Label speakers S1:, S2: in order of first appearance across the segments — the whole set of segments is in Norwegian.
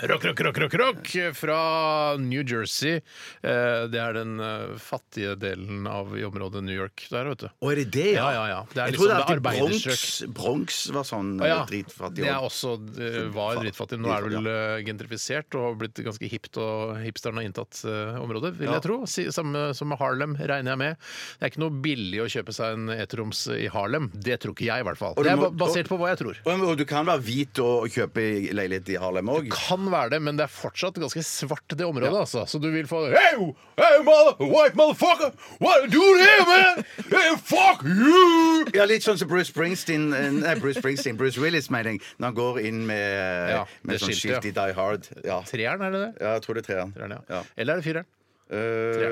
S1: Rock, rock, rock, rock, rock fra New Jersey. Eh, Det er den eh, fattige delen av i området New York der, vet du.
S2: Å, er det det,
S1: Ja, ja, ja. Det er
S2: jeg
S1: liksom
S2: trodde
S1: det
S2: alltid Bronx,
S1: arbeiderstrøk.
S2: Bronx var sånn
S1: Å ja,
S2: dritfattig.
S1: det er også det var dritfattig. Nå er det vel eh, gentrifisert og har blitt ganske hipt, og hipsterne har inntatt eh, området, vil jeg tro. Si- Samme som med Harlem, regner jeg med. Det er ikke noe billig å kjøpe seg en ettroms i Harlem. Det tror ikke jeg, i hvert fall.
S2: Og du
S1: Det er
S2: må-
S1: ba- basert på hva jeg tror.
S2: Og, og du kan være hvit og kjøpe leilighet i Harlem òg.
S1: Kan være det, men det er fortsatt ganske svart, det området. altså. Så du vil få hey, hey, mother, white motherfucker! What you doing here, man? Hey, fuck you!
S2: Ja, litt sånn som Bruce Springsteen eh, Nei, Bruce Springsteen, Bruce Willis, mener jeg. Når han går inn med,
S1: Ja,
S2: med
S1: det
S2: sånn
S1: skiltet,
S2: skilt i Die Hard. Ja.
S1: Treeren, er det det?
S2: ja, jeg tror det er treeren.
S1: Treeren, ja.
S2: Ja.
S1: Eller er det fireren?
S2: Eh,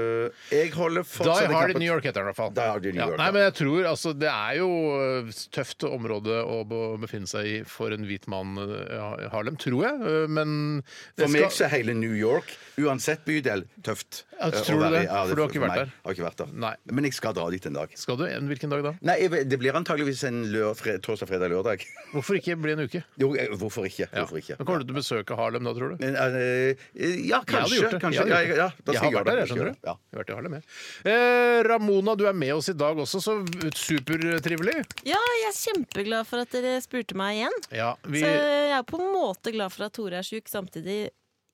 S2: jeg holder fortsatt
S1: Die
S2: en
S1: Hard
S2: knapp
S1: i
S2: på-
S1: New York heter den i hvert fall.
S2: Die Hard i New York,
S1: ja. Nei,
S2: ja.
S1: men jeg tror, altså, Det er jo eh, tøft område å be- befinne seg i for en hvit mann, eh, Harlem, tror jeg. eh, Men det
S2: For meg så er hele New York, uansett bydel, tøft.
S1: Ja,
S2: eh, å
S1: tror du
S2: være
S1: det?
S2: i. Ja,
S1: For du har ikke
S2: for
S1: vært
S2: meg.
S1: der?
S2: Jeg Har ikke vært der.
S1: Nei.
S2: Men jeg skal dra dit en dag.
S1: Skal du? En- Hvilken dag da?
S2: Nei, jeg, vet- Det blir antageligvis en lør, fre, torsdag, fredag, lørdag.
S1: Hvorfor ikke bli en uke?
S2: Jo, eh, hvorfor ikke?
S1: Ja.
S2: Hvorfor ikke?
S1: Men Kommer du til å besøke Harlem da, tror du?
S2: Men, eh, eh, ja,
S1: Jeg hadde
S2: kanskje.
S1: gjort det.
S2: kanskje.
S1: Jeg hadde
S2: Ja,
S1: gjort det.
S2: ja, da
S1: jeg
S2: skal
S1: har
S2: jeg
S1: vært
S2: gjøre
S1: der,
S2: det.
S1: jeg skjønner
S2: Ja.
S1: du. Jeg har vært i Harlem, jeg. Eh, Ramona, du er med oss i dag også, så supertrivelig.
S3: Ja, jeg er kjempeglad for at dere spurte meg igjen.
S1: Ja, vi,
S3: Så jeg er på en måte glad for at Tore er sjuk, samtidig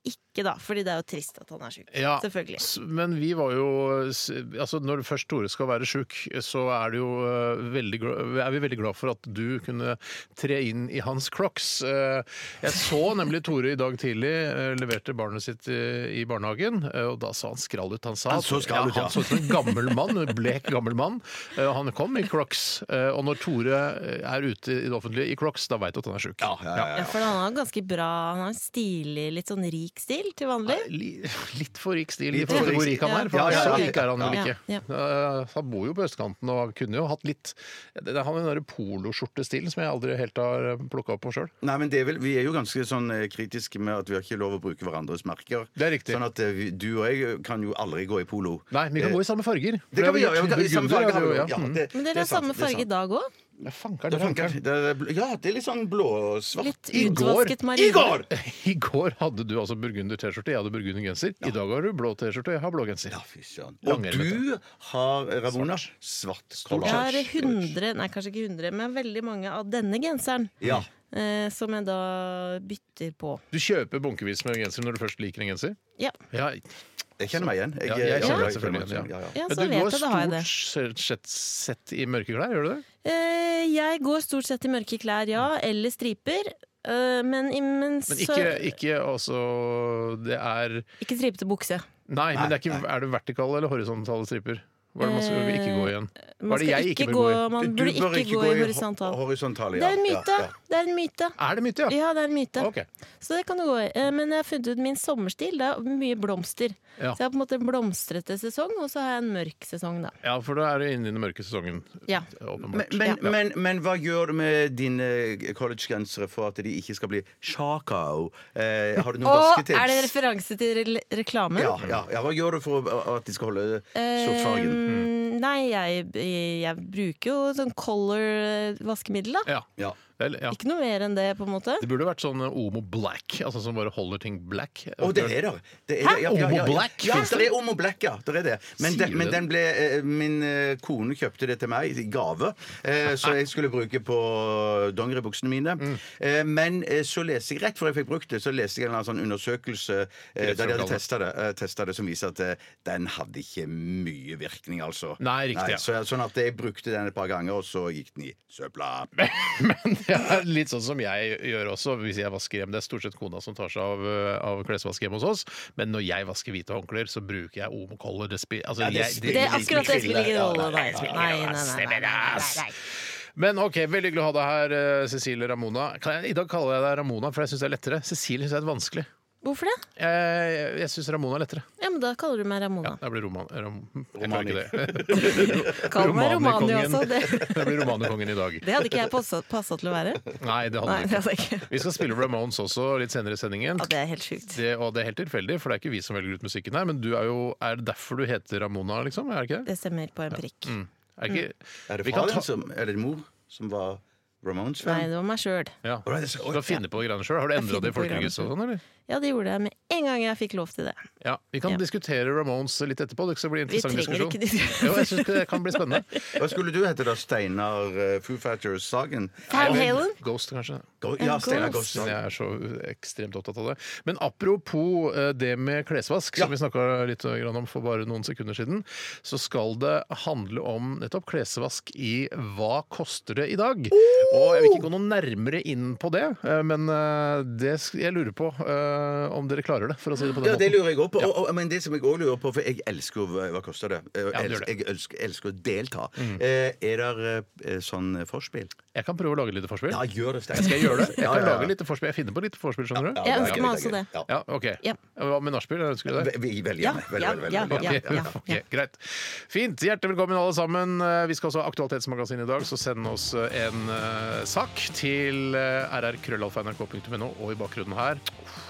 S3: ikke, da. Fordi det er jo trist at han er sjuk.
S1: ja,
S3: Selvfølgelig.
S1: s- men vi var jo s- altså Når først Tore skal være sjuk, så er, det jo eh, veldig, gl- er vi veldig glad for at du kunne tre inn i hans crocs. Eh, Jeg så nemlig Tore i dag tidlig eh, leverte barnet sitt i i barnehagen, eh, og da sa han skrall ut. Han sa
S2: Han
S1: at-
S2: så skrall ut,
S1: ja, han
S2: ja.
S1: så ut som en gammel mann, en blek gammel mann. Eh, Han kom i crocs, eh, og når Tore eh, er ute i det offentlige i crocs, da veit du at han er sjuk.
S2: Ja, ja, ja,
S3: Ja,
S2: ja.
S3: for han har ganske bra Han har en stilig, litt sånn rik stil til vanlig.
S1: Li- Litt for rik stil i
S2: Litt
S1: forhold til
S2: for
S1: hvor
S2: rik
S1: rik han
S3: stil.
S1: er. For
S2: Ja, ja,
S1: så
S2: ja.
S1: rik er han vel
S3: Ja,
S1: ikke.
S3: ja.
S1: Eh, Han bor jo på østkanten og kunne jo hatt litt Det er han den derre poloskjortestilen som jeg aldri helt har plukka opp på sjøl.
S2: Nei, men det er vel, Vi er jo ganske sånn eh, kritiske med at vi har ikke lov å bruke hverandres merker.
S1: Det er riktig.
S2: Sånn at eh, vi- du og jeg kan jo aldri gå i polo. Eh,
S1: Nei, vi Eh, kan gå i samme farger.
S2: Det kan vi gjøre. ja, i samme farge har vi jo. Ja,
S1: Mm.
S2: det-
S3: Men
S2: det
S3: dere
S2: er
S3: har samme
S2: sant, det er
S3: farge i
S2: sant.
S3: dag òg.
S1: Ja, fanker,
S2: Det
S1: det
S2: funker.
S1: fanker.
S2: Det er- Ja, det er litt sånn blå-svart.
S3: Litt
S1: I går-
S3: utvasket marine.
S2: I går!
S1: I går hadde du altså burgunder T-skjorte, jeg hadde burgunder genser. I dag har du blå T-skjorte, jeg har blå genser.
S2: Ja, fy søren. Og
S1: Langermet,
S2: du har, eh, Ramona, svart
S3: Jeg har
S2: collage.
S3: 100, nei kanskje ikke 100, men veldig mange av denne genseren.
S2: Ja.
S3: Eh, som jeg da bytter på.
S1: Du kjøper bunkevis med genser når du først liker en genser?
S3: Ja.
S1: Ja,
S2: Jeg kjenner meg igjen.
S1: Ja, jeg kjenner meg selvfølgelig
S2: ja,
S1: igjen, ja.
S2: ja, ja.
S3: Ja,
S1: Men
S3: så
S1: du
S3: vet
S1: går
S3: jeg, da har jeg det.
S1: stort sett sett i mørke klær, gjør du det?
S3: Eh, jeg går stort sett i mørke klær, ja. Eller striper. Eh, men, i- men,
S1: Men
S3: så,
S1: ikke, ikke altså Det er
S3: ikke stripete bukse.
S1: Nei, men det er, ikke, er det vertikale eller horisontale striper? Hva er det man skal
S3: Eh,
S1: ikke gå igjen? Hva er
S3: Man,
S1: det
S3: skal
S1: jeg ikke
S3: ikke
S1: bør
S3: gå,
S1: gå i?
S3: man
S2: Du
S3: burde
S2: bør
S3: ikke gå i
S2: ho-
S3: horisontal.
S2: horisontal,
S3: Det er
S2: ja,
S3: en myte!
S2: ja, ja.
S3: Det er en myte.
S1: Er det myte, ja?
S3: Ja, det er en myte.
S1: Ah. Ok.
S3: Så det kan du gå i. Eh, Men jeg har funnet ut min sommerstil. Det er mye blomster.
S1: Ja.
S3: Så jeg har på en måte en blomstrete sesong, og så har jeg en mørk sesong, da.
S1: ja, for da er du inne i den mørke sesongen.
S3: Ja.
S2: Men,
S1: Åpenbart.
S2: men,
S3: Ja.
S2: men, men hva gjør du med dine collegegensere for at de ikke skal bli shakao? Eh, har du noen
S3: Og
S2: raske tips?
S3: er det referanse til re reklamen?
S2: ja, ja, ja, hva gjør du for å- at de skal holde sortfargen?
S3: Eh, Nei, jeg, jeg bruker jo sånn color-vaskemiddel, da.
S1: Ja.
S2: Ja.
S1: Vel, ja.
S3: Ikke noe mer enn det, på en måte.
S1: Det burde vært sånn eh, Omo Black, altså som bare holder ting black.
S2: Å, det er der. det! Er,
S3: Hæ?
S2: der, ja, ja, ja, ja.
S1: Omo Black?
S2: Ja, det er Omo Black, ja. Det er det. Men,
S1: Sier
S2: den,
S1: du
S2: men
S1: det?
S2: den ble, eh, min eh, kone kjøpte det til meg i gave, eh, så jeg skulle bruke på dongeribuksene mine.
S1: Mm.
S2: Eh, men eh, så leste jeg rett før jeg fikk brukt det, så leste jeg en eller annen sånn undersøkelse eh,
S1: Rett
S2: der
S1: før
S2: de hadde testa det, eh, testet det, som viser at eh, den hadde ikke mye virkning, altså.
S1: Nei, riktig, ja.
S2: så, sånn at jeg brukte den et par ganger, og så gikk den i søpla.
S1: Men det er litt sånn som jeg gjør også hvis jeg vasker hjem. Det er stort sett kona som tar seg av, eh, av klesvask hjemme hos oss, men når jeg vasker hvite håndklær, så bruker jeg Omo Color. Det spi- altså,
S2: Ja, det
S1: jeg-
S2: spiller
S3: Det er akkurat det spiller ingen
S2: Ja,
S3: rolle.
S2: nei,
S3: Nei,
S2: ja,
S3: nei, nei, nei, nei, nei, nei.
S1: Men ok, veldig hyggelig å ha deg her, eh, Cecilie Ramona. Kan jeg, I dag kaller jeg deg Ramona, for jeg syns det er lettere. Cecilie syns jeg er vanskelig.
S3: Hvorfor det?
S1: Jeg, jeg syns Ramona er lettere.
S3: Ja, men Da kaller du meg Ramona.
S1: Ja, det blir Roman... Rom, jeg klarer
S2: Romani.
S1: ikke det.
S3: Kall meg Romani
S1: Romanikongen.
S3: også. Det,
S1: Det blir Romanikongen i dag.
S3: det hadde ikke jeg passa, passa til å være.
S1: Nei, det
S3: Nei,
S1: handler
S3: det
S1: ikke.
S3: hadde jeg ikke.
S1: Vi skal spille Ramones også litt senere i sendingen.
S3: Ja, det er helt sjukt.
S1: Det, og det er helt tilfeldig, for det er ikke vi som velger ut musikken her, men du er jo Er det derfor du heter Ramona, liksom? Er det ikke det?
S3: Det stemmer på en prikk.
S1: Er det, ikke,
S2: Mm. Er det
S1: vi
S2: far
S1: kan
S2: din
S1: ta,
S2: som Er det mor som var
S3: Nei,
S2: Ramones-fan?
S3: det var meg sjøl.
S1: ja.
S2: Å, det er så-
S1: Du kan finne på de greiene sjøl. Har du
S3: Jeg
S1: endra det i
S3: finner på
S1: folkeregis og sånn, eller?
S3: Ja, det gjorde jeg med en gang jeg fikk lov til det.
S1: Ja, Vi kan
S3: Ja.
S1: diskutere Ramones litt etterpå. Det skal bli en
S3: Vi
S1: interessant diskusjon.
S3: trenger ikke de-
S1: Jo, jeg synes det kan bli spennende.
S2: Hva skulle du hete da? Steinar eh, Foo Fighters Sagen?
S3: Van Halen?
S1: Ghost, kanskje.
S2: Go- Ja,
S3: Ghost.
S2: Steinar Ghost.
S1: Men jeg er så ekstremt opptatt av det. Men apropos eh, det med klesvask, som vi snakka litt grann om for bare noen sekunder siden, så skal det handle om nettopp klesvask i Hva koster det i dag? Og jeg vil ikke gå noe nærmere inn på det, eh, men eh, det sk- jeg lurer på eh, om dere klarer det, for å si det på den
S2: Ja, det
S1: måten.
S2: lurer jeg òg på. Og, og, men det som jeg også lurer på, for jeg elsker jo eh, Hva hva koster det?
S1: Ja,
S2: Jeg,
S1: du gjør
S2: elsker,
S1: det.
S2: jeg elsker, elsker å delta. Eh, er det eh, sånn eh, forspill?
S1: Jeg kan prøve å lage et lite forspill.
S2: Ja, gjør det, Steinar.
S1: Skal jeg gjøre det? Jeg
S2: Ja,
S1: kan
S2: ja, ja.
S1: lage et lite forspill. Jeg finner på et lite forspill, skjønner du?
S3: Jeg
S2: det er
S3: ønsker
S2: gøy, det
S3: meg
S2: er
S3: også
S2: gøy.
S3: det.
S2: Ja.
S1: Ja, ok.
S3: Ja.
S1: Hva med nachspiel? Ønsker du det?
S2: Ve- ve- Veldig
S3: Ja,
S2: gjerne. Veldig,
S3: ja,
S2: veldig,
S3: ja,
S2: veldig,
S1: Ok,
S2: veldig.
S3: ja.
S1: ok, greit. Fint. Hjertelig velkommen alle sammen. Eh, Vi skal også ha Aktualitetsmagasinet i dag, så send oss eh, en eh, sak til eh, rrkrøllalfa.nrk.no, og i bakgrunnen her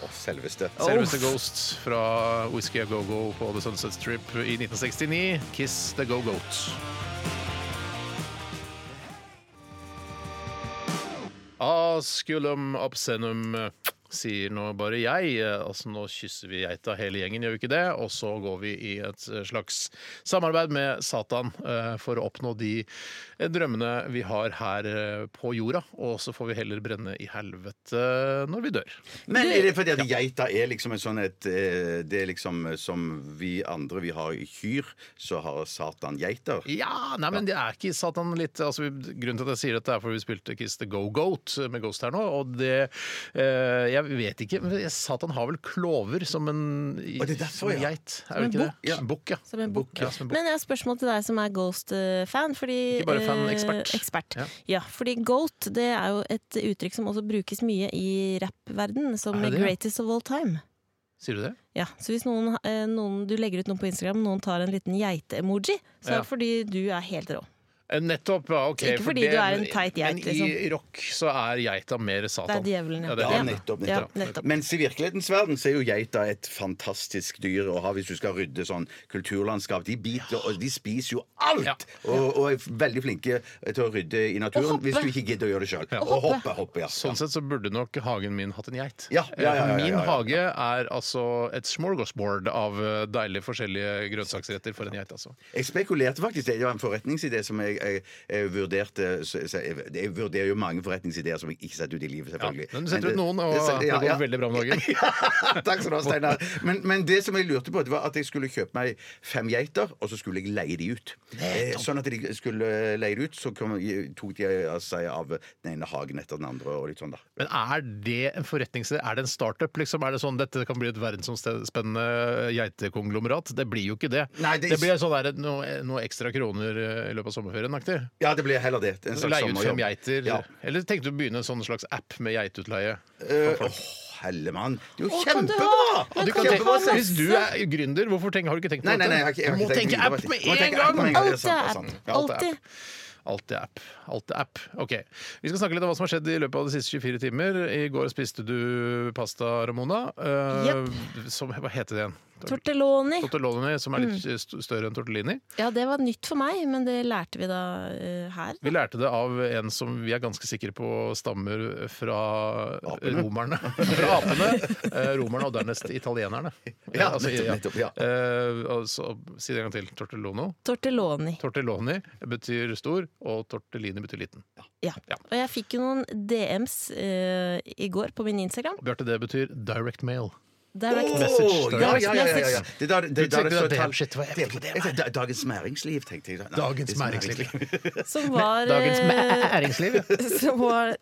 S2: Å, Selveste.
S1: Selveste Ghost fra Whisky A Go Go på The Sunset Strip i 1969. Kiss The Go Goat. Asculum obscenum sier nå bare jeg. Altså Nå kysser vi geita hele gjengen, gjør vi ikke det? Og så går vi i et slags samarbeid med Satan eh, for å oppnå de eh, drømmene vi har her eh, på jorda. Og så får vi heller brenne i helvete eh, når vi dør.
S2: Men er det fordi at geita er liksom en sånn et eh, Det er liksom eh, som vi andre, vi har kyr, så har Satan geiter.
S1: Ja, nei, men det er ikke Satan litt altså, vi- Grunnen til at jeg sier dette er fordi vi spilte Kiss the Go Goat med Ghost her nå, og det eh, Jeg vet ikke, men Satan har vel klover som en
S2: Å, det er derfor,
S1: som en
S2: ja.
S1: geit? Er det ikke det?
S2: Ja.
S1: Bukk, ja.
S3: Som en bukk.
S1: Ja, som en bukk.
S3: Men jeg har et spørsmål til deg som er Ghost-fan. eh,
S1: Ikke bare fan, ekspert.
S3: ekspert.
S1: Ja.
S3: Ja. fordi Goat det er jo et uttrykk som også brukes mye i rappverden som
S1: Er det det?
S3: 'greatest of all time'.
S1: Sier du det?
S3: Ja, Så hvis noen, eh, noen, du legger ut noe på Instagram, noen tar en liten geite-emoji, så
S1: Ja.
S3: er det fordi du er helt rå.
S1: Eh, Nettopp. ja, ok.
S3: Ikke
S1: for
S3: fordi
S1: det-
S3: du er en teit geit,
S1: Men i
S3: liksom.
S1: rock så er geita mer
S3: Det er
S1: Satan.
S3: djevelen,
S1: Ja, det er
S2: Ja,
S1: det.
S2: nettopp, nettopp.
S3: Ja, nettopp.
S2: Mens i virkelighetens verden så er jo geita et fantastisk dyr å ha hvis du skal rydde sånn kulturlandskap. De biter og de spiser jo alt!
S1: Ja.
S2: Og, og er veldig flinke til å rydde i naturen
S3: Og hoppe.
S2: hvis du ikke gidder å gjøre det sjøl.
S1: Ja.
S2: Og hoppe. hoppe ja.
S1: Sånn sett så burde nok hagen min hatt en geit. Eh,
S2: Ja, ja, ja, ja, ja, ja, ja.
S1: Min hage er altså et smorgasbord av eh, deilige forskjellige grønnsaksretter for en geit, altså.
S2: Jeg spekulerte faktisk. Det var en forretningsidé som jeg, jeg, jeg vurderte så, så jeg, jeg vurderer jo mange forretningsideer som jeg ikke setter ut i livet,
S1: Ja,
S2: selvfølgelig.
S1: men du setter
S2: det-
S1: ut noen, og
S2: det-
S1: det
S2: ja, ja.
S1: går veldig bra om dagen.
S2: Takk skal du ha, Steinar. Men, men det som jeg lurte på, det var at jeg skulle kjøpe meg fem geiter, og så skulle jeg leie de ut. Eh, Sånn at de skulle leie de ut, så kom, tok de seg av den ene hagen etter den andre og litt sånn, da.
S1: Men er det en forretningsidé? Er det en startup? Liksom? Er det sånn, dette kan bli et verdensomspennende geitekonglomerat? Det blir jo ikke det.
S2: Nei, det-
S1: det... blir sånn der, noe, noe ekstra kroner eh, i løpet av sommerferien. aktig.
S2: Ja, det ble heller det. En slags
S1: Leie ut
S2: sommerjobb.
S1: fem geiter.
S2: Ja.
S1: Eller tenkte du å begynne en sånn slags app med geiteutleie?
S2: Eh, Åh, hellemann. Det er jo
S3: Å, kan du
S2: kjempebra!
S3: ha- Ja,
S1: Du kan
S3: kan du
S2: Kjempebra,
S3: ha
S1: tenke,
S2: Steinar.
S3: masse?
S1: hvis du er gründer, hvorfor tenk, har du ikke tenkt på
S2: Nei, nei, nei, jeg har
S1: dette?
S2: ikke- jeg har
S1: du må
S2: ikke tenkt
S1: tenke
S2: mye på
S1: app
S2: det.
S1: med
S2: Du må
S1: en
S2: tenke app
S1: gang!
S2: med en gang. det er
S3: Alt
S2: sant, det sånn- er
S3: er app.
S2: sant.
S1: Ja, alt er
S3: Alltid.
S1: Alt er app. Alt er app. Ok. Vi skal snakke litt om hva som har skjedd i løpet av de siste 24 timer. I går spiste du pasta, Ramona. Eh, som, hva heter det igjen?
S3: Tortelloni.
S1: Tortelloni, som er litt eh, st- større enn tortellini.
S3: Ja, det var nytt for meg, men det lærte vi da eh, her.
S1: Vi lærte det av en som vi er ganske sikre på stammer fra eh, romerne. Fra apene, eh, romerne og dernest italienerne. Altså,
S2: Ja, nettopp, nettopp, ja.
S1: Eh, og så, si det en gang til. Tortellono.
S3: Tortelloni.
S1: Tortelloni betyr stor, og tortellini betyr liten.
S3: Ja. Og jeg fikk jo noen DMs eh, i går på min Instagram.
S1: Og Bjarte, det betyr direct mail.
S3: Direct
S2: Åh,
S1: Message,
S2: ja, ja, ja, ja, ja.
S3: Message.
S2: Det er da- det er da
S1: Du tenkte
S2: det står
S1: det er
S2: tall-
S1: helt shit, hva er det for det,
S2: Jeg tenkte, Dagens næringsliv, tenkte jeg. da. Nei,
S1: Dagens
S2: det er
S1: næringsliv.
S3: Som var,
S1: Dagens
S3: eh,
S1: næringsliv. ja.
S3: som var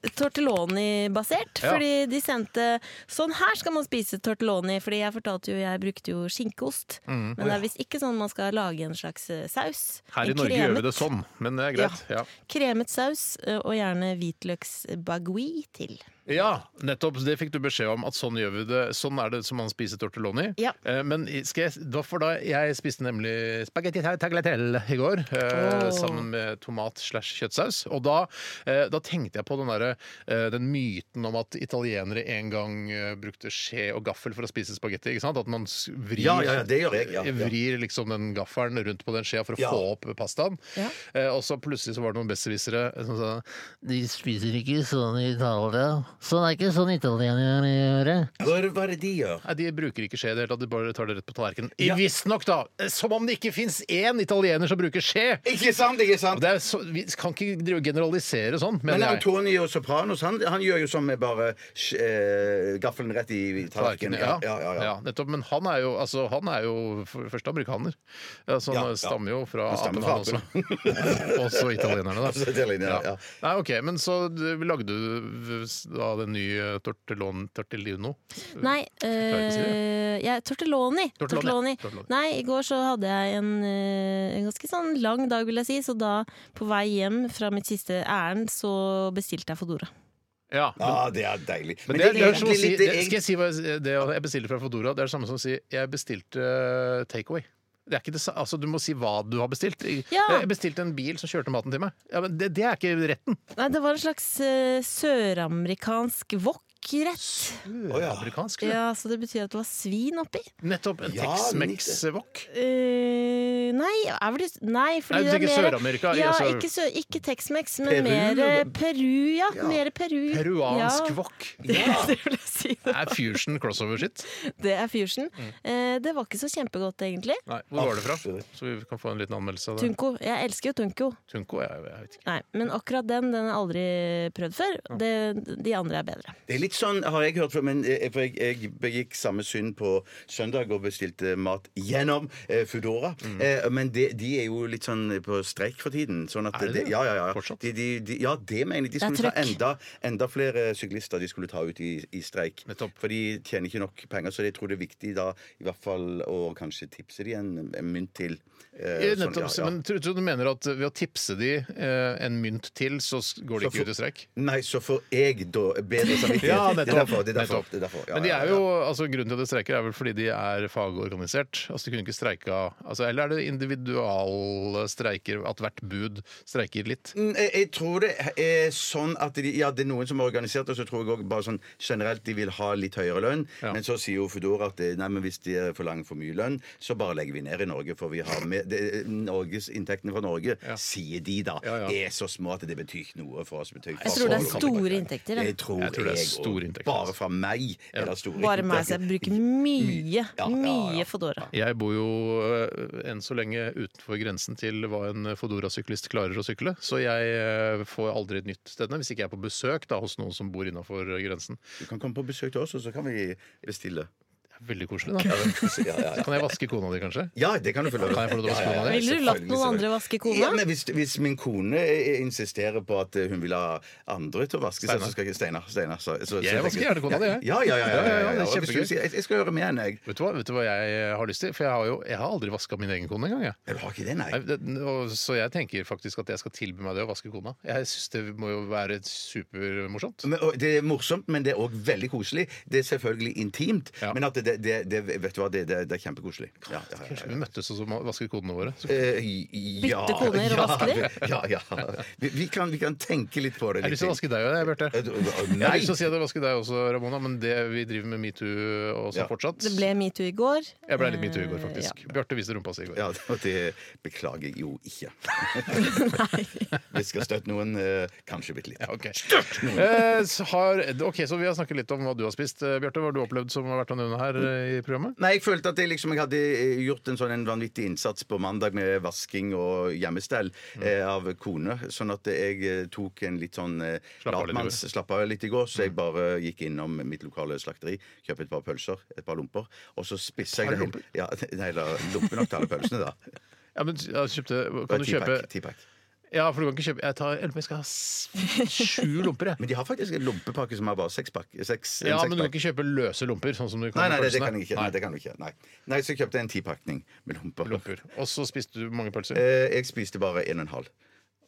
S3: tortelloni-basert.
S1: Ja.
S3: Fordi de sendte 'sånn her skal man spise tortelloni'. Fordi jeg fortalte jo, jeg brukte jo skinkeost. Men det er visst ikke sånn man skal lage en slags eh, saus.
S1: Mm. Her i
S3: En
S1: Norge gjør vi
S3: kremet-
S1: det sånn, men det er greit. Ja.
S3: Kremet saus, eh, og gjerne hvitløksbagui til.
S2: Ja,
S1: Ja, nettopp. Det fikk du beskjed om. At sånn gjør vi det. Sånn er det som man spiser tortelloni.
S3: Ja.
S1: Eh, Men skal jeg, det var for da jeg spiste nemlig spagetti ta- tagliatelle i går eh,
S3: Åh.
S1: sammen med tomat slash kjøttsaus. Og da, eh, da tenkte jeg på den, derre, eh, den myten om at italienere en gang eh, brukte skje og gaffel for å spise spagetti. ikke sant? At man s- vrir,
S2: Ja, ja, ja, det gjør jeg, ja, ja.
S1: vrir liksom den gaffelen rundt på den skjea for å
S2: Ja.
S1: få opp pastaen.
S3: Ja.
S1: Eh, Og så plutselig så var det noen besserwissere som sa de spiser ikke sånn i Italia. Sånn er ikke sånn italienere gjør.
S2: Hva er det- hva er det de gjør?
S1: Nei, De bruker ikke skje i det hele tatt, de bare tar det rett på tallerkenen. Eh,
S2: Ja.
S1: Visstnok, da! Som om det ikke fins én italiener som bruker skje!
S2: Ikke sant, ikke sant?
S1: Og Det er så, vi kan ikke drive og generalisere sånn,
S2: Men
S1: mener jeg.
S2: Antonio Sopranos han, han gjør jo sånn med bare sk- eh, gaffelen rett i tallerkenen.
S1: Ja,
S2: Ja, ja, ja.
S1: ja, nettopp. Men han er jo, altså, han er jo for det første amerikaner. Ja, så han
S2: Ja, ja.
S1: stammer jo fra
S2: Han
S1: apen,
S2: stammer
S1: han
S2: fra
S1: også. også italienerne, da.
S2: Altså, italienerne, ja, ja.
S1: Nei, OK. Men så du- lagde du da den nye tortellon, tortellino?
S3: Nei,
S1: Mm. ikke å si det.
S3: øh, jeg, tortelloni.
S1: Tortelloni.
S3: tortelloni.
S1: Tortelloni.
S3: Nei, i går så hadde jeg en, øh, en ganske sånn lang dag, vil jeg si. Så da, på vei hjem fra mitt siste ærend, så bestilte jeg Fodora.
S1: Ja.
S2: Ja, det er deilig.
S1: Men det, det er som å
S2: egentlig
S1: si,
S2: litt-
S1: det,
S2: er
S1: skal jeg si hva jeg, det jeg bestilte fra Fodora? Det er det samme som å si jeg bestilte eh, takeaway. Det er ikke det, sa- altså, du må si hva du har bestilt. Jeg
S3: Ja.
S1: jeg bestilte en bil som kjørte maten til meg. Ja, men det, det er ikke retten.
S3: Nei, det var en slags øh, søramerikansk wok-rett.
S2: Å, ja.
S1: Amerikansk. det.
S3: Ja, så det betyr at det var svin oppi.
S1: Nettopp. En
S2: Ja,
S1: Tex-Mex-wok.
S3: Eh, nei, er vel det, nei
S1: Nei,
S3: fordi
S1: du
S3: det
S1: tenker
S3: er mer
S1: Sør-Amerika,
S3: Ja,
S1: altså-
S3: ikke, sø- ikke Tex-Mex, men
S2: Peru,
S3: mer eh,
S2: eller?
S3: Peru. Ja,
S2: Ja.
S3: mer Peru.
S1: Peruansk wok.
S3: Ja. Det, det vil jeg si.
S1: Det er fusion crossover-shit.
S3: Det er fusion.
S1: Mm.
S3: Eh, det var ikke så kjempegodt, egentlig.
S1: Nei, Hvor var det fra? Så vi kan få en liten anmeldelse av det.
S3: Tunco. Jeg elsker jo Tunco.
S1: Tunko? Jeg, jeg vet ikke.
S3: Nei, men akkurat den den har jeg aldri prøvd før. Det, de andre er bedre.
S2: Det er litt sånn, har jeg hørt fra, men eh, for jeg, jeg begikk samme synd på søndag og bestilte mat gjennom eh, Foodora.
S1: Mm.
S2: Eh, men de, de er jo litt sånn på streik for tiden. Sånn at
S1: Er det det?
S2: Ja, ja, ja.
S1: Fortsatt?
S2: De, de, de, ja, det mener jeg. De
S3: er
S2: skulle ta
S3: trøkk.
S2: enda, enda flere syklister de skulle ta ut i, i streik.
S1: Nettopp.
S2: For de tjener ikke nok penger, så jeg tror det er viktig da i hvert fall å kanskje tipse de en, en mynt til. Eh, sånn,
S1: Nettopp,
S2: ja, ja.
S1: Men tror tror du du mener at ved å tipse de eh, en mynt til, så s- går de
S2: Så
S1: ikke
S2: for-
S1: ut i streik?
S2: Nei, så får jeg da bedre samvittighet.
S1: Ja,
S2: det er
S1: nettopp.
S2: derfor. Det er derfor,
S1: nettopp.
S2: det er derfor. Ja,
S1: Men de
S2: ja,
S1: er
S2: ja.
S1: jo, altså Grunnen til at de streiker, er vel fordi de er fagorganisert? Altså De kunne ikke streika altså, Eller er det individualstreiker, at hvert bud streiker litt?
S2: Mm, Jeg, jeg tror det er sånn at de, ja, det er noen som har organisert det, og så tror jeg også bare sånn generelt de vil ha litt høyere lønn.
S1: Ja.
S2: Men så sier jo Foodora at eh, nei, men hvis de forlanger for mye lønn, så bare legger vi ned i Norge, for vi har med det, Norges, Inntektene fra Norge, sier de da,
S1: Ja, ja.
S2: er så små at det betyr ikke noe for oss. Betyr,
S3: Jeg tror det er
S2: for-
S3: store inntekter.
S2: Jeg
S3: Da.
S2: tror,
S1: Jeg tror det er
S2: og
S1: store inntekter, altså.
S2: Bare fra meg er det store
S3: Bare meg, så jeg bruker mye,
S2: Ja, ja, ja.
S3: mye Foodora.
S1: Jeg bor jo eh, enn så lenge utenfor grensen til hva en Fodora-syklist klarer å sykle, så jeg eh, får aldri et nytt sted hvis ikke jeg er på besøk da, hos noen som bor innafor grensen.
S2: Du kan komme på besøk til oss, og så kan vi bestille.
S1: Det er Veldig koselig, da.
S2: Ja, ja, ja.
S1: Kan jeg vaske kona di, kanskje?
S2: Ja, det kan du få lov
S1: Kan jeg få lov til å vaske kona di?
S3: Ville du latt
S2: selvfølgelig,
S3: noen andre
S2: selvfølgelig.
S3: vaske
S2: Ja,
S3: kona?
S2: men hvis, hvis min kone eh, insisterer på at eh, hun vil ha andre til å vaske seg,
S1: Steinar.
S2: så skal jeg Steinar. Steinar så, så, så,
S1: Jeg vasker
S2: tenker-
S1: gjerne kona di, jeg.
S2: Ja, ja,
S1: Ja,
S2: ja. ja,
S1: ja, ja,
S2: ja, ja,
S1: det er
S2: Og hvis
S1: kjempegøy.
S2: hun sier, Jeg, jeg skal gjøre med henne, jeg.
S1: Vet du, hva? Vet du hva jeg har lyst til? For jeg har jo jeg har aldri vaska min egen kone engang. jeg.
S2: Men Du har ikke det, nei?
S1: Nei, det, og, så jeg tenker faktisk at jeg skal tilby meg det å vaske kona. Jeg synes det må jo være supermorsomt.
S2: Men, og det er morsomt, men det er òg veldig koselig. Det er selvfølgelig intimt,
S1: Ja.
S2: men at det, det, det, vet du hva, det, det, det er kjempekoselig. Ja, ja, ja,
S1: Kanskje
S2: ja.
S1: vi møttes og så må- vasket kodene våre. Så
S2: Eh, i- ja,
S3: Bytte koner og
S2: ja,
S3: vaske de?
S2: Ja, ja. Vi, vi, kan, vi kan tenke litt på det.
S1: jeg har lyst til å vaske deg òg, Bjarte.
S2: Eh, du- å,
S1: Jeg har
S2: Nei!
S1: lyst til å si at jeg vasker deg også, Ramona, men det vi driver med metoo og sånn
S2: Ja.
S1: fortsatt
S3: Det ble metoo i går.
S1: Jeg ble litt metoo i går,
S3: Eh, ja.
S1: faktisk. Bjarte viste rumpa si i går.
S2: Ja, og det beklager jeg jo ikke. Vi skal støtte noen, eh, kanskje bitte litt.
S1: Ja, ok. Eh, så har, ok, Så vi har snakket litt om hva du har spist. Eh, Bjarte, hva har du opplevd som har vært å nevne her eh, i programmet?
S2: Nei, jeg følte at jeg, liksom, jeg hadde eh, gjort en sånn en vanvittig innsats på mandag med vasking og hjemmestell eh, av kone. Sånn at jeg eh, tok en litt sånn eh,
S1: Slapp av litt i går.
S2: latmanns Slapp av litt i Mm. går, så jeg bare gikk innom mitt lokale slakteri, kjøpte et par pølser, et par lomper, og så spissa jeg
S1: Par
S2: det hele-
S1: lomper?
S2: Ja, nei, da, lomper nok til alle pølsene, da.
S1: Ja, men jeg kjøpte, Kan du kjøpe
S2: Tipack.
S1: Ja, for du kan ikke kjøpe Jeg, tar, jeg lurer på om jeg skal ha s- sju lomper, jeg.
S2: Men de har faktisk en lompepakke som har bare seks pakk. Seks, en
S1: Ja, men du kan
S2: sekspakke.
S1: ikke kjøpe løse lomper. Sånn som du kan
S2: Nei,
S1: med
S2: nei, det, det
S1: pølsene.
S2: kan jeg ikke. Nei, det kan jeg ikke. Nei. nei, så kjøpte jeg en tipakning med lomper.
S1: Lomper. Og så spiste du mange pølser.
S2: Eh, jeg spiste bare en og en halv.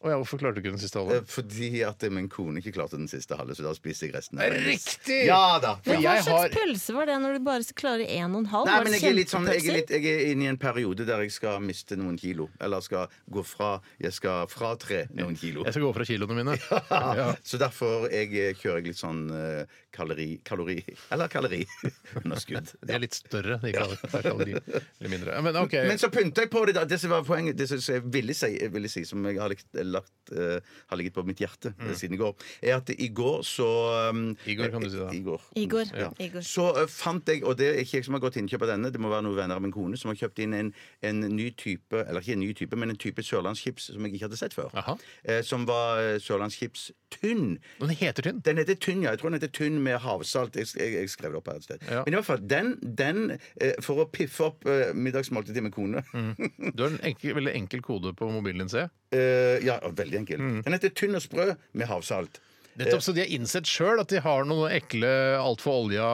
S1: Å ja, hvorfor klarte du ikke den siste
S2: Eh,
S1: halve?
S2: Fordi at min kone ikke klarte den siste halve, så da spiser jeg resten. av den.
S1: Riktig!
S2: Ja da!
S1: Men
S3: Men hva
S1: jeg
S3: slags
S1: har-
S3: pølse var det når du bare klarer én og en halv?
S2: Nei,
S3: Var
S2: men
S3: det
S2: jeg er litt sånn Jeg er,
S3: kjempepølser?
S2: litt, jeg er inne i en periode der jeg skal miste noen kilo. Eller skal gå fra Jeg skal fratre noen kilo.
S1: Jeg skal gå fra kiloene mine. Ja.
S2: Så derfor jeg eh, kjører jeg litt sånn eh, kalori, kalori Eller kalori underskudd.
S1: De er litt større, de kaloriene. Eller mindre. Ja, Men OK.
S2: Men så pynter jeg på det, da. Det som var poenget, det som jeg ville si, jeg ville si som jeg har, likt, lagt, eh, har ligget på mitt hjerte eh, siden i går, er at i går så um,
S1: Igor, Mm. kan du si da.
S2: I går.
S3: Igor.
S2: Ja.
S3: Igor.
S2: Så eh, fant jeg, og det er ikke jeg som har gått innkjøp av denne, det må være noen venner av min kone, som har kjøpt inn en, en ny type, eller ikke en ny type, men en type sørlandschips som jeg ikke hadde sett før.
S1: Aha.
S2: Eh, som var eh, sørlandschips tynn.
S1: Den heter tynn.
S2: Den heter tynn, ja. Jeg tror den heter tynn med havsalt. Jeg, jeg, jeg skrev det opp her et sted.
S1: Ja.
S2: Men i hvert fall, den, den eh, For å piffe opp eh, middagsmåltidet til min kone
S1: Du har en enkel, veldig enkel kode på mobilen din, ser jeg.
S2: Eh, ja, veldig enkel.
S1: Mm.
S2: Den heter Tynn og sprø med havsalt. Eh.
S1: Nettopp så de har innsett sjøl at de har noen ekle, altfor olja,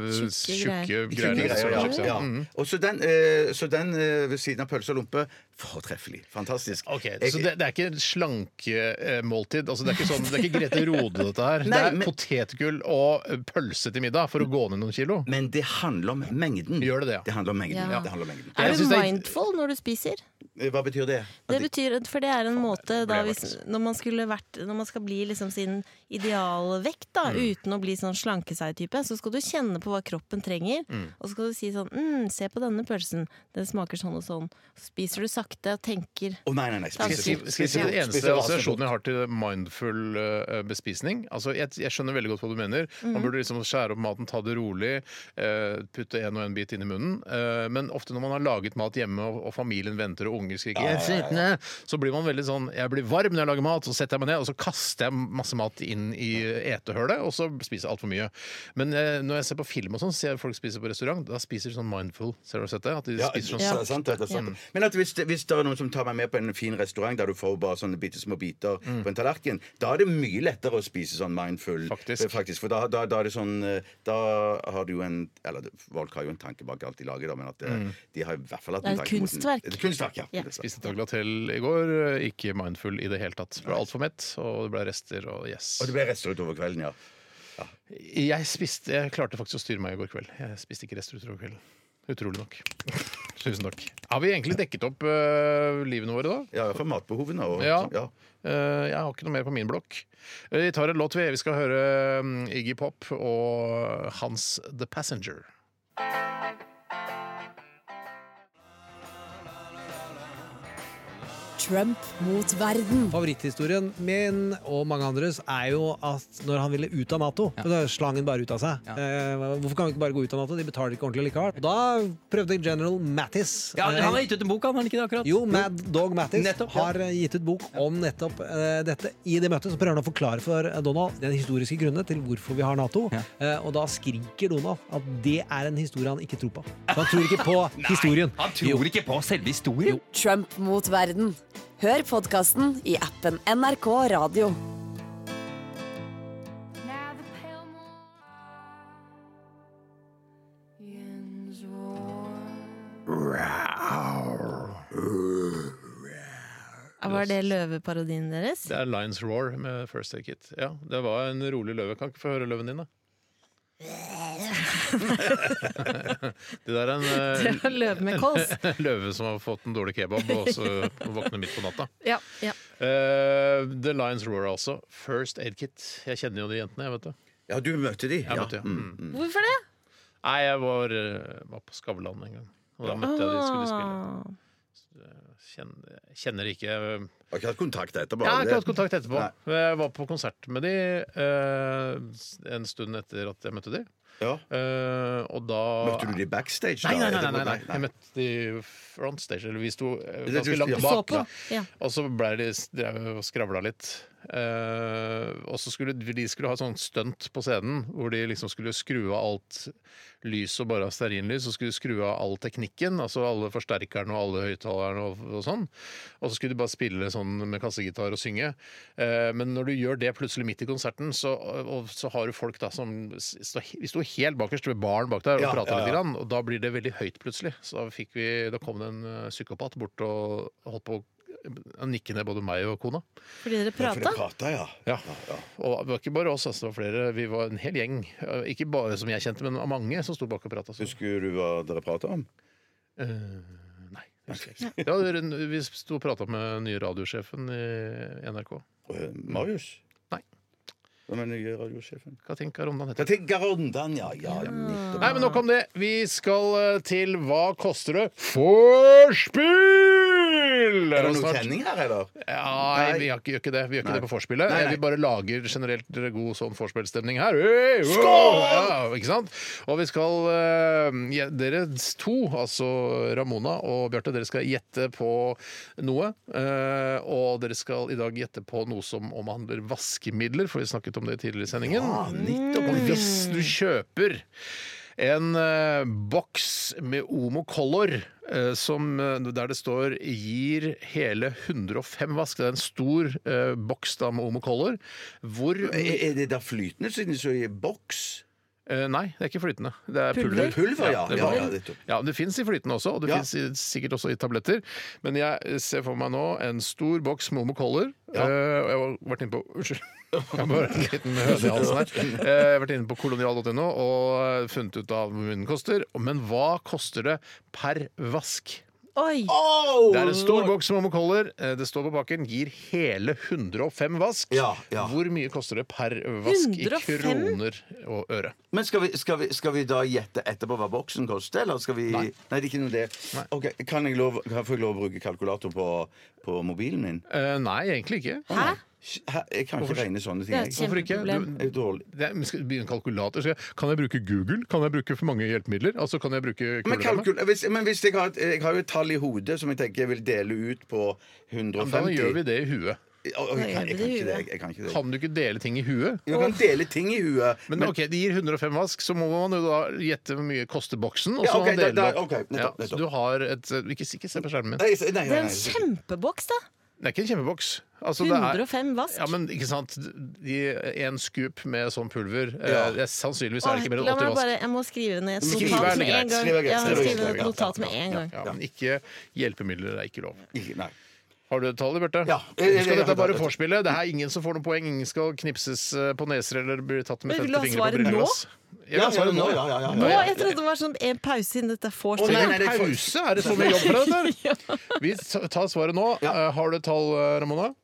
S3: Tjukke
S1: tjukke
S3: greier.
S2: Tjukke
S1: greier.
S2: greier, ja.
S1: sørlandschips,
S2: Ja.
S1: ja. Mm.
S2: Og så den, eh, så den eh, ved siden av pølse og lompe fortreffelig. Fantastisk.
S1: Ok,
S2: Jeg-
S1: Så det, det er ikke et slankemåltid? Altså, det, er ikke sånn, det er ikke Grete Rode, dette her?
S2: Nei,
S1: det er
S2: men-
S1: potetgull og eh, pølse til middag for å gå ned noen kilo?
S2: Men det handler om mengden.
S1: Gjør det det, ja?
S2: Det handler om mengden.
S3: Ja.
S2: Det handler om mengden.
S1: Jeg
S3: Er du
S1: synes det er-
S3: mindful når du spiser?
S2: Eh, Hva betyr det? At
S3: Det betyr, for det er en måte da,
S1: ble jeg
S3: hvis, når, man skulle vært, når man skal bli liksom sin idealvekt da,
S1: Mm.
S3: uten å bli sånn slanke seg-type, så skal du kjenne på hva kroppen trenger. Og så skal du si sånn mm, 'Se på denne pølsen. Den smaker sånn og sånn.' Så spiser du sakte og tenker.
S2: Å, nei, nei, nei.
S1: Skal jeg si, skal jeg si den eneste assosiasjonen jeg har til mindful eh, bespisning? Altså, jeg, jeg skjønner veldig godt hva du mener.
S2: Mhm.
S1: Man burde liksom skjære opp maten, ta det rolig, eh, putte en og en bit inn i munnen. Eh, men ofte når man har laget mat hjemme, og, og familien venter, og unger skriker, «Jeg er sulten», så blir man veldig sånn Jeg blir varm når jeg lager mat, så setter jeg meg ned, og så kaster jeg masse mat inn i etehølet, og så spiser jeg altfor mye. Men eh, når jeg ser på film og sånn, ser jeg folk spiser på restaurant, da spiser de sånn mindful. Ser du har sett det? At de
S2: Ja,
S1: spiser sånn
S2: det er sant, det er sant. Men at hvis, det- hvis det er noen som tar meg med på en fin restaurant der du får bare sånne bitte små biter
S1: Mm.
S2: på en tallerken, da er det mye lettere å spise sånn mindful.
S1: Faktisk.
S2: Eh, For da, da, da er det sånn eh, Da har du jo en Eller det- folk har jo en tanke bak alt de lager, da, men at eh,
S1: Mm.
S2: de har i hvert fall hatt
S3: Det er
S2: en
S3: et
S2: tanke mot den.
S3: kunstverk.
S2: Et kunstverk, ja.
S3: Ja.
S1: Spiste tagliatelle i går, eh, ikke mindful i det hele tatt. Ble altfor mett, og det ble rester og yes.
S2: Og det ble rester utover kvelden, ja.
S1: Jeg spiste, jeg klarte faktisk å styre meg i går kveld. Jeg spiste ikke rester utover kvelden. Utrolig nok. Tusen takk. Har vi egentlig dekket opp øh, livene våre, da?
S2: Ja, for matbehovene og
S1: Ja.
S2: ja.
S1: Eh, jeg har ikke noe mer på min blokk. Eh, Vi tar en låt, vi. Vi skal høre mm, Iggy Pop og Hans The Passenger.
S4: Trump mot verden.
S5: Favoritthistorien min og mange andres er jo at når han ville ut av Nato, da slang han bare ut av seg. Eh, hvorfor kan vi ikke bare gå ut av Nato? De betaler ikke ordentlig likevel. Og Da prøvde general Mattis
S6: Ja,
S5: eh,
S6: Han har gitt ut en bok, han, har han ikke det akkurat?
S5: jo, Mad Dog Mattis
S6: Nettopp, ja.
S5: har eh, gitt ut bok om nettopp eh, dette. I det møtet så prøver han å forklare for eh, Donald den historiske grunnen til hvorfor vi har Nato.
S6: Ja.
S5: Eh, og da skriker Donald at det er en historie han ikke tror på. Så han tror ikke på historien.
S6: Han tror ikke på selve historien.
S4: Trump mot verden. Hør podkasten i appen NRK Radio.
S3: Var det løveparodien deres?
S1: Det er Lions Roar med First Take It. Ja, det var en rolig løve. Kan ikke få høre løven din, da? det der er en eh,
S3: Det var Løve med kols?
S1: løve som har fått en dårlig kebab og så våkner midt på natta.
S3: Ja. ja.
S1: Eh, The Lions Roar, altså. First Aid Kit. Jeg kjenner jo de jentene, jeg, vet du.
S2: ja, du møtte de.
S1: Jeg møtte, ja.
S2: ja.
S1: mm.
S3: Hvorfor det?
S1: Nei, jeg var, eh, var på Skavlan en gang. Og da møtte jeg de skulle spille.
S3: Ah.
S1: Kjenner, kjenner ikke eh,
S2: Jeg har ikke hatt kontakt etterpå.
S1: Jeg har
S2: Det-
S1: ikke hatt kontakt etterpå. Jeg var på konsert med de eh, en stund etter at jeg møtte de.
S2: Ja.
S1: Eh, og da
S2: Møtte du de backstage? da,
S1: Nei, nei, nei, nei,
S2: etterpå?
S1: nei, nei. Jeg møtte de front stage, eller vi sto eh,
S2: Det tror
S1: ganske
S2: jeg-
S1: langt
S2: ja.
S1: bak.
S3: Så på.
S1: da.
S3: Ja.
S1: Og så ble de drev og skravla litt. Eh, og så skulle de skulle ha et sånt stunt på scenen, hvor de liksom skulle skru av alt lys og bare ha stearinlys, og skulle skru av all teknikken, altså alle forsterkerne og alle høyttalerne og, og sånn. Og så skulle de bare spille sånn med kassegitar og synge. Eh, men når du gjør det plutselig midt i konserten, så, og, så har du folk da som s- står he- Vi sto helt bakerst ved baren bak der og
S2: Ja,
S1: prata
S2: ja, ja.
S1: litt, grann, og da blir det veldig høyt plutselig. Så da, fikk vi, da kom det en eh, psykopat bort og holdt på å nikkende både meg og kona.
S3: Fordi dere prata?
S2: prata, ja.
S1: Ja. Og det var ikke bare oss, altså, det var flere. Vi var en hel gjeng. Eh, Ikke bare som jeg kjente, men mange som sto bak og prata. Altså.
S2: Husker du hva dere prata om?
S1: Nei, det husker jeg ikke. Ja, dere- vi sto og prata med den nye radiosjefen i NRK.
S2: Eh, Marius?
S1: Mm. Nei.
S2: Hvem er den nye radiosjefen?
S1: Katinka Romdan heter hun.
S2: Jeg tenker Gardan, ja. ja, nettopp.
S1: Nei, men nok om det. Vi skal eh, til Hva koster det? Forspill!
S2: Er det noe
S1: Snart-
S2: tenning her, eller?
S1: Nei,
S2: Nei.
S1: vi har ikke, gjør ikke det Vi gjør ikke
S2: Nei.
S1: det på vorspielet.
S2: Nei, nei.
S1: Vi bare lager generelt god sånn vorspielstemning her. Hey, wow! Ja, ikke sant? Og vi skal eh, ja, Dere to, altså Ramona og Bjarte, dere skal gjette på noe. eh, og dere skal i dag gjette på noe som omhandler vaskemidler, for vi snakket om det tidligere i sendingen. Og hvis du kjøper en eh, boks med Omo Color eh, som, eh, der det står 'gir hele 105 vask'. Det er en stor eh, boks da med Omo Color. Hvor
S2: Er, er det da flytende siden så i boks?
S1: eh, Nei, det er ikke flytende. Det er pulver.
S2: Pulver? Pulver, ja.
S1: det,
S2: Ja,
S1: var-
S2: ja, nettopp.
S1: ja, det fins i flytende også, og det
S2: Ja.
S1: finnes fins sikkert også i tabletter. Men jeg eh, ser for meg nå en stor boks med Omo Color.
S2: Ja.
S1: Eh, og jeg har vært inne på Unnskyld. Jeg har bare en liten høne i halsen her. Eh, Jeg har vært inne på kolonial.no og funnet ut av hvor mye den koster. Men hva koster det per vask?
S3: Oi!
S1: Det er en stor boks med Omocolor. Det står på pakken. Gir hele 105 vask.
S2: Ja, ja.
S1: Hvor mye koster det per vask
S3: 105?
S1: i kroner og øre?
S2: Men skal vi, skal, vi, skal vi da gjette etterpå hva boksen koster, eller skal vi Nei, det er ikke noe det. Ok, Kan jeg lov, kan jeg få lov å bruke kalkulator på, på mobilen min?
S1: Eh, nei, egentlig ikke.
S3: Hæ?
S2: Sh- hæ, Jeg kan ikke regne sånne
S3: Det er
S2: ting.
S3: et
S2: Jeg.
S1: Hvorfor ikke?
S3: kjempeproblem.
S2: Jeg er dårlig.
S1: Det er, men skal vi begynne kalkulator? Skal jeg, kan jeg bruke Google? Kan jeg bruke for mange hjelpemidler? Altså, kan jeg bruke
S2: Men,
S1: kuleramme?
S2: kalkul, hvis, men hvis jeg, har et, jeg har jo et tall i hodet som jeg tenker jeg vil dele ut på
S1: Ja, men Da
S2: 150
S1: gjør vi det i huet.
S2: Å, å, jeg, kan, jeg, kan ikke det,
S3: Da gjør vi det i huet.
S2: jeg kan ikke det.
S1: Kan du ikke dele ting i huet?
S2: Du kan dele ting i huet.
S1: Men, ok, Det gir 105 vask, så må man jo da gjette hvor mye koster boksen. Og
S2: Ja,
S1: så må
S2: ok,
S1: man dele
S2: da- da-
S1: det opp.
S2: ok, nettopp, nettopp.
S1: så du har et Ikke, ikke se på skjermen min.
S2: Nei, nei, nei,
S3: Det
S2: nei,
S3: er en
S2: nei.
S3: kjempeboks, da!
S1: Det er ikke en kjempeboks. Altså, det er-
S3: 105 vask.
S1: Ja, men ikke sant de, En skup med sånn pulver
S2: Ja.
S1: eh, det er- Sannsynligvis er
S3: Åh,
S1: det ikke mer enn
S3: la
S1: 80
S3: meg
S1: vask
S3: bare, jeg må skrive ned et
S2: Skriv,
S3: notat
S1: er det
S3: med en
S1: greit.
S3: gang.
S2: Skriv er greit,
S3: Ja,
S2: skriv er greit,
S3: skriv
S2: skriv er
S3: et
S2: greit.
S3: notat med en gang.
S1: ja, Men ikke hjelpemidler er ikke lov
S2: Ikke- nei.
S1: Har du et tall, Bjarte?
S2: Ja.
S1: Husk at dette
S2: Ja,
S1: er bare
S2: ja, ja.
S1: forspillet Det er ingen som får noen poeng Ingen skal knipses eh, på neser Eller bli tatt med
S3: Men vil
S1: femte
S3: du
S1: finger på
S3: ha svaret nå?
S1: brillelass Jeg vil
S2: Ja,
S1: ha svaret nå,
S2: ja, ja, ja, ja.
S3: Nå, jeg trodde det var sånn en pause siden dette er vors.
S2: Å, nei, nei,
S1: Trenger en
S2: det er for-
S1: pause? Er det sånn så mye jobb for deg? der? Vi tar svaret nå
S2: Ja.
S1: Eh, Har du et tall, eh, Ramona?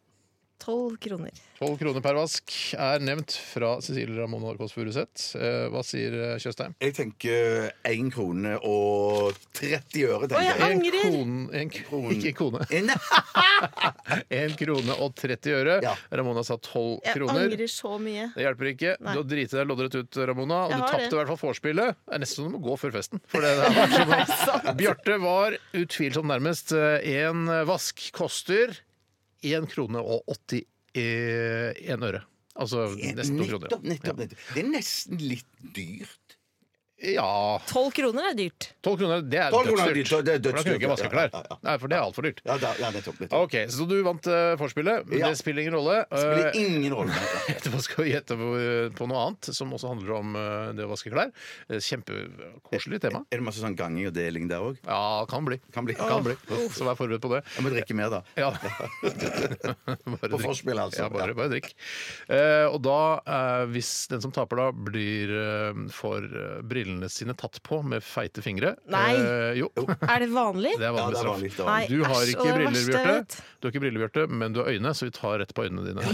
S3: 12 kroner.
S1: 12 kroner per vask er nevnt fra Cecilie Ramona Kåss Furuseth. Eh, Hva sier eh, Tjøstheim?
S2: Jeg tenker 1 krone og 30 øre,
S3: Å,
S2: tenker
S3: ja.
S2: jeg.
S1: En
S3: Angrer.
S1: kone, en kone, ikke en kone.
S2: Nei.
S1: En krone og 30 øre.
S2: Ja.
S1: Ramona sa 12
S3: Jeg
S1: kroner.
S3: angrer så mye.
S1: Det hjelper ikke.
S3: Nei.
S1: Du har driti deg loddrett ut, Ramona. Og
S3: Jeg
S1: du
S3: har
S1: tapte
S3: det.
S1: i hvert fall vorspielet. Det er nesten så du må gå før festen. For det der var sånn. Bjarte var utvilsomt nærmest. En vask koster 1 krone og 81 øre. Altså nesten to kroner.
S2: Nettopp, nettopp, nettopp. Det er nesten litt dyrt.
S1: Ja
S3: 12 kroner er dyrt.
S1: 12 kroner, det er
S2: 12 kroner er
S1: dødsdyrt.
S2: dyrt, det
S1: For da
S2: er
S1: kan du
S2: dødsdyrt,
S1: ikke vaske klær.
S2: ja, ja, ja.
S1: Nei, for det er altfor dyrt.
S2: Ja, da, ja nettopp. nettopp.
S1: Ok, Så du vant eh, vorspielet. Men
S2: Ja.
S1: Det spiller ingen rolle.
S2: Det
S1: Eh,
S2: blir ingen rolle.
S1: Etterpå skal vi gjette på, eh, på noe annet, som også handler om eh, det å vaske klær. Eh, Kjempekoselig tema.
S2: Er det masse sånn ganging og deling der òg?
S1: Ja, kan bli.
S2: Kan bli.
S1: Så vær forberedt på det.
S2: Jeg må drikke mer, da.
S1: Ja. bare drikk.
S2: På forspill, altså.
S1: Ja, bare, bare drikk. Eh, og da, eh, hvis den som taper da, blir eh, får eh, brillene sine tatt på med feite fingre
S3: Nei.
S1: eh, Jo, det
S3: Er det vanlig?
S1: er
S2: Ja,
S1: vanlig
S2: det er
S1: straff.
S2: vanlig. da.
S3: Nei.
S1: Du har
S3: æsj, og
S1: ikke
S3: det er det
S1: briller,
S3: verste jeg vet.
S1: Bjarte. Du har ikke briller, Bjarte, men du har øyne, så vi tar rett på øynene dine.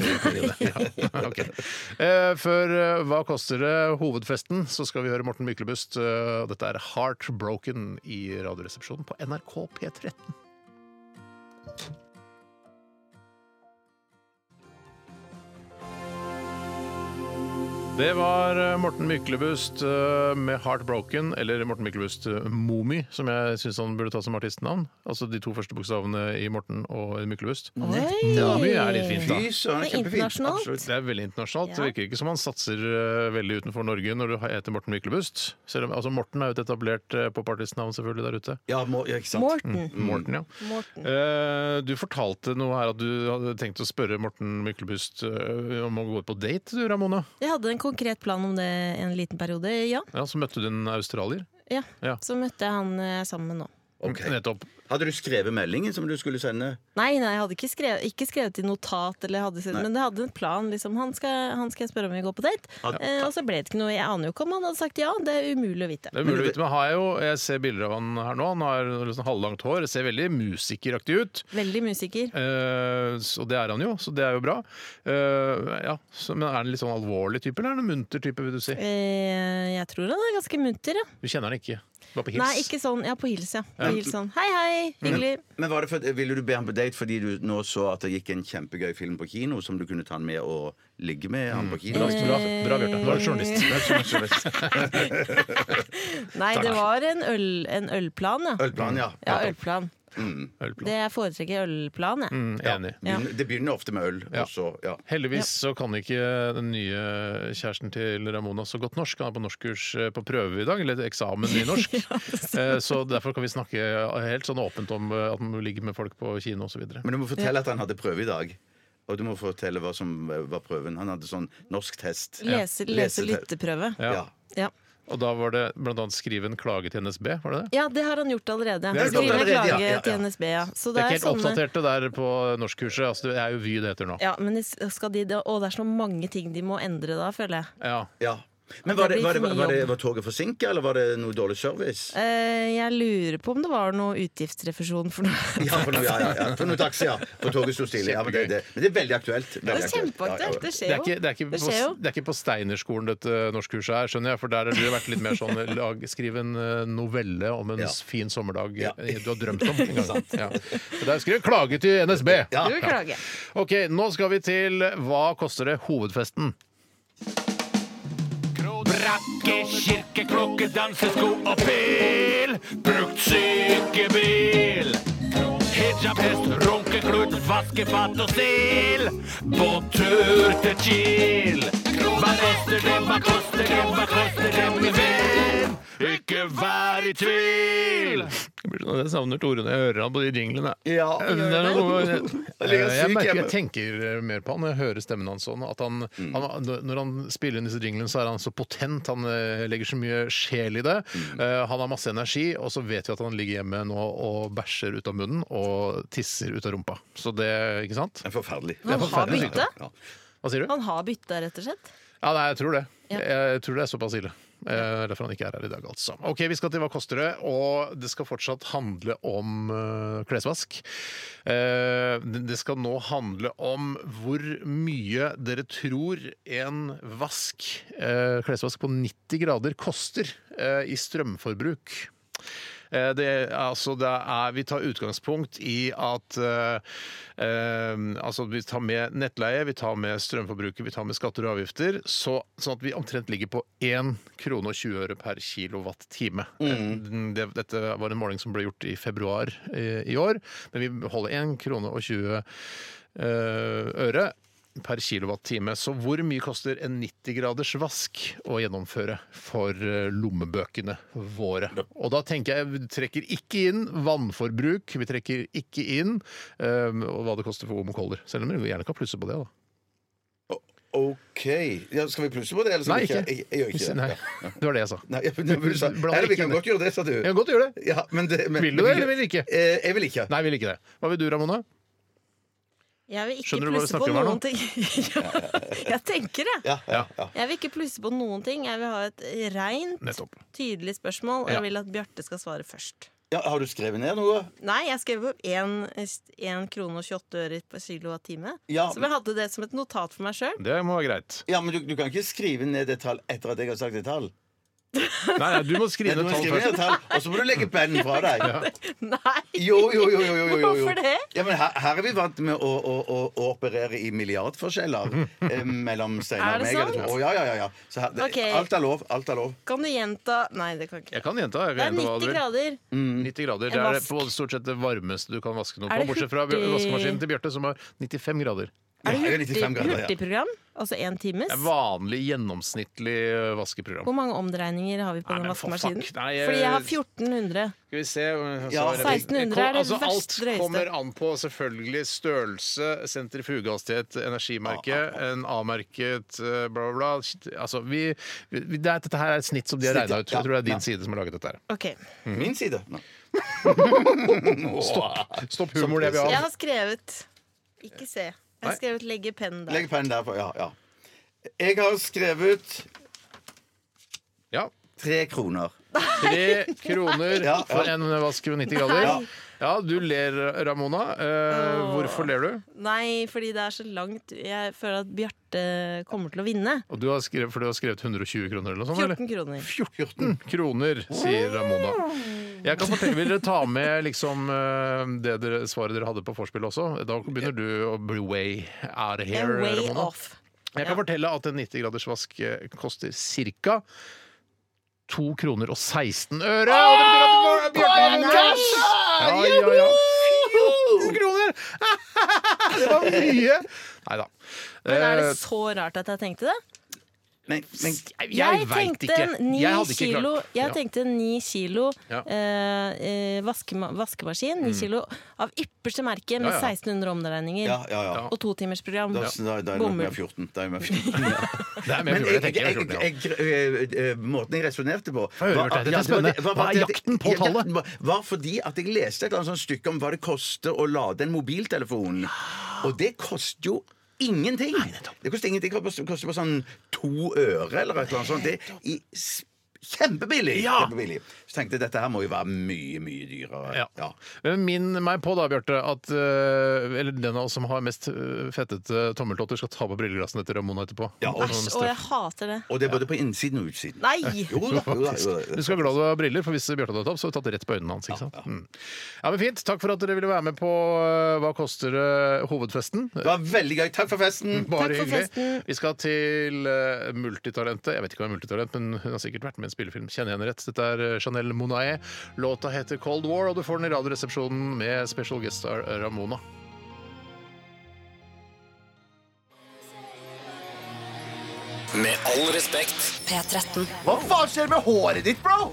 S1: Ja. ok. Eh, Før eh, Hva koster det? hovedfesten, så skal vi høre Morten Myklebust. eh, og Dette er Heartbroken i Radioresepsjonen på NRK P13. Det var eh, Morten Myklebust eh, med 'Heartbroken', eller Morten Myklebust eh, Momi, som jeg syns han burde ta som artistnavn. Altså de to første bokstavene i Morten og Myklebust. Momi er litt fint, da.
S2: Fy søren,
S3: Det er
S2: kjempefint.
S3: internasjonalt.
S2: Absolutt.
S1: Det er veldig internasjonalt.
S3: Ja.
S1: Det virker ikke som han satser eh, veldig utenfor Norge når du heter Morten Myklebust. Selv om, altså Morten er jo et etablert uh, popartistnavn selvfølgelig der ute.
S2: Ja, må, ja, ikke sant.
S1: Mm.
S3: Morten.
S1: Morten, ja.
S3: Morten.
S1: Eh, du fortalte noe her at du hadde tenkt å spørre Morten Myklebust eh, om å gå ut på date, du Ramona.
S3: Jeg hadde en konkret plan om det en liten periode, ja.
S1: Ja, Så møtte du en australier.
S3: ja.
S1: Ja.
S3: Så møtte jeg han eh, sammen med nå.
S2: Ok.
S1: Nettopp.
S2: Hadde du skrevet meldingen som du skulle sende?
S3: Nei, nei, jeg hadde ikke skrevet, ikke skrevet i notat, eller hadde,
S2: Nei.
S3: men jeg hadde en plan. Liksom, han, skal, 'Han skal jeg spørre om vi går på date.'
S2: Hadde-
S3: Eh, og så ble det ikke noe. Jeg aner jo ikke om han hadde sagt ja. Det er umulig å vite.
S1: Det er mulig å vite, men har jeg, jo, jeg ser bilder av han her nå. Han har litt sånn halvlangt hår. Det ser veldig musikeraktig ut.
S3: Veldig musiker.
S1: Eh, s- og det er han jo, så det er jo bra. Eh, ja, så, men er han en litt sånn alvorlig type, eller er han en munter type, vil du si?
S3: Eh, jeg tror han er ganske munter, ja.
S1: Du kjenner han ikke. Bare på hils.
S3: Nei, ikke sånn. Ja, på hils, ja. På hils sånn. Hei, hei, hyggelig.
S2: Men var det for, Ville du be ham på date fordi du nå så at det gikk en kjempegøy film på kino som du kunne ta han med og ligge med han på
S3: Mm.
S2: kino?
S1: Bra, bra, bra Bjarte. Nå er du journalist.
S3: Nei, det var en, øl, en ølplan, ja.
S2: Ølplan, ja.
S3: Ja, ølplan.
S1: Ølplan.
S3: Det jeg foretrekker ølplan, jeg.
S1: Mm, Enig.
S3: Ja.
S2: Begynner- Det begynner ofte med øl, og så ja.
S1: Heldigvis så kan ikke den nye kjæresten til Ramona så godt norsk. Han er på norskkurs eh, på prøve i dag, eller eksamen i norsk. Eh, så derfor kan vi snakke helt sånn åpent om eh, at man ligger med folk på kino osv.
S2: Men du må fortelle at han hadde prøve i dag. Og du må fortelle hva som eh, var prøven. Han hadde sånn norsk test.
S3: Lese, lese
S2: Lesetest.
S3: lytteprøve.
S2: Ja.
S3: Ja.
S1: Og da var det bl.a. skrive en klage til NSB, var det det?
S3: ja, det har han gjort allerede.
S2: Det har han gjort
S3: Skrive
S2: allerede, ja, ja, ja.
S3: klage til NSB, ja. Så
S1: Det er ikke
S3: det
S1: helt oppdaterte der på norskkurset. Altså, det er jo Vy det heter nå.
S3: Ja, men det skal de, det, å, det er så mange ting de må endre da, føler jeg.
S1: Ja.
S2: ja. Men var, det,
S3: Det blir
S2: var, det,
S3: for
S2: var,
S3: mye
S2: det, var,
S3: jobb.
S2: toget forsinka, eller var det noe dårlig service?
S3: Eh, jeg lurer på om det var noe utgiftsrefusjon for noe.
S2: Ja, for noe, ja, ja, ja. For noe taxi, ja. For toget sto stille. Ja, men, det, det, men det er veldig aktuelt. Veldig
S3: Det er kjempeaktuelt, det
S1: Det er,
S3: skjer
S1: ikke,
S3: jo.
S1: det, er ikke på,
S3: Det skjer jo.
S1: det er ikke på Steinerskolen dette norskkurset er, skjønner jeg. For der har du vært litt mer sånn lag, skriv en eh, novelle om en
S2: Ja.
S1: fin sommerdag
S2: Ja.
S1: eh, du har drømt om. En gang. Ja. Så Der skrev jeg 'klage til NSB'.
S2: Ja.
S3: Du klager.
S1: Ok, nå skal vi til 'Hva koster det?' hovedfesten.
S7: Brakke, kirke, klokke, dansesko og pil. Brukt sykebil. Hijabhest, runkeklut, vaskefat og stil. Båttur til Kiel. Hva koster det, hva koster det, hva koster det, min venn? Ikke vær i tvil.
S1: Jeg blir sånn- jeg savner Tore når jeg hører han på de jinglene. Eh,
S2: Ja,
S1: Det er noe, jeg,
S2: ligger syk
S1: merker, jeg
S2: hjemme. Mm.
S1: tenker eh, mer på han når jeg hører stemmen hans sånn. At han, han, når han spiller inn disse jinglene, så er han så potent. Han eh, legger så mye sjel i det.
S2: Mm.
S1: Eh, han har masse energi, og så vet vi at han ligger hjemme nå og bæsjer ut av munnen og tisser ut av rumpa. Så det Ikke sant?
S2: Det er forferdelig.
S3: Han
S1: Det er
S3: har
S1: forferdelig
S3: bytta,
S2: Ja.
S1: Hva sier du?
S3: han har bytta, rett og slett.
S1: Ja, nei, jeg tror det.
S3: Ja.
S1: Jeg tror det er såpass ille. Eh, Derfor han ikke er her i dag, altså. Ok, Vi skal til Hva koster det? Og det skal fortsatt handle om eh, klesvask. Eh, det det skal nå handle om hvor mye dere tror en vask, eh, klesvask på 90 grader, koster eh, i strømforbruk. Eh, Det, er- altså, det er, vi tar utgangspunkt i at eh, eh, altså, vi tar med nettleie, vi tar med strømforbruket, vi tar med skatter og avgifter, så, sånn at vi omtrent ligger på 1 krone og 20 øre per kilowatt-time. Eh, Det, dette var en måling som ble gjort i februar eh, i år, men vi holder 1 krone og 20 eh, øre per kilowatt-time. Så hvor mye koster en 90-graders vask å gjennomføre for eh, lommebøkene våre? Og da tenker jeg vi trekker ikke inn vannforbruk, vi trekker ikke inn eh, og hva det koster for homokoller. Selv om vi gjerne kan plusse på det, da.
S2: OK. Ja, skal vi plusse på det, eller skal
S1: Nei,
S2: vi
S1: ikke.
S2: Jeg, jeg gjør ikke det.
S1: Nei,
S2: Ja.
S1: det var det jeg sa.
S2: Nei, ja, men du sa-
S1: Bland
S2: Nei, vi
S1: ikke
S2: kan
S1: det.
S2: godt gjøre det, sa du.
S1: Jeg kan godt gjøre det.
S2: Ja, men det men,
S1: Vil du det, eller vil du ikke?
S2: Eh, jeg vil ikke.
S1: Nei, vil ikke det. Hva vil du, Ramona?
S3: Jeg vil ikke
S1: Skjønner du hva vi
S3: plusse på
S1: snakker om her nå?
S3: noen ting. Ja, jeg tenker det.
S2: Ja, ja, ja.
S3: Jeg vil ikke plusse på noen ting. Jeg vil ha et reint,
S1: Nettopp.
S3: tydelig spørsmål. Og
S1: Ja.
S3: jeg vil at Bjarte skal svare først.
S2: Ja, har du skrevet ned noe?
S3: Nei, jeg skrev opp 1 krone og 28 øre per kilowattime.
S2: Ja.
S3: Som jeg hadde det som et notat for meg sjøl.
S1: Det må være greit.
S2: Ja, men du, du kan ikke skrive ned et tall etter at jeg har sagt et tall.
S1: Nei, nei du må
S2: Nei,
S1: skrive
S2: du
S1: ned
S2: må
S1: tall
S2: skrive ned
S1: først.
S2: et tall, og så må du legge pennen fra deg.
S3: Nei!
S2: Jo, jo, jo. jo, jo, jo, jo.
S3: Hvorfor det?
S2: Ja, men her, her er vi vant med å, å, å, å operere i milliardforskjeller eh, mellom Steinar
S3: Er
S2: og meg.
S3: det
S2: eller
S3: sant?
S2: to. Å, ja, ja, ja, ja. Så her, det,
S3: Ok.
S2: Alt er lov. Alt er lov.
S3: Kan du gjenta Nei, det kan ikke
S1: Jeg kan gjenta. Jeg
S3: Det er
S1: kan gjenta hva du
S3: 90
S1: vil.
S3: grader.
S2: Mm.
S1: 90 grader. Det
S3: En
S1: er
S3: vask.
S1: på stort sett det varmeste du kan vaske noe
S3: Er
S1: på.
S3: det
S1: Bortsett fra
S3: hurtig-
S1: vaskemaskinen til Bjarte, som har 95 grader.
S2: Jeg
S3: Er
S2: har 95
S3: det hurtig,
S2: grader, ja.
S3: hurtigprogram? Altså én times?
S1: Det er vanlig, gjennomsnittlig eh, vaskeprogram.
S3: Hvor mange omdreininger har vi på
S1: Nei,
S3: den
S1: men for
S3: vaskemaskinen?
S1: fuck, nei, jeg-
S3: Fordi jeg har 1400.
S1: Skal vi se altså,
S2: Ja,
S3: 1600 er det
S1: altså, Alt
S3: verst drøyeste.
S1: kommer an på selvfølgelig størrelse, sentrifugehastighet, energimerke, en A-merket, eh, bla, bla, bla. Shit, Altså, vi, vi, det er, dette her er et snitt som de har
S2: Snittet,
S1: regna ut. Jeg
S2: ja,
S1: tror det er
S2: ja.
S1: din side som har laget dette. her
S3: Ok.
S2: Min side? Nei.
S1: Stopp, stopp humor, det vi
S3: Jeg
S1: har.
S3: har skrevet Ikke se. Jeg
S1: Nei.
S3: har skrevet 'legge penn' der.
S2: Legg pennen der. for- Ja, ja. Jeg har skrevet
S1: Ja.
S2: tre kroner.
S1: Tre kroner
S2: Ja, ja.
S1: for en vask ved 90 grader.
S2: Ja.
S1: Ja, du ler, Ramona. Eh,
S3: Åh.
S1: hvorfor ler du?
S3: Nei, fordi det er så langt Jeg føler at Bjarte kommer til å vinne.
S1: Og du har skrevet, for du har skrevet 120 kroner eller noe sånt? eller?
S3: 14 kroner.
S1: 14 kroner, sier Ramona. Jeg kan fortelle, Vil dere ta med liksom, eh, det dere, svaret dere hadde på vorspiel også? Da begynner du å bli way out of
S3: En
S1: here,
S3: way
S1: Ramona.
S3: off.
S1: Jeg kan
S3: Ja.
S1: fortelle at en 90-gradersvask eh, koster ca. 2 kroner og 16 øre. Og det betyr at Bjarte vinner! Ja, ja, ja. 14 kroner! Det var mye! Nei da. Eh,
S3: Men er det så rart at jeg tenkte det?
S2: Men, men
S1: Jeg, jeg veit
S3: tenkte
S1: ikke.
S3: en ni
S1: Jeg hadde ikke
S3: kilo,
S1: klart.
S3: jeg
S1: Ja.
S3: tenkte en ni kilo
S1: Ja. Mm.
S3: eh, eh, vaskema vaskemaskin. Ni kilo av ypperste merke med
S1: Ja, ja.
S3: 1600 omdreininger.
S2: Ja, ja, ja.
S1: Ja.
S3: Og totimersprogram.
S2: Da, da, da er det
S3: Bomull.
S2: med 14. Da er det med 14.
S1: Det er mer
S2: Men
S1: fugler, jeg
S2: jeg, jeg,
S1: tenker. Jeg,
S2: jeg, jeg, øh, øh, måten jeg resonnerte på
S1: høre,
S2: var
S1: Bjarte,
S2: at-
S1: dette er
S2: ja,
S1: spennende.
S2: det var-
S1: Hva er
S2: var- det-
S1: jakten på
S2: ja,
S1: tallet?
S2: jakten var- Var fordi at jeg leste et eller annet sånt stykke om hva det koster å lade en mobiltelefon. Og det koster jo Ingenting! Det koster ingenting. Det koster- koster bare sånn to øre eller et eller annet sånt. Det er i s- kjempebillig! kjempebillig. Så tenkte jeg dette her må jo være mye, mye dyrere.
S1: Ja.
S2: Ja.
S1: Men Minn meg på da, Bjarte, at eh, eller den av oss som har mest eh, fettete tommeltotter, skal ta på brilleglassene til Ramona etterpå.
S2: Ja, og-
S1: Sånn
S3: Æsj, å,
S1: støff.
S3: jeg hater det.
S2: Og det er både på innsiden og utsiden.
S3: Nei!
S2: Jo da, jo da, jo da.
S1: Du skal være glad du har briller, for hvis Bjarte hadde tatt, så hadde du tatt det rett på øynene hans. ikke sant? Ja, Mm. ja, men Fint. Takk for at dere ville være med på eh, Hva koster eh, hovedfesten?
S2: Det var veldig gøy. Takk for festen!
S1: Bare
S3: Takk for
S1: hyggelig.
S3: festen.
S1: Vi skal til eh, multitalentet. Jeg vet ikke hva er multitalent, men hun har sikkert vært med i en spillefilm. Kjenner jeg henne rett. Dette er eh, Chanel Monae. Låta heter Cold War, og du får den i Radioresepsjonen med special guest star eh, Ramona.
S8: Med all respekt.
S4: P13.
S9: Hva faen skjer med håret ditt, bro?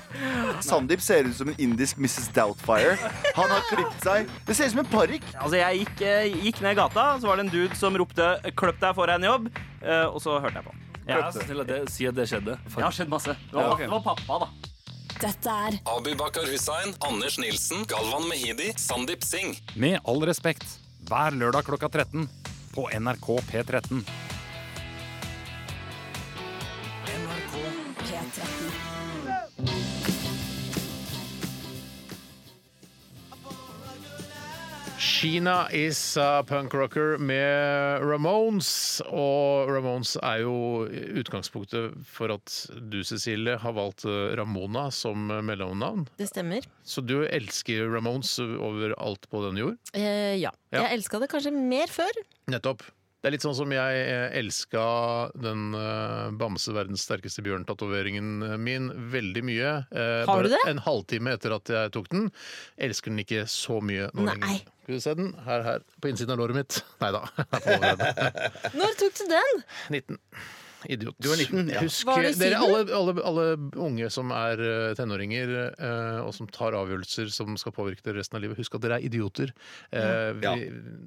S9: Sandeep ser ut som en indisk Mrs. Doubtfire. Han har klippet seg. Det ser ut som en parykk.
S10: Altså, jeg gikk, eh, gikk ned gata, så var det en dude som ropte 'kløpp deg, får deg en jobb', eh, og så hørte jeg på. Ja, det
S7: Til at det, si at det skjedde.
S10: har skjedd masse. Det var, det var pappa, da.
S4: Dette er
S8: Abu Bakar Hussein, Anders Nilsen, Galvan Mehidi, Sandeep Singh.
S7: Med all respekt, hver lørdag klokka 13 på NRK P13.
S4: P13.
S1: Sheena is a punk rocker med Ramones. Og Ramones er jo utgangspunktet for at du, Cecilie, har valgt eh, Ramona som mellomnavn.
S3: Det stemmer.
S1: Så du elsker Ramones over alt på denne jord?
S3: Eh, ja.
S1: Ja.
S3: Jeg elska det kanskje mer før.
S1: Nettopp. Det er litt sånn som jeg eh, elska den eh, Bamse verdens sterkeste bjørn-tatoveringen eh, min veldig mye. eh,
S3: Har du
S1: bare
S3: det?
S1: En halvtime etter at jeg tok den. Elsker den ikke så mye nå
S3: Nei.
S1: lenger. Skal du se den? Her, her. På innsiden av låret mitt. Nei da. På overarmen.
S3: Når tok du den?
S1: 19. Idiot.
S2: Du var 19, ja.
S1: Husk,
S3: Var det
S1: dere,
S3: siden?
S1: alle, alle, alle unge som er eh, tenåringer eh, og som tar avgjørelser som skal påvirke dere resten av livet, husk at dere er idioter. Eh, vi,
S2: Ja.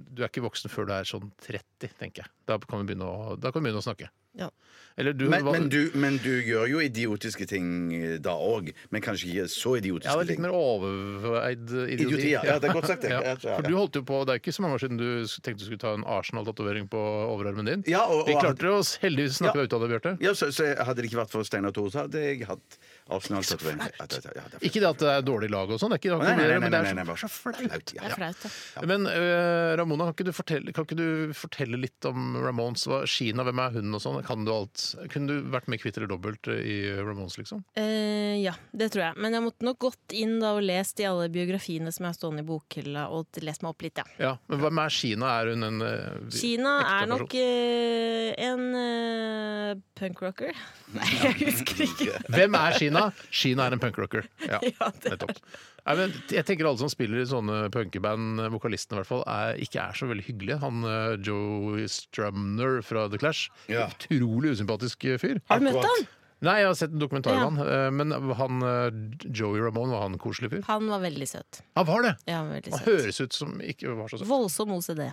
S1: Du er ikke voksen før du er sånn 30, tenker jeg. Da kan vi begynne å, da kan vi begynne å snakke.
S3: Ja.
S1: Eller du,
S2: Men,
S1: hva-
S2: men, du, men du gjør jo idiotiske ting eh, da òg, men kanskje ikke så idiotiske
S1: Ja, det er litt
S2: ting.
S1: mer overveid idioti.
S2: Idioti, ja. Ja, det er godt sagt, det.
S1: Ja.
S2: Ja, ja, ja.
S1: For du holdt jo på, Det er ikke så mange år siden du tenkte du skulle ta en Arsenal-tatovering på overarmen din.
S2: Ja, og-
S1: vi
S2: og-
S1: klarte oss heldigvis snakke
S2: Ja.
S1: deg ut av det, Bjarte.
S2: Ja, så, så hadde det ikke vært for Steinar Thore, så hadde jeg hatt Arsenal. Ja, det er- ja, det er-
S1: Ikke det at det er dårlig lag og sånn, det er ikke det,
S2: Nei, nei, nei,
S1: men
S2: nei,
S1: det er
S2: nei,
S1: så-
S2: nei, bare så flaut.
S3: Det
S2: Ja.
S3: er flaut, da.
S1: Men eh, Ramona, kan ikke, du fortelle, kan ikke du fortelle litt om Ramones? Hva, Kina, hvem er hun og sånn? Kan du alt? Kunne du vært med kvitt eller dobbelt eh, i Ramones, liksom?
S3: Eh, ja, det tror jeg. Men jeg måtte nok gått inn da og lest i alle biografiene som jeg har stående i bokhylla, og lest meg opp litt, ja.
S1: Ja, Men hvem er Kina? Er hun en eh, vi-
S3: Kina
S1: ekte
S3: er
S1: person?
S3: nok eh, en eh, punkrocker? Nei, jeg husker ikke.
S1: Hvem er Sheena? Sheena er en punkrocker. Ja,
S3: Ja, det er
S1: nettopp. Nei, men jeg tenker alle som spiller i sånne punkeband, eh, vokalistene i hvert fall, er, ikke er så veldig hyggelige. Han eh, Joey Strumner fra The Clash. Utrolig usympatisk eh, fyr.
S3: Har du møtt han?
S1: Nei, jeg har sett en dokumentar
S3: Ja.
S1: om han. eh, Men han, eh, Joey Ramone, var han en koselig fyr?
S3: Han var veldig søt.
S1: Han var det!
S3: Ja, han var veldig
S1: Han
S3: søt.
S1: høres ut som ikke var så søt.
S3: Voldsom OCD.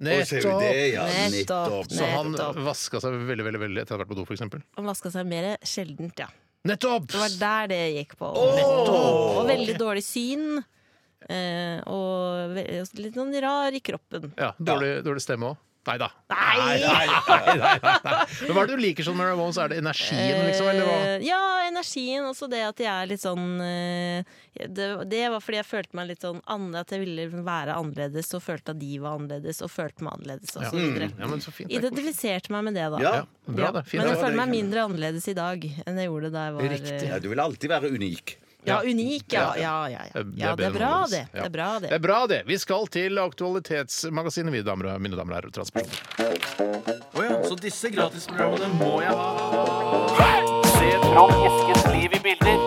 S1: Nettopp!
S3: Nettopp.
S1: Så han
S3: nettopp.
S1: vaska seg veldig veldig, veldig etter å ha vært på do, f.eks.
S3: Han vaska seg mer sjeldent, ja.
S1: Nettopp!
S3: Det var der det gikk på.
S1: Nettopp!
S3: Og veldig dårlig syn. eh, Og ve- og litt sånn rar i kroppen.
S1: Ja, dårlig, dårlig stemme òg. Nei da.
S3: Nei!
S1: Nei, nei, nei, nei. Men hva er det du liker sånn med Ramones? Er det energien, liksom? Eller hva?
S3: Eh, Ja, energien. Også det at jeg er litt sånn eh, det, det var fordi jeg følte meg litt sånn annerledes. At jeg ville være annerledes, og følte at de var annerledes, og følte meg annerledes. Og
S1: Ja.
S3: så sånn videre.
S1: Mm. Ja, men så fint, det er koselig.
S3: Identifiserte meg med det, da.
S2: Ja,
S1: bra det. Fint.
S3: Men sånn- jeg
S1: Ja, det
S3: føler
S1: er
S3: meg mindre annerledes i dag enn jeg gjorde da jeg var eh,
S2: Ja, du vil alltid være unik.
S3: Ja, unik, ja. Ja, ja, ja. ja det
S1: bedre
S3: er bra,
S1: enn
S3: det.
S1: annerledes.
S3: Det
S1: Ja.
S3: er bra,
S1: Det
S3: det.
S1: er bra, det. Vi skal til Aktualitetsmagasinet, vi damer, og- mine damer og herrer. Transport.
S7: Å ja, så disse gratisprogrammene må jeg ha.
S8: Se Trond Eskens liv i bilder.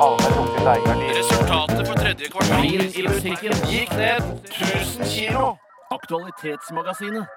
S7: Resultatet på tredje kvartal
S8: i butikken gikk ned
S7: 1000 kilo. Aktualitetsmagasinet.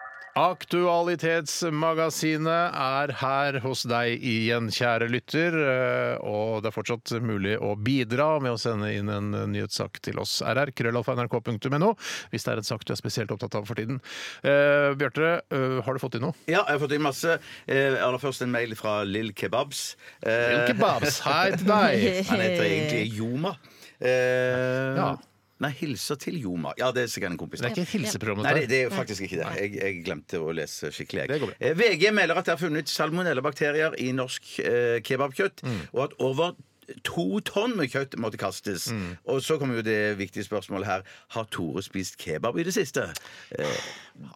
S1: Aktualitetsmagasinet er her hos deg igjen, kjære lytter. eh, Og det er fortsatt mulig å bidra med å sende inn en nyhetssak til oss. RR, krøllalfa.nrk.no, hvis det er en sak du er spesielt opptatt av for tiden. Eh, Bjarte, eh, har du fått inn noe?
S2: Ja, jeg har fått inn masse. Eh, aller først en mail fra Lill Kebabs. Eh,
S1: Lill Kebabs, hei til deg.
S2: Han heter egentlig Joma. Eh,
S1: Ja.
S2: Nei, hilser til Joma. Ja, det er sikkert en kompis.
S1: Det er ikke et hilseprogram.
S2: Nei, det,
S1: dette her.
S2: det er jo faktisk ikke det. Jeg, jeg glemte å lese skikkelig.
S1: Det går
S2: Jeg.
S1: bra.
S2: Eh, VG melder at det er funnet salmonellabakterier i norsk eh, kebabkjøtt,
S1: Mm.
S2: og at over To tonn med kjøtt måtte kastes.
S1: Mm.
S2: Og så kommer jo det viktige spørsmålet her. Har Tore spist kebab i det siste?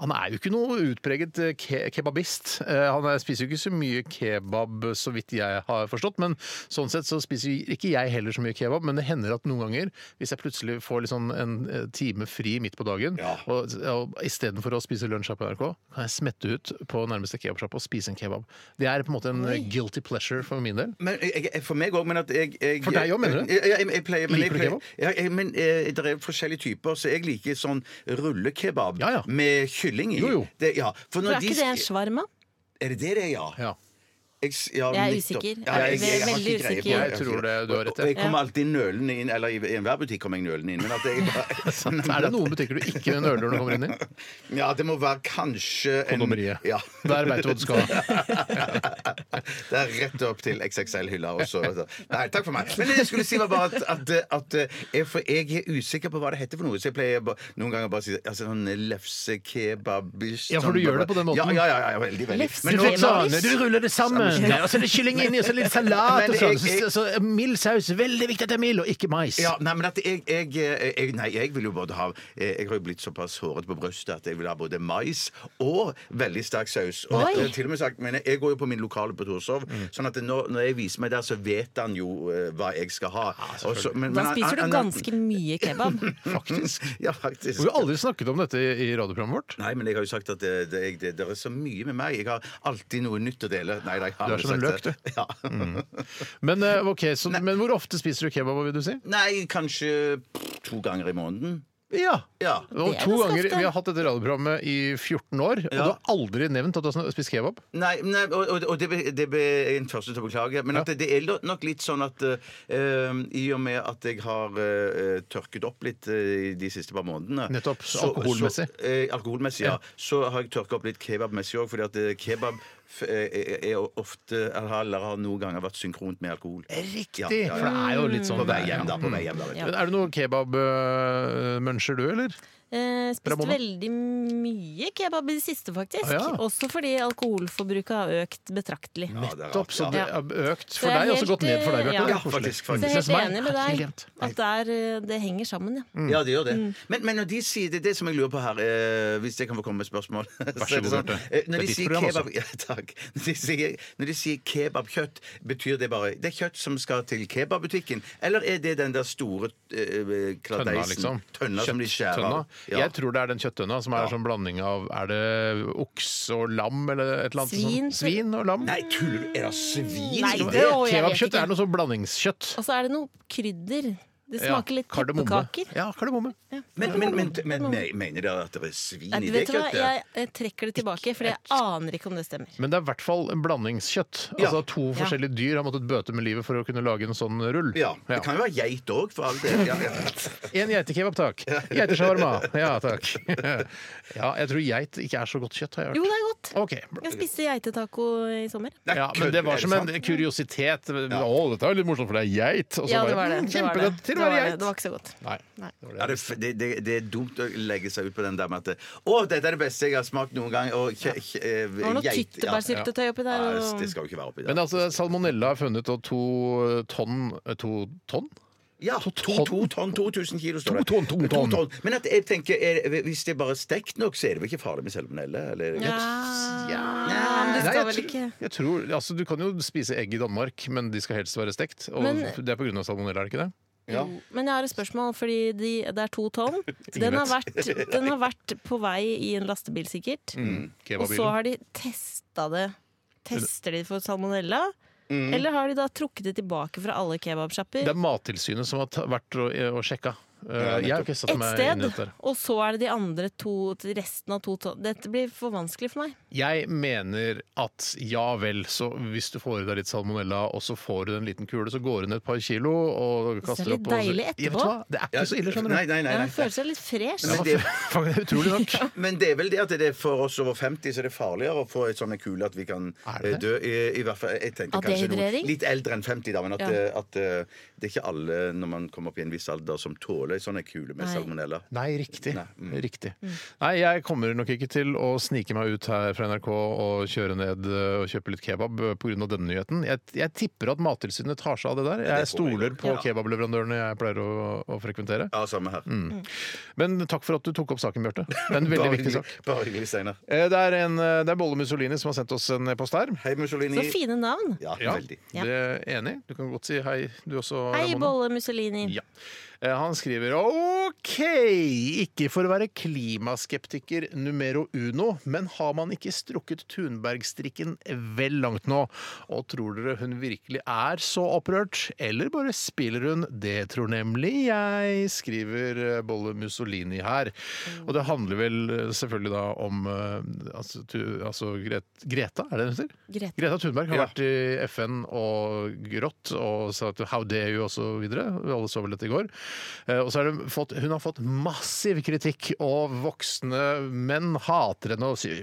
S1: Han er jo ikke noe utpreget eh, ke kebabist. Eh, Han er- spiser jo ikke så mye kebab, så vidt jeg har forstått. Men sånn sett så spiser jo ikke jeg heller så mye kebab, men det hender at noen ganger, hvis jeg plutselig får litt sånn en eh, time fri midt på dagen,
S2: Ja.
S1: og, og istedenfor å spise lunsj her på NRK, kan jeg smette ut på nærmeste kebabsjappe og spise en kebab. Det er på en måte en eh, guilty pleasure for min del.
S2: Men jeg, jeg, for meg òg, men at jeg, jeg
S1: For deg også, mener du?
S2: Jeg, jeg, jeg, jeg pleier, men jeg
S1: Liker du
S2: pleier,
S1: kebab?
S2: ja, jeg, men eh, det er forskjellige typer, så jeg liker sånn rullekebab
S1: Ja, ja.
S2: med kylling i.
S1: Jo, jo.
S2: Det, ja. for
S3: For
S2: når
S3: er ikke
S2: de,
S3: det en shawarma?
S2: Er det det det er, ja?
S1: Ja.
S2: Jeg, s- ja,
S3: Jeg er
S2: nettopp.
S3: usikker.
S2: Ja, jeg,
S3: Jeg er
S2: har
S3: veldig
S2: ikke greie på
S3: usikker.
S2: det.
S1: Jeg tror det- du har rett, ja.
S2: Og Jeg kommer alltid nølende inn, eller i i enhver butikk kommer jeg nølende inn. Men at jeg
S1: Er det noen butikker du ikke nøler når du kommer inn i?
S2: Ja, det må være kanskje en-
S1: Kondomeriet.
S2: Ja.
S1: Der veit du hva du skal.
S2: Det er rett opp til XXL-hylla også. Nei, takk for meg. Men det jeg skulle si var bare at, at, at eh, jeg, For jeg er usikker på hva det heter for noe. Så jeg pleier ba, noen ganger bare å si altså, sånn lefsekebab
S1: Ja, for du gjør det på den måten.
S2: Ja, ja, ja, ja veldig, veldig.
S3: Lefse-
S2: Men
S1: Du
S2: nå-
S1: fikk sånn,
S3: Saus.
S1: du ruller det sammen, og så er det kylling inni, og så er det litt salat
S2: Men
S1: og
S2: jeg-
S1: sånn. Så,
S2: jeg-
S1: så, så mild saus. Veldig viktig at det er mild, og ikke mais.
S2: Ja, nei, men at jeg, jeg, eh, jeg Nei, jeg vil jo både ha eh, Jeg har jo blitt såpass håret på brystet at jeg vil ha både mais og veldig sterk saus. Og
S3: Oi.
S2: jeg, har til og med sagt, men jeg går jo på min lokale på Torshov, sånn at når, når jeg viser meg der, så vet han jo eh, hva jeg skal ha. Og så- men-
S3: Da
S2: men han-
S3: spiser
S2: han-
S3: du
S2: han-
S3: ganske mye kebab.
S2: Faktisk. Ja, faktisk.
S1: Vi har aldri snakket om dette i radioprogrammet vårt.
S2: Nei, men jeg har jo sagt at det, det, jeg- det, det er så mye med meg. Jeg har alltid noe nytt å dele. Nei, nei, jeg har
S1: Du er
S2: aldri
S1: som en
S2: sagt
S1: løk,
S2: det. Ja.
S1: Men, eh, ok, så, men hvor ofte spiser du kebab, vil du si?
S2: Nei, kanskje pff, to ganger i måneden.
S1: Ja.
S2: Ja.
S1: Og
S3: Det er
S1: to
S3: ganske
S1: ganger,
S3: ofte.
S1: Vi har hatt dette radioprogrammet i 14 år, og du har aldri nevnt at du har sn- spist kebab.
S2: Nei, nei og, og, og det, be- det be, er en første til å beklage. Men at det, det er lo- nok litt sånn at eh, i og med at jeg har eh, tørket opp litt eh, de siste par månedene
S1: Nettopp, så alkoholmessig.
S2: Så, eh, alkoholmessig, ja. Så har jeg tørket opp litt kebabmessig òg, fordi at eh, kebab f- eh, er ofte eller har noen ganger vært synkront med alkohol. Riktig! Ja, ja,
S1: For det er jo litt sånn
S2: På vei hjem, da. På vei hjem, da vet du.
S1: Men Er det noen kebabmuncher, du, eller?
S3: Eh, spist
S1: Ramona?
S3: veldig mye kebab i det siste, faktisk.
S1: Ah, ja.
S3: Også fordi alkoholforbruket har økt betraktelig.
S2: Ja, det er
S1: Topp, Mm.
S2: rart,
S1: så
S2: ja.
S1: det har økt for
S3: Så jeg er
S1: deg, og så
S3: helt,
S1: gått ned for deg,
S3: eh,
S1: Bjarte.
S3: ja.
S1: Det er koselig.
S2: Faktisk, faktisk.
S3: Så jeg er
S1: Som meg.
S3: helt enig med
S1: Helt
S3: deg
S1: jevnt.
S3: at det, er, eh, det henger sammen, ja.
S1: Mm.
S2: Ja, det gjør det.
S3: Mm.
S2: Men, men når de sier det, er det som jeg lurer på her, eh, hvis jeg kan få komme med spørsmål Vær
S1: så god, Bjarte.
S2: sånn, eh,
S1: Det er
S2: Når de
S1: ditt
S2: sier
S1: program altså. også.
S2: kebab ja, Takk. Når de sier, når de sier kebabkjøtt, betyr det bare det er kjøtt som skal til kebabbutikken? Eller er det den der store eh,
S1: Tønna,
S2: kladeisen?
S1: liksom.
S2: Tønna som de skjærer av?
S1: Kjøtttønna.
S2: Ja.
S1: Jeg tror det er den kjøttdønna som er sånn blanding av Er det okse og lam eller et eller annet?
S3: Svin.
S1: sånt? Svin og lam?
S2: Nei, tuller du? Er det svin?
S3: Nei,
S1: Skal-
S3: det- å, jeg vet
S1: Kebabkjøtt
S3: ikke.
S1: er noe sånn blandingskjøtt.
S3: Og så er det noe krydder. Det smaker litt
S1: kardemomme.
S3: pepperkaker.
S1: Ja, kardemomme.
S2: Men, men, men, men me- mener dere at det er svin
S3: Nei,
S2: i det
S3: vet du hva,
S2: kjøttet?
S3: jeg, jeg trekker det tilbake, for jeg aner ikke om det stemmer.
S1: Men det er i hvert fall en blandingskjøtt.
S2: Ja.
S1: Altså To
S3: Ja.
S1: forskjellige dyr har måttet bøte med livet for å kunne lage en sånn rull.
S2: Ja. Det kan jo være geit òg, for all del. Ja, ja.
S1: En geitekebab, takk. Geiteshawarma. Ja, takk. Ja, jeg tror geit ikke er så godt kjøtt, har jeg
S3: Jo,
S1: hørt.
S3: det er godt.
S1: Ok.
S3: Jeg spiste geitetaco i sommer.
S1: Ja, men det var som en kuriositet. Å, dette er jo litt morsomt, for det er geit. Og så
S3: Ja, det var
S1: bare
S3: det.
S1: mm,
S3: Det var det.
S1: kjempegodt
S3: Det
S1: til å
S3: var
S1: være
S3: det.
S1: geit.
S3: Det var ikke så godt.
S1: Nei.
S3: Nei.
S1: det var
S2: Ja,
S1: det.
S2: det, det, det, det er dumt å legge seg ut på den der med at det- 'Å, dette er det beste jeg har smakt noen gang'. Og kje, kje, eh,
S3: Det var noe
S2: geit- ja.
S3: tyttebærsyltetøy oppi der.
S2: Ja,
S3: Og...
S2: det skal jo ikke være oppi
S1: Men
S2: der.
S1: altså, salmonella er funnet, og to eh, tonn To tonn?
S2: Ja, to,
S1: tonn.
S2: to tonn, 2000 kilo står det.
S1: To tonn, to tonn.
S2: Men at jeg tenker, er, hvis det er bare stekt nok, så er det vel ikke farlig med salmonella? Eller?
S3: Ja, men det
S1: Nei,
S3: skal
S1: jeg
S3: vel
S1: tror-
S3: ikke
S1: Jeg tror, altså, du kan jo spise egg i Danmark, men de skal helst være stekt. Og
S3: Men-
S1: det er pga. salmonella, er det ikke det?
S2: Ja.
S3: Men jeg har et spørsmål, fordi de, det er to tonn. Den har, vært, den har vært på vei i en lastebil, sikkert.
S1: Mm,
S3: Og så
S1: Kebabbilen.
S3: har de testa det. Tester de for salmonella? Eller har de da trukket det tilbake fra alle
S1: Det
S3: kebabsjapper?
S1: er Mattilsynet som har ta- vært og, og sjekka. Eh, jeg har ikke satt
S3: Ett
S1: meg inn
S3: sted,
S1: i dette.
S3: og så er det de andre to resten av to tonn. Dette blir for vanskelig for meg.
S1: Jeg mener at ja vel, så hvis du får i deg litt salmonella, og så får du en liten kule, så går du ned et par kilo og
S3: er
S1: kaster opp
S3: litt
S1: og så-
S3: deilig
S1: Jeg vet
S3: etterpå.
S1: hva, Det er ikke så ille, skjønner du.
S2: Nei, nei, nei.
S3: Jeg
S2: nei.
S3: føler seg litt fresh.
S2: Men det,
S1: Faen, det er utrolig nok.
S2: men det er vel det at det er for oss over 50 så er det farligere å få et sånn en kule at vi kan
S1: Er det
S2: eh, dø. I, i hvert fall, jeg tenker
S3: Av
S2: kanskje noen
S3: dehydrering?
S2: litt eldre enn 50, da, men at,
S3: Ja.
S2: eh, at eh, det er ikke alle når man kommer opp i en viss alder som tåler sånne kule med
S3: Nei.
S2: salmonella.
S1: Nei, riktig.
S2: Nei, mm.
S1: riktig. Nei, jeg kommer nok ikke til å snike meg ut her fra NRK og kjøre ned eh, og kjøpe litt kebab pga. denne nyheten. Jeg, jeg tipper at Mattilsynet tar seg av det der.
S2: Ja,
S1: Jeg
S2: det håper jeg
S1: stoler
S2: nok.
S1: på
S2: Ja.
S1: kebableverandørene jeg pleier å, å frekventere.
S2: Ja, samme her.
S1: Men takk for at du tok opp saken, Bjarte. Det er en
S2: Bare
S1: Mm. veldig viktig
S2: hyggelig-
S1: sak.
S2: Bare hyggelig, Steinar.
S1: Eh, Det er, en, eh, det er Bolle Mussolini som har sendt oss en e-post her.
S2: Hei, Mussolini.
S3: Så fine navn.
S2: Ja,
S1: Ja,
S2: veldig.
S3: Ja.
S1: det er enig. Du kan godt si hei, du også.
S3: Hei,
S1: Ramona.
S3: Bolle Mussolini.
S1: Ja. Eh, Han skriver OK, ikke for å være klimaskeptiker numero uno, men har man ikke strukket Thunberg-strikken vel langt nå? Og tror dere hun virkelig er så opprørt, eller bare spiller hun? Det tror nemlig jeg, skriver eh, Bolle Mussolini her. Og det handler vel eh, selvfølgelig da om eh, altså, tu- altså Gret Greta, er det hun heter?
S3: Grete.
S1: Greta Thunberg har
S2: Ja.
S1: vært i FN og grått og sagt 'how dare you' og så videre. Vi alle så vel dette i går. Eh, Og så har hun fått, hun har fått massiv kritikk, og voksne menn hater henne og sier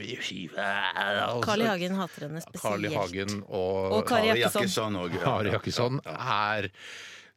S3: Carl I.
S1: Carl
S3: Hagen hater henne spesielt.
S1: Carl I. Hagen og,
S3: Og Kari
S2: Kari
S3: Jakkesson.
S2: Jakkesson òg.
S1: Kari Jakkesson er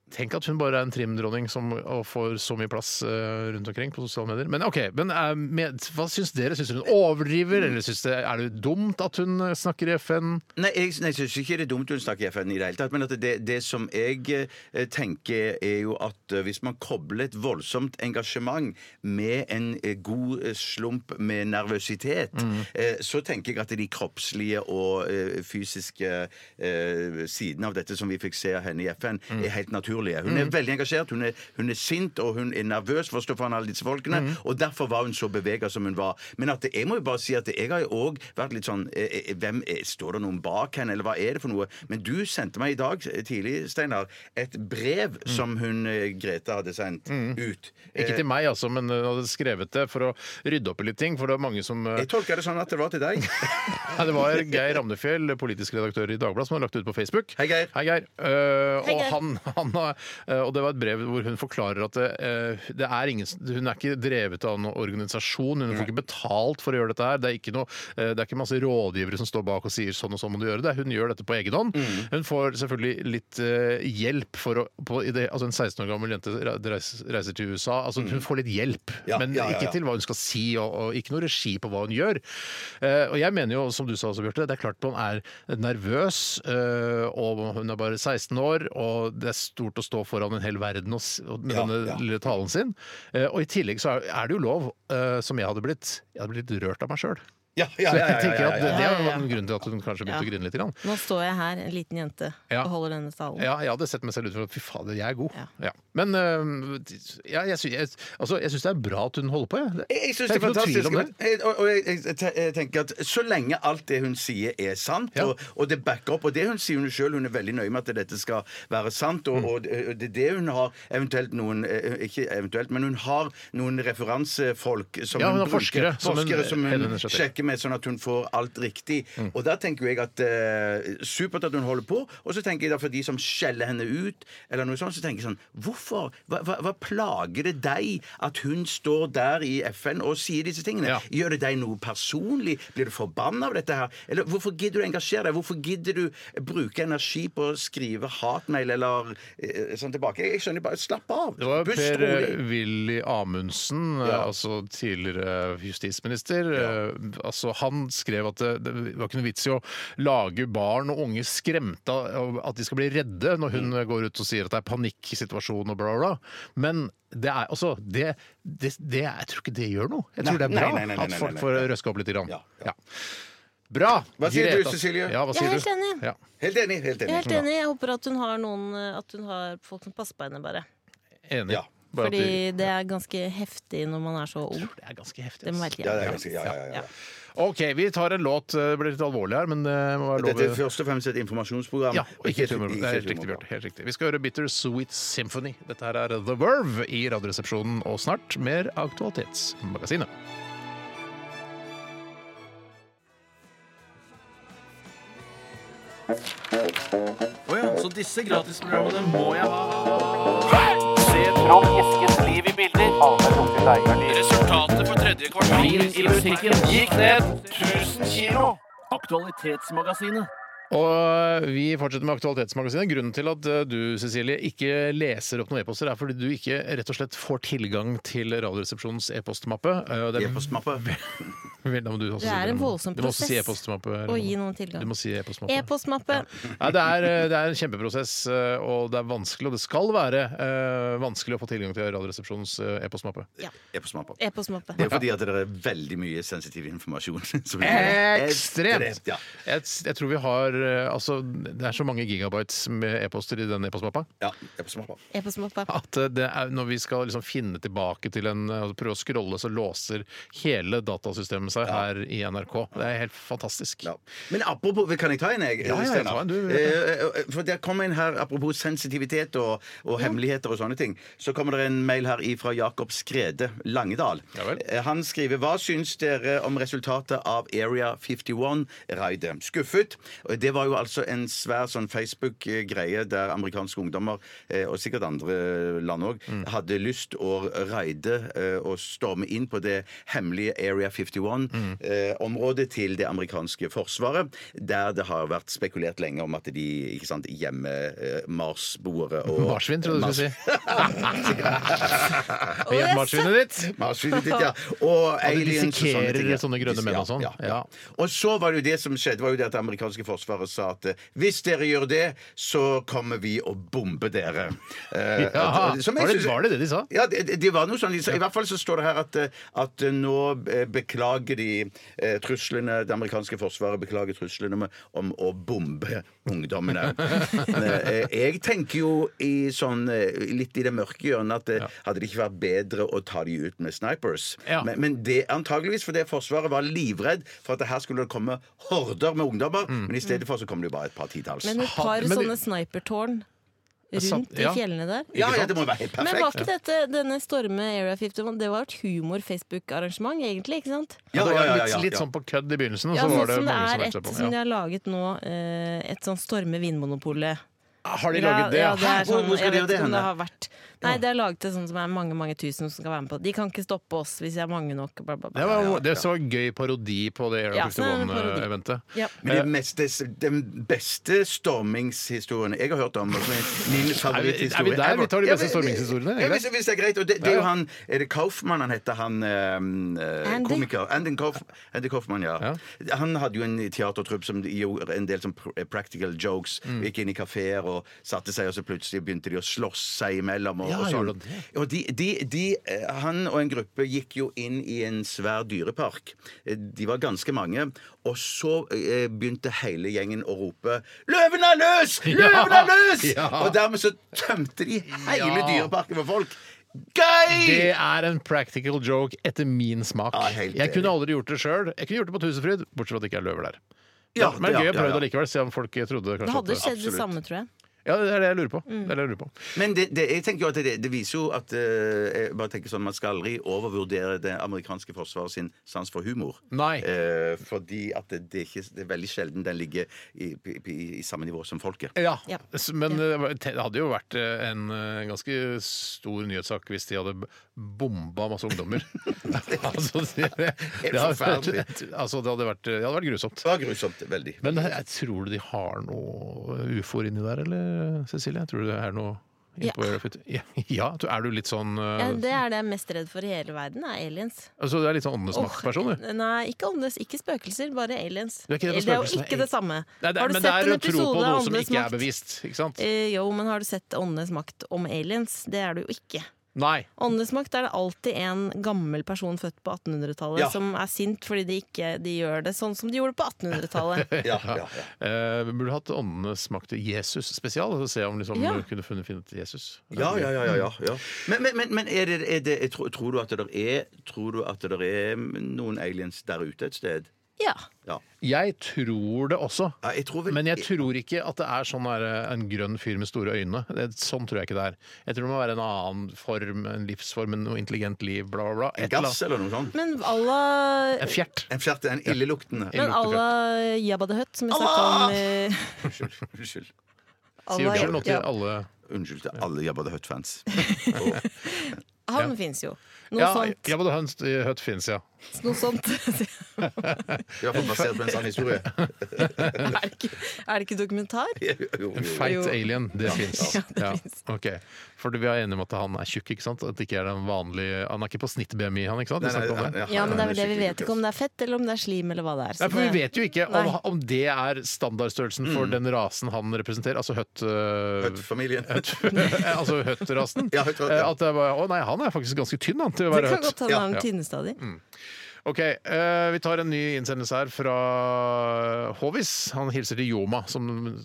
S1: Tenk at hun bare er en trimdronning som og får så mye plass eh, rundt omkring på sosiale medier. Men ok, men eh, med, hva syns dere? Syns dere hun overdriver, eller syns det, er det dumt at hun eh, snakker i FN?
S2: Nei, jeg, nei, jeg syns ikke det er dumt hun snakker i FN i det hele tatt. Men at det, det som jeg eh, tenker, er jo at eh, hvis man kobler et voldsomt engasjement med en eh, god eh, slump med nervøsitet, eh, så tenker jeg at de kroppslige og eh, fysiske eh, sidene av dette som vi fikk se av henne i FN,
S1: Mm.
S2: er helt naturlige. Hun er veldig engasjert, hun er, hun er sint, og hun er nervøs for å stå foran alle disse folkene.
S1: Mm.
S2: Og derfor var hun så bevega som hun var. Men at det, jeg må jo bare si at jeg har jo òg vært litt sånn eh, eh, hvem er, Står det noen bak henne, eller hva er det for noe? Men du sendte meg i dag eh, tidlig, Steinar, et brev som hun eh, Grete hadde sendt ut.
S1: Mm. Ikke til meg, altså, men hun hadde skrevet det for å rydde opp i litt ting. For det var mange som eh,
S2: Jeg tolka det sånn at det var til deg.
S1: Nei, Det var Geir Ramnefjell, politisk redaktør i Dagbladet, som hadde lagt det ut på Facebook.
S2: Hei, Geir.
S1: Hei, Geir. Eh,
S3: Hei,
S1: og,
S3: Geir.
S1: han, han, har- eh, og det var et brev hvor hun forklarer at det, eh, det er ingen, hun er ikke drevet av noen organisasjon. Hun får ikke betalt for å gjøre dette her. Det er ikke, noe, eh, det er ikke masse rådgivere som står bak og sier sånn og sånn må du gjøre det. Hun gjør dette på egen hånd.
S2: Mm.
S1: Hun får selvfølgelig litt eh, hjelp for å på, i det, altså En 16 år gammel jente re- reis- reiser til USA. Altså, hun får litt hjelp,
S2: Mm. Ja,
S1: men
S2: ja, ja, ja.
S1: ikke til hva hun skal si, og, og ikke noe regi på hva hun gjør. Eh, og jeg mener jo, som du sa også, Bjarte, det er klart man er nervøs, eh, og hun er bare 16 år, og det er stort å stå foran en hel verden og, s- og med
S2: Ja,
S1: denne
S2: ja.
S1: lille talen sin. Eh, og i tillegg så er, er det jo lov, eh, som jeg hadde blitt, jeg hadde blitt rørt av meg sjøl.
S2: Ja, ja, ja,
S1: Så jeg
S2: ja,
S1: tenker
S2: ja,
S1: at eh,
S2: ja,
S1: det, det
S2: ja,
S1: er
S2: ja, ja.
S1: en grunn til at hun kanskje begynte
S3: Ja.
S1: å grine litt. Grann.
S3: Nå står jeg her, en liten jente,
S1: Ja.
S3: og holder denne salen.
S1: Ja, jeg hadde sett meg selv utenfor. Fy fader, jeg er god. Ja. Men øhm, ja, jeg, sy- jeg, altså, jeg syns det er bra at hun holder på. Jeg,
S2: Jeg- Jeg
S1: Det
S2: syns det
S1: er
S2: er
S1: ikke noe tvil
S2: fantastisk.
S1: om det.
S2: Jeg- Og, og jeg, jeg, te- jeg tenker at Så lenge alt det hun sier, er sant, og, og det backer opp Og det hun sier hun sjøl, hun er veldig nøye med at dette skal være sant,
S1: Mm.
S2: og, og det og det er det hun har eventuelt noen eh, Ikke eventuelt, men hun har noen referansefolk som
S1: Ja, hun
S2: hun,
S1: har
S2: bruker.
S1: forskere som hun-
S2: forskere som hun
S1: Helene Schjøtter.
S2: sjekker med, sånn at hun får alt riktig.
S1: Mm.
S2: Og da tenker jeg at eh, Supert at hun holder på. Og så tenker jeg da for de som skjeller henne ut, eller noe sånt, så tenker jeg sånn Hvorfor? Hva, hva, hva plager det deg at hun står der i FN og sier disse tingene? Gjør det deg noe personlig? Blir du forbanna av dette her? Eller hvorfor gidder du å engasjere deg? Hvorfor gidder du bruke energi på å skrive hatmail eller eh, sånn tilbake? Jeg, jeg skjønner bare Slapp av.
S1: Det var
S2: Pust
S1: Per
S2: rolig.
S1: eh, Willy Amundsen, eh, altså tidligere eh, justisminister. eh, Altså, han skrev at det, det var ikke noe vits i å lage barn og unge skremte av at de skal bli redde når hun
S2: Mm.
S1: eh, går ut og sier at det er panikksituasjon og bla, bla. bla. Men det er altså det, det, det, Jeg tror ikke det gjør noe. Jeg tror
S2: Nei,
S1: det er bra
S2: nei, nei, nei, nei,
S1: at
S2: nei,
S1: folk
S2: nei.
S1: får røska opp litt. Grann. Ja. Bra!
S2: Hva sier du,
S1: Greta.
S2: Cecilie?
S1: Ja, hva
S3: Jeg
S1: sier
S3: er
S1: du?
S3: helt enig.
S1: Ja.
S2: Helt enig. Helt
S3: Jeg er
S2: enig.
S1: Liksom,
S3: helt enig. Jeg håper at hun har, noen, eh, at hun har folk som passer på henne, bare.
S1: Enig.
S2: Ja.
S1: Bare at
S3: Fordi
S1: du-
S3: det er ganske heftig når man er så ung.
S1: det er ganske heftig.
S3: Det må være litt
S2: Ja, det
S3: jævlig.
S2: er ganske, ja, ja, ja, ja.
S1: OK, vi tar en låt. Eh, Det blir litt alvorlig her, men det må være lov
S2: Dette er først og fremst et informasjonsprogram.
S1: Ja, og ikke et
S2: et-
S1: humor. Det
S2: ikke
S1: er
S2: et
S1: helt riktig,
S2: humorprogram.
S1: Bjarte. Helt riktig. Vi skal høre Bitter Sweet Symphony. Dette her er The Verve i Radioresepsjonen, og snart mer Aktualitetsmagasinet.
S7: Å ja, så disse gratisprogrammene må jeg ha.
S8: Se Trond Eskens liv i bilder.
S7: Resultatet for tredje kvartal
S8: i musikken gikk ned 1000 kilo. Aktualitetsmagasinet.
S1: Og vi fortsetter med Aktualitetsmagasinet. Grunnen til at eh, du, Cecilie, ikke leser opp noen e-poster, er fordi du ikke rett og slett får tilgang til Radioresepsjonens e-postmappe. Eh, Det er
S2: E-postmappe.
S1: Vel, da må du også
S3: Det
S1: si
S3: er en voldsom
S1: Du må også si
S3: prosess
S1: e-postmappe.
S3: å gi
S1: Ramona.
S3: noen tilgang.
S1: Du må si e-postmappe.
S3: E-postmappe.
S1: Nei, det, er, eh, det er en kjempeprosess, eh, og det er vanskelig, og det skal være eh, vanskelig å få tilgang til Radioresepsjonens eh, e-postmappe.
S3: Ja.
S2: E-postmappe.
S3: E-postmappe.
S2: Det er fordi at det er veldig mye sensitiv informasjon. som ligger der.
S1: Ekstremt!
S2: Ja.
S1: Jeg, jeg tror vi har eh, Altså, det er så mange gigabytes med e-poster i den e-postmappa
S2: ja e-postmappe.
S3: E-postmappe.
S1: at eh, det er, når vi skal liksom finne tilbake til en eh, og Prøve å scrolle, så låser hele datasystemet seg her i NRK. Det er helt fantastisk.
S2: Ja. Men apropos Kan jeg ta en, jeg?
S1: Ja, ja,
S2: Steinar?
S1: ta en, du.
S2: Eh, eh, For der kom en her apropos sensitivitet og, og hemmeligheter og sånne ting. Så kommer det en mail her fra Jakob Skrede Langedal.
S1: Ja vel.
S2: Eh, Han skriver Hva syns dere om resultatet av Area 51-raidet? Skuffet. Og Det var jo altså en svær sånn Facebook-greie der amerikanske ungdommer, eh, og sikkert andre land òg,
S1: Mm.
S2: hadde lyst å raide eh, og storme inn på det hemmelige Area
S1: Mm.
S2: 51-området til det amerikanske forsvaret, der det har vært spekulert lenge om at de ikke sant, gjemmer eh, marsboere og
S1: Marsvin, tror jeg du skulle si.
S3: Å, jeg
S1: Marsvinet ditt!
S2: Marsvinet ditt, ja. Og
S1: de
S2: aliens og sånne ting, ja.
S1: dissekerer sånne grønne menn og sånn.
S2: Ja, ja. Og så var det jo det som skjedde, var jo det at det amerikanske forsvaret sa at eh, hvis dere gjør det, så kommer vi og bomber dere. Eh,
S1: Ja,
S2: at- som jeg
S1: var, det,
S2: synes-
S1: var det det de sa?
S2: ja, det, det- det var noe sånn de sa. I hvert fall så står det her at, eh, at eh, nå eh, beklager de eh, truslene Det amerikanske forsvaret beklager truslene med, om å bombe ungdommene. Eh, eh, jeg tenker jo i sånn eh, litt i det mørke hjørnet at eh, hadde det ikke vært bedre å ta de ut med snipers?
S1: Ja.
S2: Men, men det antageligvis fordi Forsvaret var livredd for at det her skulle det komme horder med ungdommer, men i stedet for så kom det jo bare et par titalls.
S3: Men et par
S1: Men det-
S3: sånne snipertårn
S1: Satt-
S3: rundt i
S1: ja.
S3: fjellene der.
S2: Ja, ja, det må jo være helt
S3: Men var
S2: perfekt.
S3: ikke dette, denne storme Area 51 Det var et humor-Facebook-arrangement, egentlig? ikke sant?
S2: Ja,
S1: det
S2: ja,
S1: var
S2: ja, ja,
S1: litt,
S2: ja.
S1: litt sånn på kødd i begynnelsen, og
S3: Ja,
S1: så
S3: sånn
S1: var det
S3: som det
S1: mange som
S3: er
S1: meldte
S3: et
S1: seg på.
S3: som de
S1: Ja.
S3: har laget nå, eh, et sånn Storme Vinmonopolet.
S1: Har de laget det?
S3: Ja, det
S2: Hæ?
S3: er sånn,
S2: Hvor- hvor skal
S3: jeg
S2: de
S3: vet
S2: gjøre det
S3: ikke om det
S2: henne?
S3: har vært Nei, det er laget til sånn som er mange mange tusen som skal være med på. De kan ikke stoppe oss hvis vi er mange nok. Bla, bla,
S1: Det
S3: bla.
S1: var, det var en gøy parodi på det Area
S3: Ja, så det er en parodi.
S1: 51-eventet.
S3: Ja.
S2: Men
S1: Eh.
S2: det mest, den beste stormingshistorien jeg har hørt om og som er Min favoritthistorie.
S1: Er vi- er vi der? Vi tar de
S2: Ja,
S1: beste
S2: men-
S1: stormingshistoriene, er det
S2: Ja,
S1: greit?
S2: hvis, hvis det er greit. Og det, det er jo
S1: Ja, ja.
S2: han Er det Kaufmann han heter, han eh,
S3: Andy?
S2: komiker? Andy, Kauf, Andy Kaufmann, ja. Han hadde jo en teatertrupp som gjorde en del sånn
S1: Mm.
S2: pr- practical jokes. Gikk inn i kafeer og satte seg, og så plutselig begynte de å slåss seg imellom. Og og, og
S1: Ja,
S2: sånn.
S1: gjorde han
S2: Og de, de, de, eh, han og en gruppe gikk jo inn i en svær dyrepark. Eh, De var ganske mange. Og så eh, begynte hele gjengen å rope 'Løven er løs! Løven er løs!'
S1: Ja.
S2: Og dermed så tømte de hele
S1: Ja.
S2: dyreparken for folk. Gøy!
S1: Det er en practical joke etter min smak. jeg kunne aldri gjort det sjøl. Jeg kunne gjort det på Tusenfryd, bortsett fra at det ikke er løver der.
S2: Ja,
S1: men
S2: ja,
S1: gøy å
S2: ja,
S1: prøve
S2: ja.
S1: det likevel, se om folk trodde kanskje
S3: Det
S1: at
S3: hadde skjedd Mm. det samme, tror jeg.
S1: Ja, det er det jeg lurer på. Det er det jeg lurer på.
S2: Men det, det, jeg tenker jo at det, det viser jo at eh, jeg bare tenker sånn, Man skal aldri overvurdere det amerikanske forsvaret sin sans for humor.
S1: Nei.
S2: Eh, fordi at det, det, er ikke, det er veldig sjelden den ligger i, i, i, i samme nivå som folket.
S1: Ja. S- Men eh, te- det hadde jo vært eh, en eh, ganske stor nyhetssak hvis de hadde b- bomba masse ungdommer. altså, det, det, det, hadde vært,
S2: forferdelig.
S1: altså, det, hadde vært, det hadde vært grusomt.
S2: Det var grusomt. Veldig.
S1: Men jeg, jeg tror du de har noe ufoer inni der, eller Cecilie? Tror du det er noe
S3: Ja.
S1: innpå øret ditt? Ja. ja, du- er du litt sånn eh,
S3: Ja, det er det jeg er mest redd for i hele verden, er aliens.
S1: Altså, du er litt sånn åndenes makt-person, du?
S3: Åh, Nei, ikke åndes, ikke spøkelser, bare aliens.
S1: Du er ikke redd for
S3: det er jo
S1: spøkelsene? eh,
S3: ikke det samme.
S1: Nei, det er-
S3: Har du
S1: men
S3: sett
S1: det er
S3: en
S1: å tro på
S3: episode av
S1: noe som
S3: Åndenes
S1: ikke er
S3: makt?
S1: bevist, ikke sant?
S3: Eh, jo, men har du sett Åndenes makt om aliens? Det er det jo ikke.
S1: Nei.
S3: Åndenes makt er det alltid en gammel person født på 1800-tallet
S1: Ja.
S3: som er sint fordi de ikke de gjør det sånn som de gjorde på 1800-tallet.
S1: Eh, vi burde hatt Åndenes makt Jesus spesial, og se om liksom,
S3: Ja.
S1: du kunne funnet, funnet Jesus.
S2: Ja, ja, ja. ja, ja, ja. Men, men, men, men er det, er det, jeg tror, tror, du at det er, tror du at det er noen aliens der ute et sted?
S3: Ja.
S2: Ja.
S1: Jeg tror det også,
S2: vel-
S1: men jeg tror ikke at det er sånn der, en grønn fyr med store øyne. Det, sånn tror jeg ikke det er. Jeg tror det må være en annen form, en livsform, en- noe intelligent liv, bla, bla, bla. Et
S2: Gass eller noe sånt?
S3: Men à la
S1: En fjert.
S2: En fjert, en illeluktende.
S3: Men à la Jabba the Hutt, som vi snakka om eh,
S2: Unnskyld. Unnskyld.
S3: Si Allah- unnskyld nå til ja.
S1: alle.
S2: Unnskyld til alle Jabba the Hutt-fans.
S3: Han
S1: Ja.
S3: fins jo. Noe
S1: Ja,
S3: sånt.
S1: ja, men Hunt, Hutt finnes, ja.
S3: Noe sånt.
S2: I hvert fall basert på en sann historie.
S3: er, det ikke, er det ikke dokumentar?
S1: En feit
S3: Jo.
S1: alien, det
S3: Ja.
S1: fins.
S3: Ja, det
S1: Ja, ok. For vi er enige om at han er tjukk, ikke sant? At det ikke er den vanlige, han er ikke på snitt-BMI, han, ikke sant? Vi
S2: Nei, nei,
S1: snakker om
S2: nei,
S1: det.
S3: Ja, men det er vel det vi vet ikke om det er fett eller om det er slim eller hva det er.
S1: Nei, for Vi
S3: det-
S1: vet jo ikke om,
S3: Nei.
S1: om det er standardstørrelsen for den rasen han representerer, altså høtt...
S2: Høtt-familien.
S1: altså høtt-rasen. Eh, At det er bare, å nei, han er faktisk ganske tynn han, til å
S3: Det
S1: være
S3: kan
S1: høtt.
S3: godt hende han
S1: Ja. Mm.
S3: er tynneste av de.
S1: Ok, eh, vi tar en ny innsendelse her fra Håvis. Han hilser til Yoma, som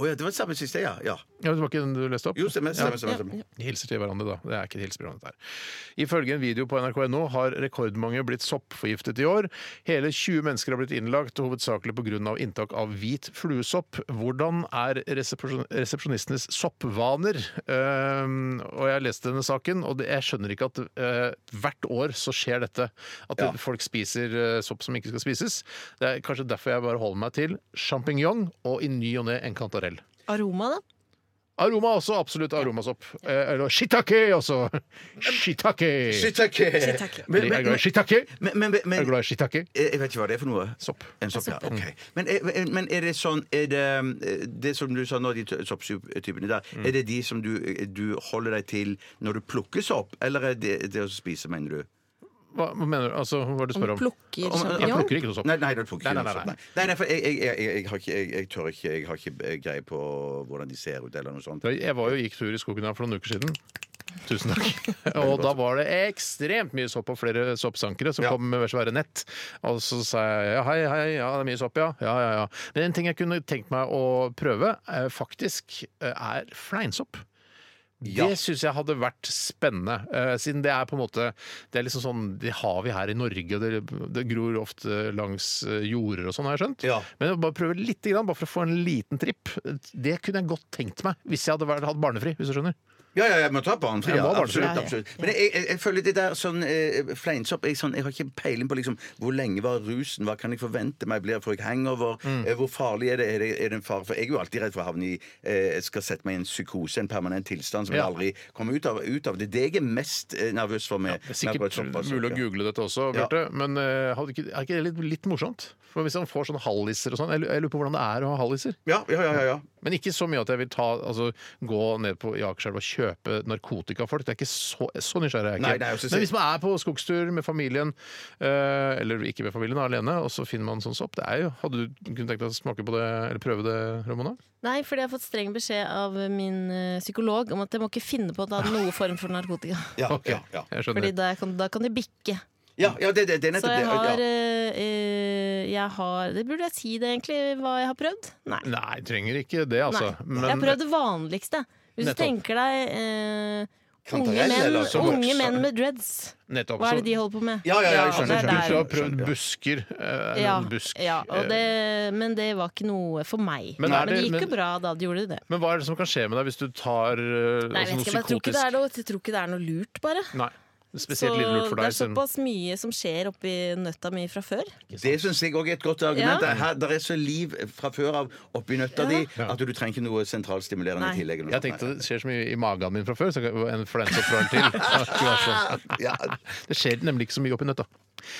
S2: Å ja, det var det samme siste, ja. ja.
S1: Ja, men Det var ikke den du leste opp?
S2: Jo, stemmer, stemmer,
S1: Ja.
S2: stemmer, stemmer. Ja,
S1: De hilser til hverandre, da. Det er ikke et hilseprogram, dette her. Ifølge en video på nrk.no har rekordmange blitt soppforgiftet i år. Hele 20 mennesker har blitt innlagt, hovedsakelig pga. inntak av hvit fluesopp. Hvordan er resepsjon- resepsjonistenes soppvaner? Ehm, og jeg leste denne saken, og det, jeg skjønner ikke at eh, hvert år så skjer dette. At
S2: Ja.
S1: folk spiser eh, sopp som ikke skal spises. Det er kanskje derfor jeg bare holder meg til sjampinjong og i ny og ne en kantarell.
S3: Aroma, da?
S1: Aroma også, absolutt aromasopp. Eh, eller shiitake også. Shiitake.
S2: Shiitake.
S1: Fordi
S2: Men-
S1: Jeg er
S2: men-
S1: glad i shiitake.
S2: Men, men, men,
S1: Jeg er glad i shiitake.
S2: Eh, Jeg vet ikke hva det er for noe.
S1: Sopp.
S2: En sopp, ja, ok. men, er, men er det sånn er det, eh, det som du sa nå, de t- sopptypene der,
S1: Mm.
S2: er det de som du, eh, du holder deg til når du plukker sopp, eller er det det å spise, mener du?
S1: Hva, hva mener du? Altså, hva er det du spør om?
S3: sånn-
S1: Jeg plukker ikke noe sopp.
S2: Nei, nei, du plukker
S1: Nei,
S2: ikke
S1: nei,
S2: noe
S1: nei,
S2: sopp. Nei, nei, nei for jeg, jeg, jeg, jeg, har ikke, jeg, jeg tør ikke Jeg har ikke eh, greie på hvordan de ser ut, eller noe sånt.
S1: Da Jeg var jo gikk tur i skogen her for noen uker siden. Tusen takk. Og da var det ekstremt mye sopp og flere soppsankere som kom med svære nett. Og så sa jeg ja, hei, hei, ja, det er mye sopp, ja. ja, ja, ja. Men en ting jeg kunne tenkt meg å prøve, eh, faktisk, eh, er fleinsopp.
S2: Ja.
S1: Det syns jeg hadde vært spennende. eh, siden det er på en måte Det er liksom sånn, det har vi her i Norge, og det, det gror ofte langs eh, jorder og sånn, har jeg skjønt. Men å bare prøve litt, grann, bare for å få en liten tripp, det kunne jeg godt tenkt meg hvis jeg hadde vært, hatt barnefri. hvis du skjønner
S2: Ja, ja, jeg må ta barnefri.
S1: Jeg
S2: Ja,
S1: må ha barnefri.
S2: absolutt,
S1: Ja, ja.
S2: absolutt. Men jeg, jeg, jeg føler det der sånn eh, fleinsopp jeg, sånn, jeg har ikke peiling på liksom, hvor lenge var rusen, hva kan jeg forvente meg, blir får jeg hangover,
S1: Mm.
S2: eh, hvor farlig er det, er det, er det en fare for Jeg er jo alltid redd for å havne i eh, Jeg skal sette meg i en psykose, en permanent tilstand som jeg
S1: Ja.
S2: aldri kommer ut av. Ut av. Det er det jeg er mest eh, nervøs for med
S1: Det er
S2: med akkurat
S1: sikkert
S2: sopp, altså.
S1: mulig å
S2: Ja.
S1: google dette også,
S2: Ja.
S1: Bjarte. Men eh, hadde ikke, er ikke det litt, litt morsomt? For Hvis han får sånne halliser og sånn Jeg lu- jeg lurer på hvordan det er å ha halliser.
S2: Ja, ja, ja, ja, ja.
S1: Men ikke så mye at jeg vil ta, altså, gå ned på i Akerselva og kjøpe narkotika av folk. Det er ikke så, så nysgjerrig. er Jeg
S2: Nei,
S1: ikke.
S2: det er jo så-
S1: Men hvis man er på skogstur med familien, eh, eller ikke med familien, da, alene, og så finner man sånn sopp det er jo, Hadde du kunnet tenkt deg å smake på det, eller prøve det, Ramona?
S3: Nei, fordi jeg har fått streng beskjed av min eh, psykolog om at jeg må ikke finne på å
S1: Ah.
S3: ta noe form for narkotika.
S1: Ok, Jeg skjønner.
S3: Fordi da kan, da kan de bikke.
S2: Ja, ja det, det, det er
S3: Så
S2: nettopp
S3: jeg
S2: det.
S3: har,
S2: Ja.
S3: eh, eh, jeg har Det burde jeg si det, egentlig, hva jeg har prøvd? Nei.
S1: Nei, trenger ikke det, Mm, altså.
S3: Nei. jeg har prøvd det vanligste. Hvis
S1: Nettopp.
S3: du tenker deg eh, unge,
S1: Kantarell,
S3: menn,
S1: eller som-
S3: unge menn med dreads.
S1: Nettopp,
S3: Hva er
S1: så-
S3: det de holder på med?
S1: Du
S3: det er
S1: skulle ha
S3: der-
S1: prøvd busker. eh,
S3: ja,
S1: en busk.
S3: ja og
S1: eh,
S3: det, men det var ikke noe for meg.
S1: Men
S3: Men,
S1: er det-
S3: det gikk
S1: men-
S3: jo bra da de gjorde det.
S1: Men hva er det som kan skje med deg hvis du tar eh,
S3: Nei,
S1: altså,
S3: vet
S1: noe
S3: ikke, men jeg, tror ikke det
S1: psykotisk?
S3: er noe, jeg tror ikke det er noe lurt, bare.
S1: Nei, spesielt litt lurt for
S3: det
S1: deg.
S3: er
S1: siden-
S3: såpass mye som skjer oppi nøtta mi fra før.
S2: Det syns jeg òg er et godt argument.
S3: Ja.
S2: Det Her, der er så liv fra før av oppi nøtta di at du trenger ikke noe sentralstimulerende
S3: Nei.
S2: i tillegg.
S1: Jeg tenkte det skjer så mye i magen min fra før, så kan- en influensa fra en til. Ja, skulle vært sånn. Det skjer nemlig ikke så mye oppi nøtta.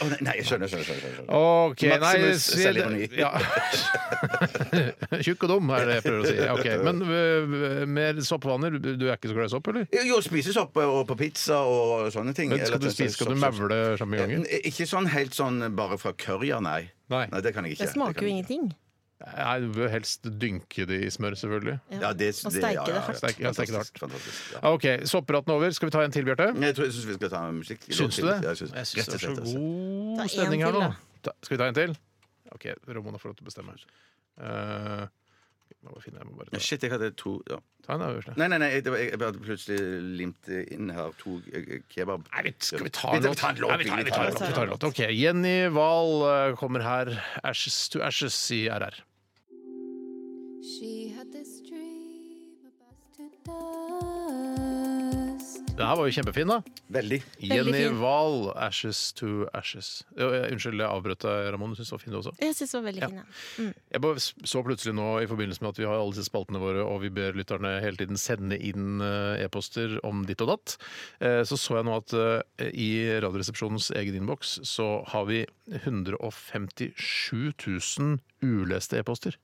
S2: Å, nei, nei, jeg skjønner, skjønner, skjønner, skjønner.
S1: Ok, nei,
S2: Maximus
S1: se-
S2: selvironi.
S1: ja. Tjukk og dum er det jeg prøver å si. Ja, ok. Men øh, mer soppvaner? Du er ikke så glad i sopp, eller?
S2: Jo, Jo, spises opp eh, og på pizza og sånne ting.
S1: Men skal
S2: Eller
S1: du
S2: at det er
S1: spise- skal du
S2: sopp- sopp-
S1: mevle sjampinjonger?
S2: Eh, Ikke sånn helt sånn bare fra curryer, nei.
S1: Nei.
S2: Det kan jeg ikke.
S3: Det smaker jo ingenting.
S1: Nei, du bør helst dynke det i smør, selvfølgelig.
S2: Ja, det,
S3: Og steike det hardt.
S1: Steik- ja, steike det hardt.
S2: Fantastisk. Ja.
S1: Ok, Soppraten over. Skal vi ta en til, Bjarte?
S2: Jeg tror jeg syns vi skal ta en musikk.
S1: Syns du det?
S2: Ja, Jeg syns
S1: Jeg syns det er så
S2: Rett og slett, altså. rett og slett.
S3: Ta
S1: god
S3: en
S1: stemning her
S3: til,
S1: nå.
S3: da.
S1: Ta- Skal vi ta en til? OK, Ramona får lov til å bestemme. Eh, nå finner jeg må bare
S2: Ja, Shit, jeg hadde to ja.
S1: Ta en øverste.
S2: Nei, nei, nei, det var, jeg, jeg hadde plutselig limt inn her to eh, kebab.
S1: Nei, vi- skal vi ta
S2: Vi
S1: en
S2: tar-
S1: låt?
S2: vi tar en låt,
S1: Nei, vi tar- vi tar en låt.
S2: vi tar en
S1: Vi tar en låt. OK. Jenny Wahl eh, kommer her. Ashes to Ashes i RR. Det her var jo kjempefin, da.
S2: Veldig.
S3: Veldig
S1: Jenny
S3: fin.
S1: Wahl, Ashes to Ashes. Ø, ø, Unnskyld, jeg avbrøt deg, Ramon. Du syns det var fin, du også?
S3: Jeg syns det var veldig fin. Ja.
S1: Jeg bare så plutselig nå, i forbindelse med at vi har alle disse spaltene våre, og vi ber lytterne hele tiden sende inn eh, e-poster om ditt og datt, eh, så så jeg nå at eh, i Radioresepsjonens egen innboks så har vi 157 000 uleste e-poster.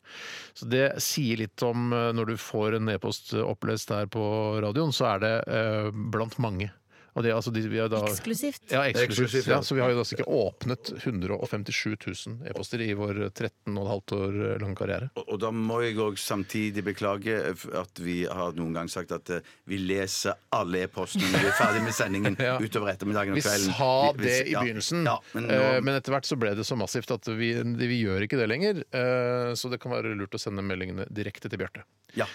S1: Så det sier litt om eh, når du får en e-post opplest her på radioen, så er det eh, blant mange. Og det, er altså, de, vi er da,
S3: Eksklusivt.
S1: Ja, eksklusivt.
S2: Eksklusivt,
S1: ja.
S2: ja.
S1: så vi har jo altså ikke åpnet 157 000 e-poster i vår 13,5 år eh, lange karriere.
S2: Og, og da må jeg òg samtidig beklage at vi har noen gang sagt at eh, vi leser alle e-postene når vi er ferdig med sendingen
S1: Ja.
S2: utover ettermiddagen
S1: Vi
S2: og kvelden.
S1: sa
S2: Vi- vi-
S1: det i
S2: ja.
S1: begynnelsen,
S2: Ja, men nå,
S1: eh, men etter hvert så ble det så massivt at vi, vi gjør ikke det lenger. eh, Så det kan være lurt å sende meldingene direkte til Bjarte.
S2: ja.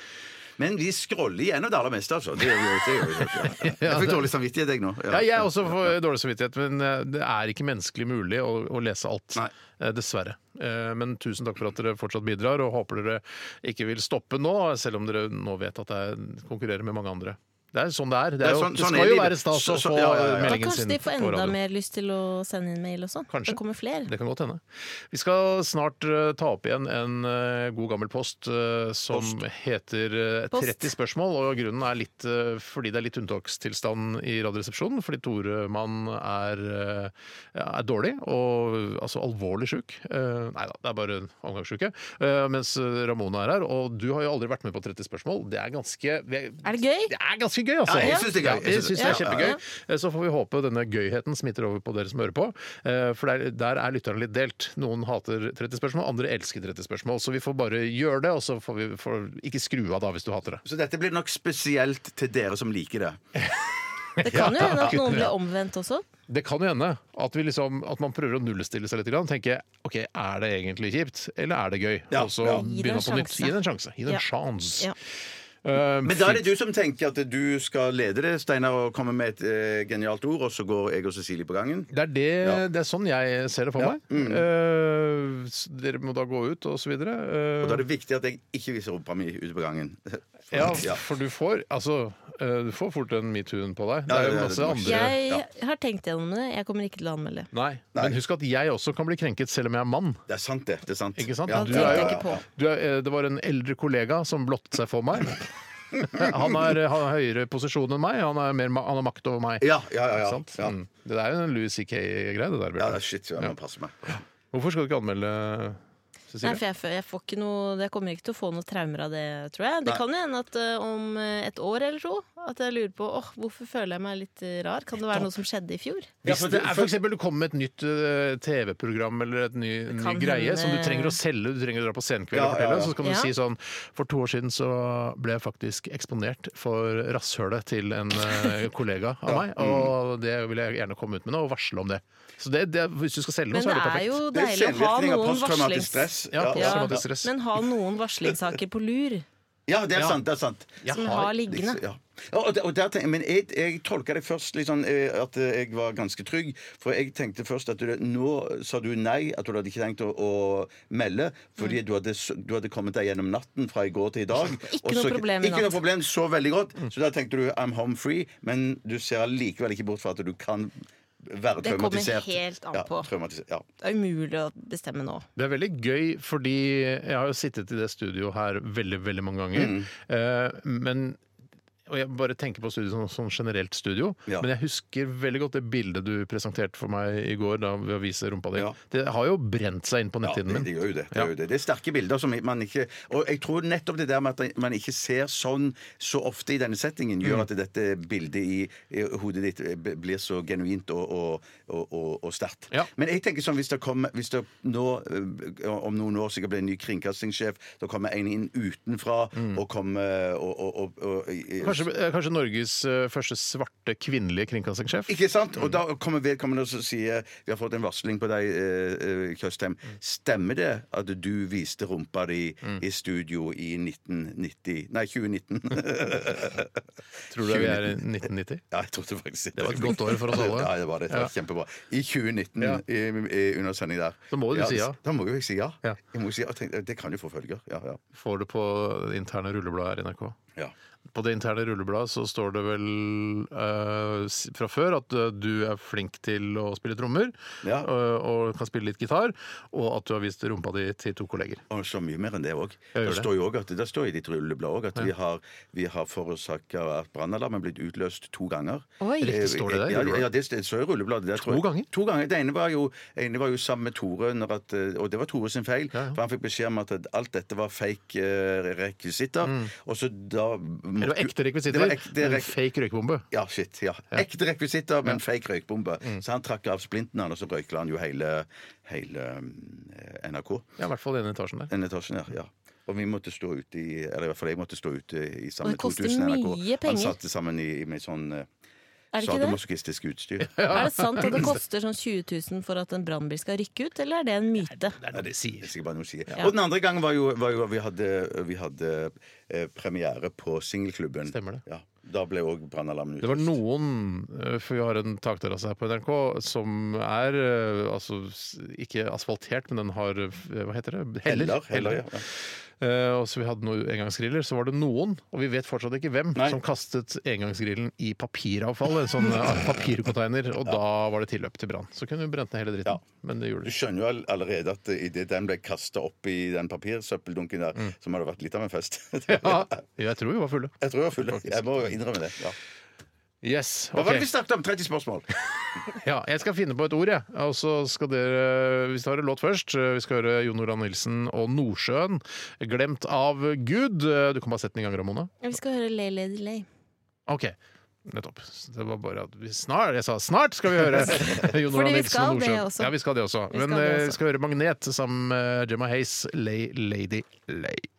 S2: men vi scroller gjennom det aller meste, altså. Det gjør vi jo. Det gjør vi jo ja. Jeg fikk dårlig samvittighet, jeg nå.
S1: Ja, jeg også får dårlig samvittighet, men eh, det er ikke menneskelig mulig å, å lese alt.
S2: Nei.
S1: Eh, Dessverre. Eh, Men tusen takk for at dere fortsatt bidrar, og håper dere ikke vil stoppe nå, selv om dere nå vet at jeg konkurrerer med mange andre. Det er sånn det er. Det, er
S2: er
S1: jo,
S2: sånn-
S1: det
S2: sånn
S1: skal
S2: er
S1: jo
S2: livet.
S1: være stas å
S2: Så- så-
S1: få
S2: ja, ja, ja.
S3: Da
S1: meldingen
S3: kanskje
S1: sin
S3: de får
S1: på
S3: enda
S1: radio.
S3: mer lyst til å sende inn mail også.
S1: Kanskje.
S3: Det kommer flere.
S1: Det kan godt hende. Vi skal snart eh, ta opp igjen en eh, god gammel post eh, som heter eh,
S3: Post.
S1: 30 spørsmål. Og grunnen er litt eh, fordi det er litt unntakstilstand i Radioresepsjonen. Fordi Tore Mann er, eh, ja, er dårlig, og eh, altså alvorlig sjuk. Eh, Nei da, det er bare en omgangsuke. Eh, Mens eh, Ramona er her, og du har jo aldri vært med på 30 spørsmål. Det er ganske
S3: Er det gøy?
S1: det er ganske gøy, altså.
S2: Ja, jeg synes det er gøy.
S1: Ja, jeg synes det er
S2: Ja, ja,
S1: kjempegøy.
S2: ja.
S1: Eh, Så får vi håpe denne gøyheten smitter over på dere som hører på. Eh, For der, der er lytterne litt delt. Noen hater 30 spørsmål, andre elsker 30 spørsmål. Så vi får bare gjøre det, og så får vi får ikke skru av da hvis du hater det.
S2: Så dette blir nok spesielt til dere som liker det.
S3: Det kan jo hende at noen
S1: Ja.
S3: blir omvendt også.
S1: Det kan jo hende at, vi liksom, at man prøver å nullstille seg litt. Grann, tenke ok, er det egentlig kjipt, eller er det gøy?
S2: Ja,
S1: og så
S2: ja.
S3: Gi det en
S1: begynne på nytt.
S3: sjanse.
S1: Gi det en sjanse. Gi det en
S3: Ja.
S1: sjans.
S3: Ja.
S1: Eh,
S2: Men da er det du som tenker at du skal lede det, Steinar, og komme med et eh, genialt ord, og så går jeg og Cecilie på gangen.
S1: Det er, det,
S2: Ja.
S1: det er sånn jeg ser det for
S2: Ja. Mm.
S1: meg. Eh, s- dere må da gå ut, og så videre. Eh,
S2: Og da er det viktig at jeg ikke viser rumpa mi ute på gangen. For-
S1: Ja,
S2: ja.
S1: for du får Altså, eh, du får fort den metoo-en på deg.
S2: Ja,
S1: Det er
S2: ja,
S1: jo
S2: ja,
S1: masse
S2: det-
S1: andre
S2: ja.
S3: Jeg har tenkt gjennom det. Jeg kommer ikke til å anmelde.
S1: Nei. Men husk at jeg også kan bli krenket selv om jeg er mann.
S2: Det er sant, det. det er sant.
S1: Ikke sant?
S2: Ja,
S1: Du
S3: det
S1: er jo-
S3: tenker jeg på.
S1: du er, eh, det var en eldre kollega som blottet seg for meg. Han er- eh, han har høyere posisjon enn meg, han har, mer, ma- han har makt over meg.
S2: Ja, ja, ja.
S1: Ikke
S2: ja.
S1: sant?
S2: ja.
S1: Mm. Det er jo en Louis C.K.-greie, det der.
S2: ja
S1: Bjørte.
S2: det er shit, jeg må passe meg.
S1: Hvorfor skal du ikke anmelde Cecilie?
S3: Nei, for jeg, fø- jeg, får ikke noe, jeg kommer ikke til å få noe traumer av det, tror jeg. Det
S1: Nei.
S3: kan jo hende at eh, om eh, et år eller to at jeg lurer på åh, hvorfor føler jeg meg litt eh, rar. Kan det være noe som skjedde i fjor?
S1: Hvis det er for eksempel, du kommer med et nytt eh, TV-program eller et ny, ny
S3: kan
S1: greie
S3: hende-
S1: som du trenger å selge, du trenger å dra på scenekveld
S3: Ja,
S1: og fortelle,
S3: ja, ja.
S1: så kan du
S3: Ja.
S1: si sånn For to år siden så ble jeg faktisk eksponert for rasshølet til en eh, kollega av meg, og det vil jeg gjerne komme ut med nå og varsle om det. Så det, det, hvis du skal selge noe,
S3: Men
S1: så er
S3: det
S1: det
S3: er
S1: perfekt.
S3: jo deilig å ha noen varslings...
S1: Ja,
S3: Ja,
S1: posttraumatisk stress.
S3: Men ha noen varslingssaker på lur.
S2: Ja, det er sant. det er sant
S3: Jeg Som har- har liggende.
S2: Ja. Og, og der tenk, men jeg, jeg tolka det først litt sånn eh, at eh, jeg var ganske trygg. For jeg tenkte først at du, nå sa du nei, at du hadde ikke tenkt å, å melde. Fordi du, hadde, s- du hadde kommet deg gjennom natten fra i går til i dag.
S3: Mm. Ikke
S2: og
S3: noe
S2: så-
S3: problem i
S2: Ikke noe
S3: natt.
S2: problem, så veldig godt. Så da tenkte du I'm home free, men du ser likevel ikke bort fra at du kan være
S3: Det kommer
S2: traumatisert.
S3: helt an
S2: Ja,
S3: på.
S2: traumatisert, ja.
S3: Det er umulig å bestemme nå.
S1: Det er veldig gøy, fordi jeg har jo sittet i det studioet her veldig, veldig mange ganger.
S2: Mm.
S1: Eh, men og jeg bare tenker på studio som, som generelt studio,
S2: Ja.
S1: men jeg husker veldig godt det bildet du presenterte for meg i går da, ved å vise rumpa di. Det har jo brent seg inn på
S2: Ja,
S1: netthinnen
S2: det,
S1: min.
S2: det gjør jo det. Det, gjør jo det. det er sterke bilder som man ikke Og jeg tror nettopp det der med at man ikke ser sånn så ofte i denne settingen,
S1: Mm.
S2: gjør at dette bildet i, i hodet ditt eh, b- blir så genuint og, og, og, og, og sterkt. Men jeg tenker sånn hvis det, kom, hvis det nå, eh, om noen år sikkert blir en ny kringkastingssjef, da kommer en inn utenfra og kommer og, og, og, og,
S1: Mm. Kanskje, eh, kanskje Norges eh, første svarte kvinnelige kringkastingssjef?
S2: Ikke sant?
S1: Mm.
S2: Og da kommer vedkommende og så sier Vi har fått en varsling på deg, eh, eh, Tjøstheim.
S1: Mm.
S2: Stemmer det at du viste rumpa di i studio i 1990 Nei, 2019.
S1: Tror du vi er i 1990?
S2: Ja, jeg trodde faktisk
S1: Det var et godt år for oss alle.
S2: Ja, det var det. det var
S1: Ja.
S2: Kjempebra. I 2019,
S1: Ja.
S2: i, i, under sending der.
S1: Da må du si ja.
S2: Da må jo jeg si ja. Jeg må jo si, ja. Tenk, det kan jo få følger. Ja, ja.
S1: Får du på det interne rullebladet her i NRK.
S2: Ja.
S1: På det interne rullebladet så står det vel eh, s- fra før at eh, du er flink til å spille trommer eh, og kan spille litt gitar, og at du har vist rumpa di til to kolleger.
S2: Og så mye mer enn det òg.
S1: Ja, gjør
S2: Det
S1: det.
S2: står jo også at, der står i ditt rulleblad òg at
S1: Ja.
S2: vi har, vi har forårsaka at brannalarmen er blitt utløst to ganger. Eh,
S1: Oi. Riktig, står det der i
S2: Ja,
S1: rullebladet?
S2: ja det st- står i rullebladet. Der, to, ganger? to ganger? Det ene var jo, ene var jo sammen med Tore, under at, eh, og det var Tore sin feil. For han fikk beskjed om at alt dette var fake eh, rekvisitter. Og så da
S1: Mm. Det var ekte rekvisitter,
S2: Det var ekte
S1: men
S2: rek-
S1: fake røykebombe.
S2: ja, shit, ja. Ekte rekvisitter, men fake røykbombe.
S1: Mm.
S2: Så han trakk av splinten, han, og så røykla han jo hele, hele eh, NRK.
S1: Ja, i hvert fall denne etasjen der.
S2: Denne etasjen der, ja. Og vi måtte stå ute i Eller i hvert fall jeg måtte stå ute i sammen
S3: Og det koster
S2: 2000 NRK.
S3: mye penger.
S2: Han satte sammen i, med sånn eh,
S3: Er det ikke det?
S2: sadomasochistisk utstyr.
S3: Er det sant at det koster sånn 20 000 for at en brannbil skal rykke ut, eller er det en myte?
S2: Ja, det sier jeg bare noe sier.
S3: Ja.
S2: Og den andre gangen var jo, var jo at vi hadde, vi hadde eh, premiere på Singelklubben. Stemmer det. Ja. Da ble òg brannalarmen
S1: Det
S2: ute.
S1: var noen, eh, for vi har en takterrasse her på NRK, som er eh, altså s- ikke asfaltert, men den har eh, hva heter det?
S2: Heller, heller, ja.
S1: Eh, og så vi hadde noen engangsgriller, så var det noen, og vi vet fortsatt ikke hvem, som kastet engangsgrillen i papiravfall, en sånn eh, papircontainer, og da var det tilløp til brann. Så kunne vi brent ned hele dritten, men det gjorde
S2: Du
S1: det.
S2: skjønner jo all- allerede at idet den ble kasta opp i den papirsøppeldunken der,
S1: Mm.
S2: så må det ha vært litt av en fest.
S1: Ja, jeg tror vi var fulle.
S2: Jeg tror vi var fulle. Jeg må innrømme det. ja.
S1: Yes,
S2: Hva var
S1: ok.
S2: det vi snakket om? 30 spørsmål.
S1: Ja, jeg skal finne på et ord, jeg. Og så skal dere Vi tar en låt først. eh, Vi skal høre Jon Oran Nilsen og Nordsjøen. 'Glemt av Gud'. Eh, Du kan bare sette den i gang, Ramona.
S3: Vi skal høre Lay Lady Lay.
S1: OK. Nettopp. Så Det var bare at vi snart Jeg sa snart skal vi høre Jon
S3: Fordi
S1: Oran
S3: vi
S1: Nilsen
S3: skal
S1: og
S3: det
S1: Nordsjøen.
S3: også.
S1: Ja, vi skal det også.
S3: Vi
S1: Men
S3: skal det
S1: eh, vi
S3: også.
S1: skal høre Magnet sammen med Gemma Hayes, 'Lay Lady Lay'.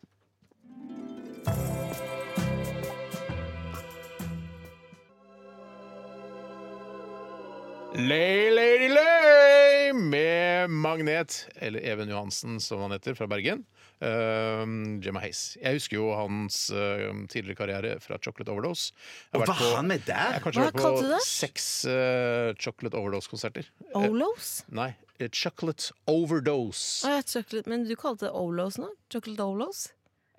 S1: Lay, lady, lay! Med Magnet, eller Even Johansen som han heter, fra Bergen. Ehm, Gemma Hayes. Jeg husker jo hans ehm, tidligere karriere fra Chocolate Overdose. Jeg har
S2: Og
S1: vært
S2: hva har han med der?
S1: Jeg har kanskje
S2: Hva
S1: vært
S2: kalte du
S1: på
S2: det?
S1: seks eh, Chocolate Overdose-konserter.
S3: Olos?
S1: Nei, eh, Chocolate Overdose.
S3: Å, ja, chocolate, men du kalte det Olos nå? Chocolate Olos?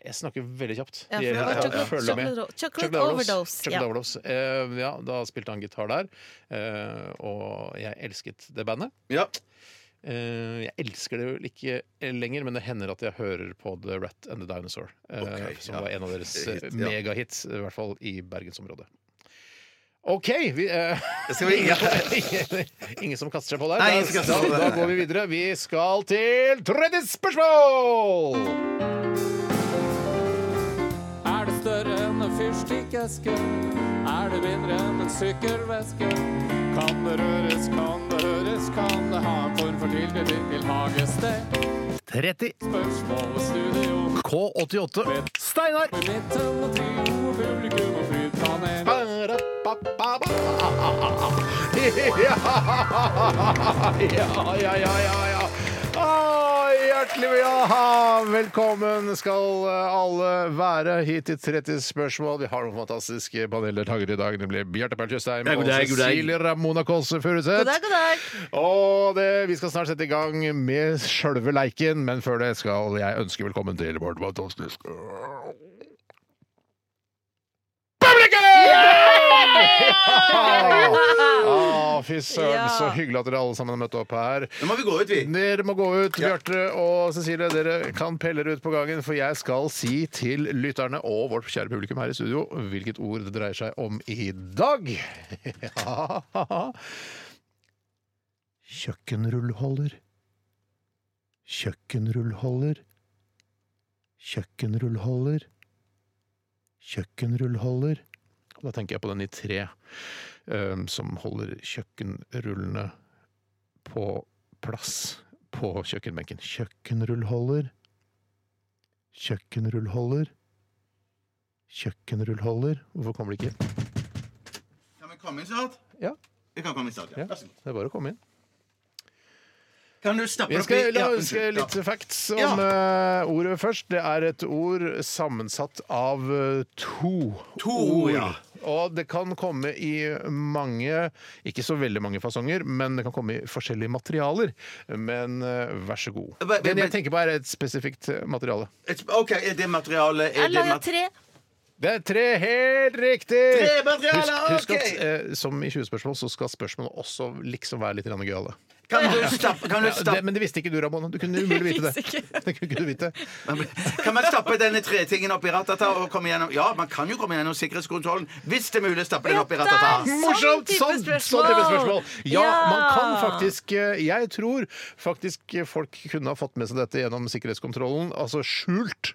S1: Jeg snakker veldig kjapt.
S3: Ja, for det var chocolate-
S1: Følger med.
S3: chocolate- chocolate overdose,
S1: Chocolate
S3: ja.
S1: overdose. Eh, ja, da spilte han gitar der, eh, og jeg elsket det bandet. Eh, jeg elsker det vel ikke lenger, men det hender at jeg hører på The Rat and the Dinosaur. eh,
S2: Ok,
S1: som
S2: ja.
S1: var en av deres
S2: Hit, ja.
S1: megahits, i hvert fall i bergensområdet. OK. Vi, eh,
S2: skal vi-
S1: ingen, ingen som kaster seg på der.
S2: Nei, ingen
S1: da,
S2: som kaster seg på
S1: da,
S2: der.
S1: da går vi videre. Vi skal til tredje spørsmål!
S11: Er det større enn en fyrstikkeske? Er det mindre enn en sykkelveske? Kan det røres, kan det høres, kan det ha en form for tilknytning til hagested?
S1: 30
S11: Spørsmål og studio
S1: K88 Steinar!
S11: i midten og trio og publikum og flytpanel.
S1: Ja, ja, ja, ja, ja. Ah, hjertelig ja. velkommen skal alle være hit til 30 spørsmål. Vi har noen fantastiske paneldeltakere i dag. Det blir Bjarte Perl Tjøstheim
S12: Ja, god
S1: og
S12: dag, god dag.
S1: Cecilie Ramona Kåse
S3: God
S1: Furuseth.
S3: dag, god dag.
S1: Og det, vi skal snart sette i gang med sjølve leiken, men før det skal jeg ønske velkommen til Bård Fantastisk. Ah, fy søren,
S2: Ja.
S1: så hyggelig at dere alle sammen har møtt opp her.
S2: Nå må vi gå ut, vi.
S1: Dere må gå ut. Bjarte og Cecilie, dere kan pelle dere ut på gangen, for jeg skal si til lytterne og vårt kjære publikum her i studio hvilket ord det dreier seg om i dag. Ja. Kjøkkenrullholder. Kjøkkenrullholder. Kjøkkenrullholder. Kjøkkenrullholder. Og da tenker jeg på den i tre eh, som holder kjøkkenrullene på plass på kjøkkenbenken. Kjøkkenrullholder. Kjøkkenrullholder. Kjøkkenrullholder. Hvorfor kommer det ikke?
S2: Kan vi komme inn snart?
S1: Ja.
S2: Vi kan komme inn snart, ja. Vær så god.
S1: Det er bare å komme inn.
S2: Kan du stappe
S1: Jeg skal,
S2: det
S1: la,
S2: opp i- Ja,
S1: skal jeg
S2: unnskyld,
S1: litt
S2: ja.
S1: facts om
S2: Ja.
S1: eh, ordet først. Det er et ord sammensatt av eh, to,
S2: To,
S1: ord.
S2: ja.
S1: Og det kan komme i mange, ikke så veldig mange fasonger, men det kan komme i forskjellige materialer. Men eh, vær så god.
S2: Men-
S1: Den
S2: men-
S1: jeg tenker på, er et spesifikt eh, materiale.
S2: Et- OK, er det materialet er
S3: Jeg
S2: det
S3: lager
S2: mat-
S3: tre.
S1: Det er tre helt riktig!
S2: Tre materialer,
S1: husk, husk
S2: ok!
S1: at eh, som i 20 spørsmål, så skal spørsmålene også liksom være litt grann gøyale.
S2: Kan du stappe- kan du
S1: Ja,
S2: stappe-
S1: det, men det visste ikke du, Ramona. Du kunne umulig vite det. Det kunne ikke Sånn du vite.
S2: Kan man stappe denne tretingen opp i ratata og komme gjennom Ja, man kan jo komme gjennom sikkerhetskontrollen hvis det er mulig å stappe den opp i ratata.
S1: Morsomt! Sånn, sånn type spørsmål! Ja, man kan faktisk eh, Jeg tror faktisk folk kunne ha fått med seg dette gjennom sikkerhetskontrollen, altså skjult,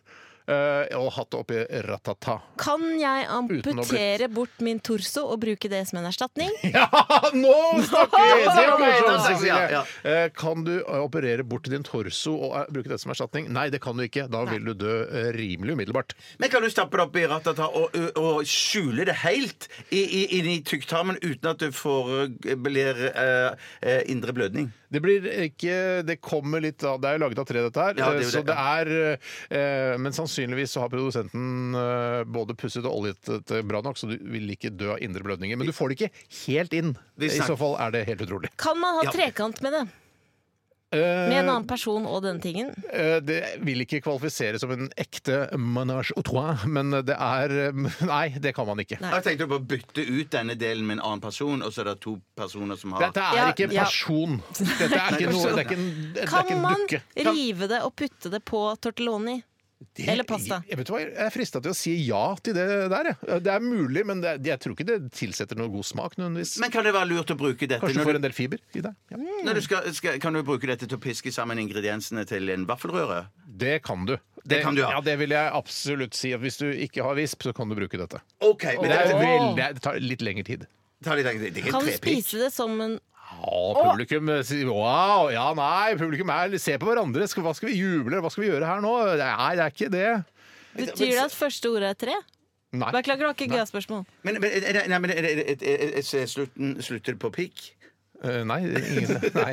S1: eh, og hatt det oppi ratata.
S3: Kan jeg
S1: blitt-
S3: amputere bort min torso og bruke det som en erstatning?
S1: Ja, nå snakker vi! Det er morsomt,
S3: Ja,
S1: Cecilie.
S3: ja.
S1: Eh, Kan du eh, operere bort din torso og eh, bruke det som erstatning? Nei, det kan du ikke. Da vil du dø eh, rimelig umiddelbart.
S2: Men kan du stappe det opp i ratata og, og, og skjule det helt i- i- inni tykktarmen uten at det får, blir eh, eh, indre blødning?
S1: Det blir ikke Det kommer litt av Det er jo laget av tre, dette her.
S2: Ja, det er jo
S1: så det
S2: det,
S1: er eh, Men sannsynligvis så har produsenten eh, både pusset og oljet dette bra nok, så du vil ikke dø av indre blødninger. Men du får det ikke helt inn.
S3: Vi
S1: I
S3: snakker-
S1: så fall er det helt utrolig. Eh,
S3: Kan man ha
S1: Ja.
S3: trekant med det? Med en annen person og denne tingen?
S1: Eh, Det vil ikke kvalifisere som en ekte menage au trois, men det er eh, Nei, det kan man ikke.
S2: Jeg tenkte på å bytte ut denne delen med en annen person, og så er det to personer som har
S1: Dette er ikke en person. Dette er ikke noe Det er ikke en, det er ikke
S3: Kan
S1: en
S3: man
S1: dukke.
S3: rive det og putte det på tortelloni? Eller pasta?
S1: Jeg, vet du hva, jeg er frista til å si ja til det der. jeg. Eh, Det er mulig, men det, jeg tror ikke det tilsetter noe god smak. nødvendigvis.
S2: Men kan det være lurt å bruke dette
S1: Kanskje du
S2: når
S1: får
S2: du-
S1: en del fiber i deg. Ja.
S2: Når du skal, skal, kan du bruke dette til å piske sammen ingrediensene til en vaffelrøre?
S1: Det kan du.
S2: Det kan du, ja.
S1: ja, det vil jeg absolutt si. at Hvis du ikke har visp, så kan du bruke dette.
S2: Ok,
S1: Og
S2: men
S1: det, er
S2: det-
S1: veldig, det tar litt lengre tid.
S2: Ta litt lenger, det er ikke
S3: Kan
S2: en
S3: du
S2: trepikk.
S3: spise det som en
S1: Ja, publikum sier wow. Ja, nei, publikum er Se på hverandre. Skal- Hva skal vi juble? Hva skal vi gjøre her nå? Nei, det er ikke det.
S3: Betyr det at første ordet er tre?
S1: Nei.
S3: Beklager, det var ikke gøye spørsmål.
S2: Men, men, er det- nei, men er det- er det- er det- er det- slutten, slutter det på pikk?
S1: Eh, nei, ingen, nei.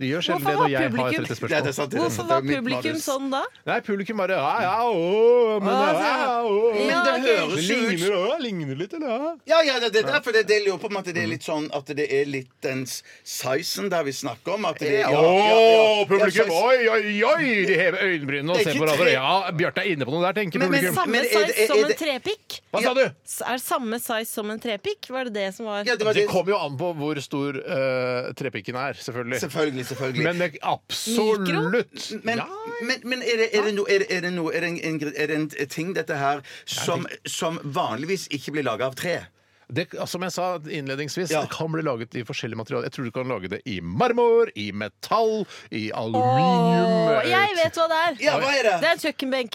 S1: De gjør sjelden det
S3: Hvorfor
S1: når
S3: var
S1: jeg har 30
S3: publikum,
S1: spørsmål.
S3: Hvorfor var publikum sånn da?
S1: Nei, publikum bare ja, ja, å, men,
S2: Å,
S1: ja,
S2: altså,
S1: ja, å.
S2: Men det høres jo ut-
S1: ligner, å, ligner litt, eller? Ja.
S2: Ja, ja, det, det er derfor det, det lurer på om at det er litt sånn At det er litt den s- sizen der vi snakker om. At det,
S1: Å, publikum! Oi, oi, oi! De hever øyenbrynene og
S2: Det er
S1: ser på
S2: ikke
S1: hverandre.
S2: tre-
S1: Ja, Bjarte er inne på noe der, tenker
S3: Men
S1: publikum.
S3: samme size som en trepikk?
S1: Hva sa du?
S3: S- Er samme size som en trepikk? Var det det som var
S1: det kommer jo an på hvor stor eh, trepikken er, selvfølgelig.
S2: Selvfølgelig, selvfølgelig.
S1: Men det, absolutt!
S2: Men, men, men er, det, er, det no, er, det- er det noe Er det en, en, er det en ting, dette her, som, som vanligvis ikke blir laga av tre?
S1: Det, altså, som jeg sa innledningsvis, det kan bli laget i forskjellige materialer. Jeg tror du kan lage det i marmor, i metall, i aluminium Eh,
S3: Åh, jeg vet hva det er!
S1: Ja, hva er det?
S3: det er en kjøkkenbenk.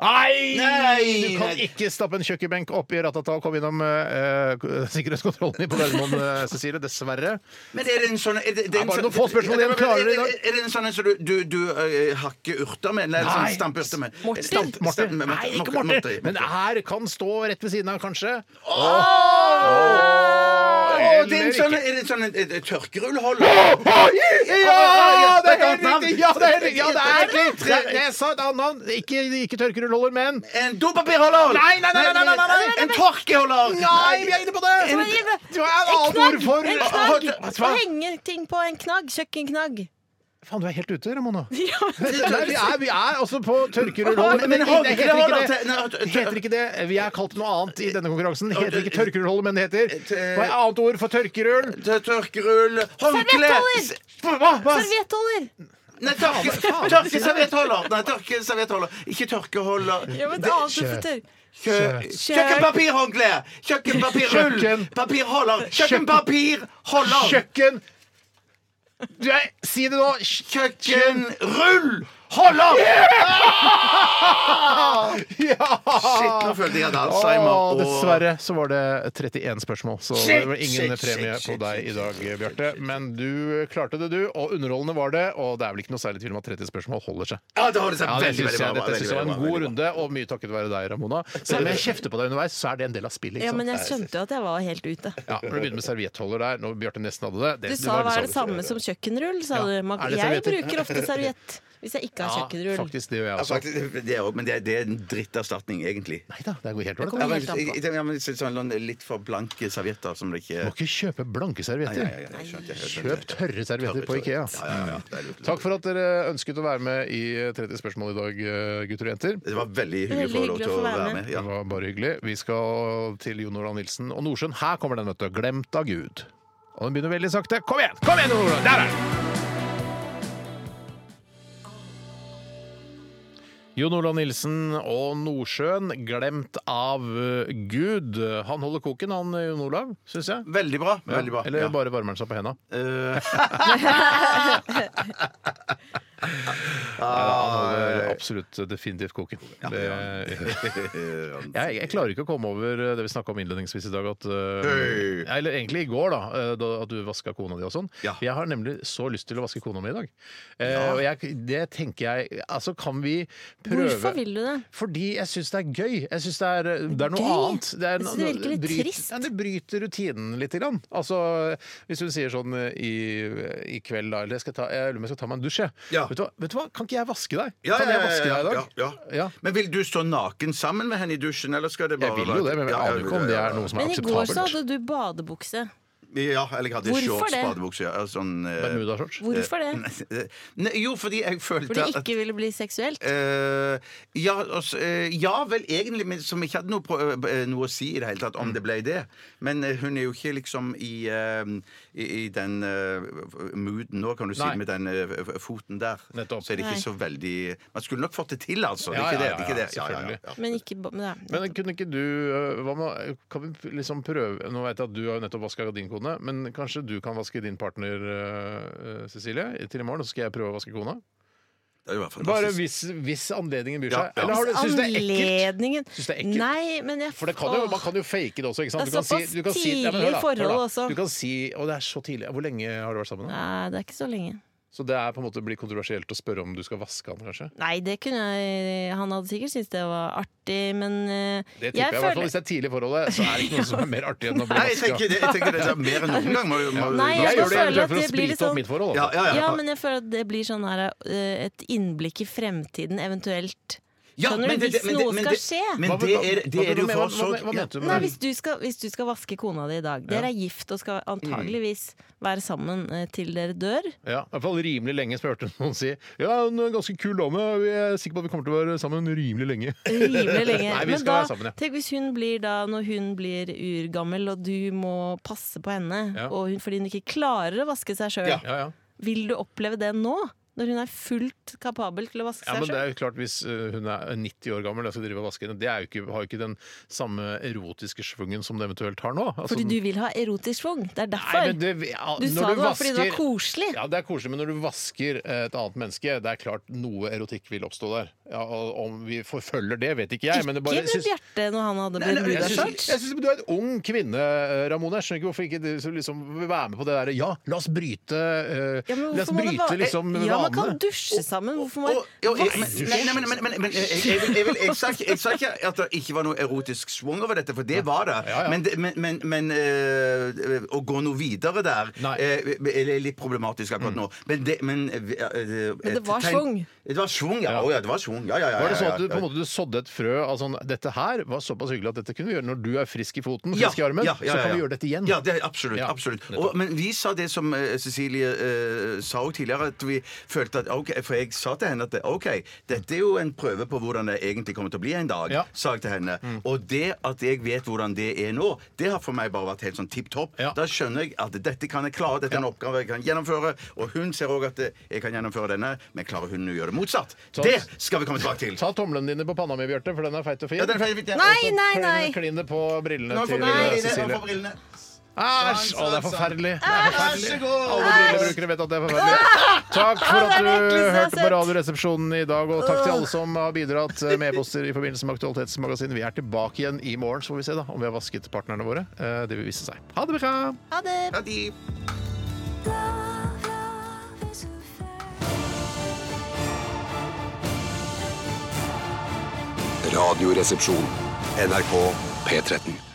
S1: Nei!
S3: Nei!
S1: Du kan ikke stappe en kjøkkenbenk opp i Ratata og komme innom eh, eh, sikkerhetskontrollen på Gardermoen, eh, Cecilie. Dessverre.
S2: Men er det en sånn er det, det
S1: Det er
S2: er en
S1: bare
S2: sånn-
S1: noen få spørsmål igjen. Klarer dere i
S2: Er
S1: dag?
S2: det- er det en sånn en som du, du, du eh, hakker urter med? Eller sånn
S1: Nei.
S2: stampeurter med?
S1: Morter.
S2: Stamp-
S1: Morter.
S2: stamp-
S1: Eh, Nei, ikke morter. Men det her kan stå rett ved siden av, kanskje.
S2: Å, det er en sånn, er det en sånn en, en, en tørkerullholder? Ja,
S1: det er helt riktig! Ja, det er helt riktig! Ja, det er
S2: helt
S1: riktig. Jeg, jeg sa et annet navn. Ikke, ikke tørkerullholder, men
S2: En dopapirholder!
S1: Nei, nei, nei! nei, nei, nei, nei.
S2: En tørkeholder!
S1: Nei, vi er inne på det!
S2: En-
S1: Du har et annet ord for
S3: En knagg! Å henge ting på en knagg. Kjøkkenknagg.
S1: Faen, du er helt ute, Ramona.
S3: Ja,
S1: Nei, vi, er, vi er altså på tørkerullholder, men,
S2: Men
S1: det, det, heter
S2: håndkleholder
S1: ikke
S2: til- nei,
S1: det. det heter ikke det. Vi er kalt noe annet i denne konkurransen. Det heter ikke tørkerullholder, men det heter Hva er annet ord for tørkerull?
S2: Tørkerull Håndkle!
S3: Serviettholder!
S2: Hva? Hva?
S3: Serviettholder!
S2: Nei, tørke,
S1: Faen.
S2: tørkeserviettholder! Nei, tørkeserviettholder. Ikke tørkeholder.
S3: Ja, men
S2: Det-
S3: det annet for tørr.
S2: Kjø
S3: Kjø-
S2: Kjøkkenpapirhåndkle! Kjøkkenpapirrull!
S1: Kjøkken.
S2: Papirholder! Kjøkkenpapirholder!
S1: Kjøkken du, jeg, Si det nå!
S2: Kjøkkenrull! Holder!
S1: Ja!
S2: Shit, nå følte jeg at jeg hadde
S1: Åh,
S2: Alzheimer. og-
S1: Dessverre så var det 31 spørsmål, så
S2: Shit,
S1: det var ingen
S2: shit, shit,
S1: premie
S2: shit,
S1: på deg i dag, Bjarte. Men du klarte det, du. Og underholdende var det. Og det er vel ikke noe særlig tvil om at 30 spørsmål holder seg.
S2: Ja, det holder seg veldig,
S1: synes
S2: veldig
S1: jeg.
S2: bra,
S1: Dette synes jeg var
S2: veldig
S1: en
S2: bra,
S1: god runde, og mye takket være deg, Ramona. Selv om jeg kjefter på deg underveis, så er det en del av spillet.
S3: Ja,
S1: ikke sant?
S3: men jeg skjønte jo at jeg var helt ute.
S1: Ja, når du begynner med serviettholder der, når Bjarte nesten hadde det,
S3: Du
S1: det var-
S3: sa
S1: liksom
S3: hva er
S1: sa
S3: det
S1: du-
S3: samme som kjøkkenrull, sa du.
S1: Ja.
S3: Man-
S1: Er det
S3: Jeg
S1: servietter?
S3: bruker ofte serviett hvis jeg ikke har
S1: Ja,
S3: kjøkkenrull.
S1: faktisk det gjør jeg
S2: Ja,
S1: også.
S2: faktisk, det er, også- men det er, det er en dritterstatning, egentlig.
S1: Nei da, det går helt
S2: Ja, men,
S1: ålreit.
S2: jeg, jeg, jeg, men sånn litt for blanke servietter som det ikke
S1: Du må ikke kjøpe blanke servietter.
S2: Nei, nei, nei, jeg skjønte, jeg skjønte.
S1: Kjøp tørre servietter
S2: Tørre,
S1: på
S2: tørre.
S1: Ikea.
S2: Ja, ja, ja, det er lurt.
S1: Takk for at dere ønsket å være med i 30 spørsmål i dag, eh, gutter og jenter.
S2: Det var veldig hyggelig å få lov til å være med. Ja.
S1: Det var bare hyggelig. Vi skal til Jon Olav Nilsen og Nordsjøen. Her kommer den, vet du. Glemt av Gud. Og den begynner veldig sakte. Kom igjen! Kom igjen, Jon Olav! Der er den! Jon Olav Nilsen og Nordsjøen, glemt av eh, Gud. Han holder koken, han eh, Jon Olav, syns jeg.
S2: Veldig bra.
S1: Ja,
S2: Veldig bra.
S1: Eller
S2: ja. Eh,
S1: bare varmer han seg på henda. Han holder absolutt definitivt koken. Det, jeg, jeg klarer ikke å komme over eh, det vi snakka om innledningsvis i dag, at eh, Eller egentlig i går, da, eh, da at du vaska kona di og sånn.
S2: Ja.
S1: Jeg har nemlig så lyst til å vaske kona mi i dag. Eh, og jeg, det tenker jeg Altså, kan vi prøve
S3: Hvorfor vil du det?
S1: Fordi jeg syns det er gøy. Jeg syns det, er- det er noe
S3: Gøy?
S1: annet. Det, er
S3: Jeg
S1: no-
S3: synes det virker litt
S1: bryter-
S3: trist.
S1: Ja, det bryter rutinen litt. Grann. Altså, hvis hun sier sånn eh, i, i kveld, da, eller jeg, skal ta, jeg lurer på om jeg skal ta meg en dusj, jeg.
S2: Ja.
S1: Vet, du hva, vet du hva, kan ikke jeg vaske deg?
S2: Ja,
S1: kan
S2: ja,
S1: jeg
S2: ja,
S1: vaske deg i dag?
S2: ja, ja. Men vil du stå naken sammen med henne i dusjen, eller skal det bare
S1: Jeg vil jo det, men jeg
S2: Ja, ja,
S1: aner jo ikke om
S2: ja,
S1: det
S2: ja,
S1: er noe som er
S3: Men i går så
S1: akseptabelt.
S3: hadde du badebukse.
S2: Ja, eller jeg hadde
S3: Hvorfor
S2: shorts,
S3: det?
S2: badebukse ja, sånn, eh,
S1: Bermudashorts.
S3: Hvorfor det?
S2: eh, Nei, jo, fordi jeg følte
S3: Fordi
S2: at
S3: det ikke ville bli seksuelt?
S2: eh, ja, altså, eh, ja, vel egentlig, men som ikke hadde noe, på, eh, noe å si i det hele tatt,
S1: Mm.
S2: om det ble det. Men eh, hun er jo ikke liksom i, eh, i, i den eh, mooden nå, kan du si,
S1: Nei.
S2: med den eh, f- foten der.
S1: Nettopp.
S2: Så er det ikke så veldig Man skulle nok fått det til, altså. Det
S1: Ja,
S2: er ikke det.
S1: ja,
S2: det, er ikke det.
S1: ja, ja,
S2: Ja, ja, ja.
S3: Men ikke ba- men, ja.
S1: Men kunne ikke du øh, hva med, Kan vi liksom prøve Nå vet jeg at du har jo nettopp vaska din kone, men kanskje du kan vaske din partner, øh, Cecilie, til i morgen, og så skal jeg prøve å vaske kona?
S2: Det er jo fantastisk.
S1: Bare hvis, hvis anledningen byr
S2: Ja,
S1: seg.
S2: ja.
S1: Eller har du, syns du det er ekkelt?
S3: Anledningen
S1: Syns det er ekkelt?
S3: Nei, men jeg
S1: For det kan jo, Man kan jo fake det også. ikke sant?
S3: Det er såpass
S1: ja, men hør da,
S3: tidlig i
S1: hør da.
S3: forholdet også.
S1: Du kan si, og det er så tidlig. Hvor lenge har dere vært sammen? da?
S3: Nei, det er ikke så lenge.
S1: Så det er på en måte blir kontroversielt å spørre om du skal vaske han, kanskje?
S3: Nei, det kunne jeg Han hadde sikkert syntes det var artig, men eh,
S1: Det tipper jeg, i hvert fall.
S3: føler-
S1: Hvis det er tidlig i forholdet, så er det ikke noe som er mer artig enn å bli
S2: Nei, jeg tenker
S1: vasket.
S2: det, jeg tenker det er mer enn noen gang. Må, må,
S3: Nei,
S1: Jeg gjør
S3: jeg bare
S1: det jeg gjør
S3: føler at
S1: for å
S3: det blir
S1: sprite
S3: litt
S1: opp
S3: sånn
S1: mitt forhold.
S2: ja,
S1: Altså.
S2: ja, ja.
S3: Ja, men jeg føler at det blir sånn her eh, et innblikk i fremtiden, eventuelt.
S2: Ja,
S3: Skjønner
S2: men
S3: du?
S2: det-
S3: Hvis
S2: men det-
S3: noe
S2: men
S3: skal
S2: det-
S3: skje.
S2: Men
S1: Hva-
S2: det er
S1: hva-
S2: det er jo
S1: hva-
S2: for
S1: hva-
S2: så
S1: hva- Hva mente du
S3: Nei,
S1: med
S3: hvis du, skal, hvis du skal vaske kona di i dag Dere er gift og skal antageligvis
S1: Mm.
S3: være sammen eh, til dere dør.
S1: Ja, I hvert fall rimelig lenge, som jeg hørte noen si. Ja, hun er en ganske kul dame. Vi er sikre på at vi kommer til å være sammen rimelig lenge.
S3: Rimelig lenge.
S1: Nei, vi
S3: Men
S1: skal
S3: da,
S1: være sammen, ja.
S3: tenk hvis hun blir da, når hun blir urgammel, og du må passe på henne,
S1: Ja.
S3: og hun, fordi hun ikke klarer å vaske seg sjøl,
S1: Ja, ja.
S3: vil du oppleve det nå? Når hun er fullt kapabel til å vaske
S1: Ja, men
S3: seg
S1: det
S3: sjøl.
S1: er jo klart Hvis eh, hun er 90 år gammel og skal drive og vaske henne, det er jo ikke, har jo ikke den samme erotiske schwungen som det eventuelt har nå. Altså,
S3: Fordi du vil ha erotisk schwung. Det er derfor.
S1: Nei, men det, ja,
S3: du
S1: når
S3: sa det var fordi det var
S1: vasker-
S3: koselig.
S1: Ja, det er koselig, men når du vasker eh, et annet menneske, det er klart noe erotikk vil oppstå der. Ja, og om vi forfølger det, vet ikke jeg. Men det bare,
S3: Ikke med Bjarte når han hadde
S1: Nei, nei, jeg
S3: brudashorts.
S1: synes- jeg synes Du er en ung kvinne, Ramona. Jeg skjønner ikke hvorfor ikke du så liksom vil være med på det derre Ja, la oss bryte, eh, la oss
S3: Hvorfor må det
S1: bryte
S3: være-
S1: liksom
S3: ja, man kan
S1: vanene.
S3: dusje sammen. Hvorfor må
S2: Jo, jeg-
S3: Hva-
S2: men- nei, nei, men- men- men- men- jeg- jeg- jeg- jeg vil- Jeg sa ikke- jeg sa ikke at det ikke var noe erotisk swung over dette, for det var det. Men, det- men, men, men øh, å gå noe videre der øh, er litt problematisk akkurat
S1: Mm.
S2: nå. Men det, men, øh, øh,
S3: Men det var
S2: tegn-
S3: schwung.
S2: Det var schwung, ja. Å ja, det var schwung. Ja, ja, ja, ja,
S1: Var det sånn at du
S2: ja,
S1: på en
S2: ja.
S1: måte du sådde et frø av sånn Dette her var såpass hyggelig at dette kunne vi gjøre når du er frisk i foten,
S2: Ja,
S1: frisk i armen.
S2: ja, ja,
S1: Så
S2: ja,
S1: kan vi
S2: ja.
S1: gjøre dette igjen.
S2: Ja, det er absolutt. absolutt. Og, men vi sa det som eh, Cecilie eh, sa jo tidligere, at vi følte at ok, For jeg sa til henne at OK, dette er jo en prøve på hvordan det egentlig kommer til å bli en dag. sa jeg til henne.
S1: Mm.
S2: Og det at jeg vet hvordan det er nå, det har for meg bare vært helt sånn tipp topp. Da skjønner jeg at dette kan jeg klare, dette er en oppgave jeg kan gjennomføre. Og hun ser òg at eh, jeg kan gjennomføre denne, men klarer hun å gjøre det motsatt?
S1: Ta-
S2: Det skal vi komme tilbake til.
S1: Ta tomlene dine på panna mi, Bjarte, for den er feit og fin.
S2: Ja, den er feit og fin, ja.
S1: Og så
S2: Nei, nei, nei.
S1: Klin det på brillene
S2: Nå får
S1: til
S2: brillene,
S1: eh,
S2: nå får
S1: Cecilie.
S2: brillene.
S1: Æsj! Å, det er forferdelig. Sånn, Det er
S2: Æsj, så
S1: forferdelig.
S2: god!
S1: Alle brillebrukere vet at det er forferdelig. Takk for
S7: Ah,
S1: at
S7: det er det
S1: du
S7: ekleste jeg har
S1: hørte på
S7: sett.
S1: Radioresepsjonen i dag, og takk til alle som har bidratt med e-poster i forbindelse med Aktualitetsmagasinet. Vi er tilbake igjen i morgen, så får vi se da om vi har vasket partnerne våre. Eh, Det vil vise seg. Ha det bra!
S3: Ha det!
S13: Radioresepsjon. NRK P13.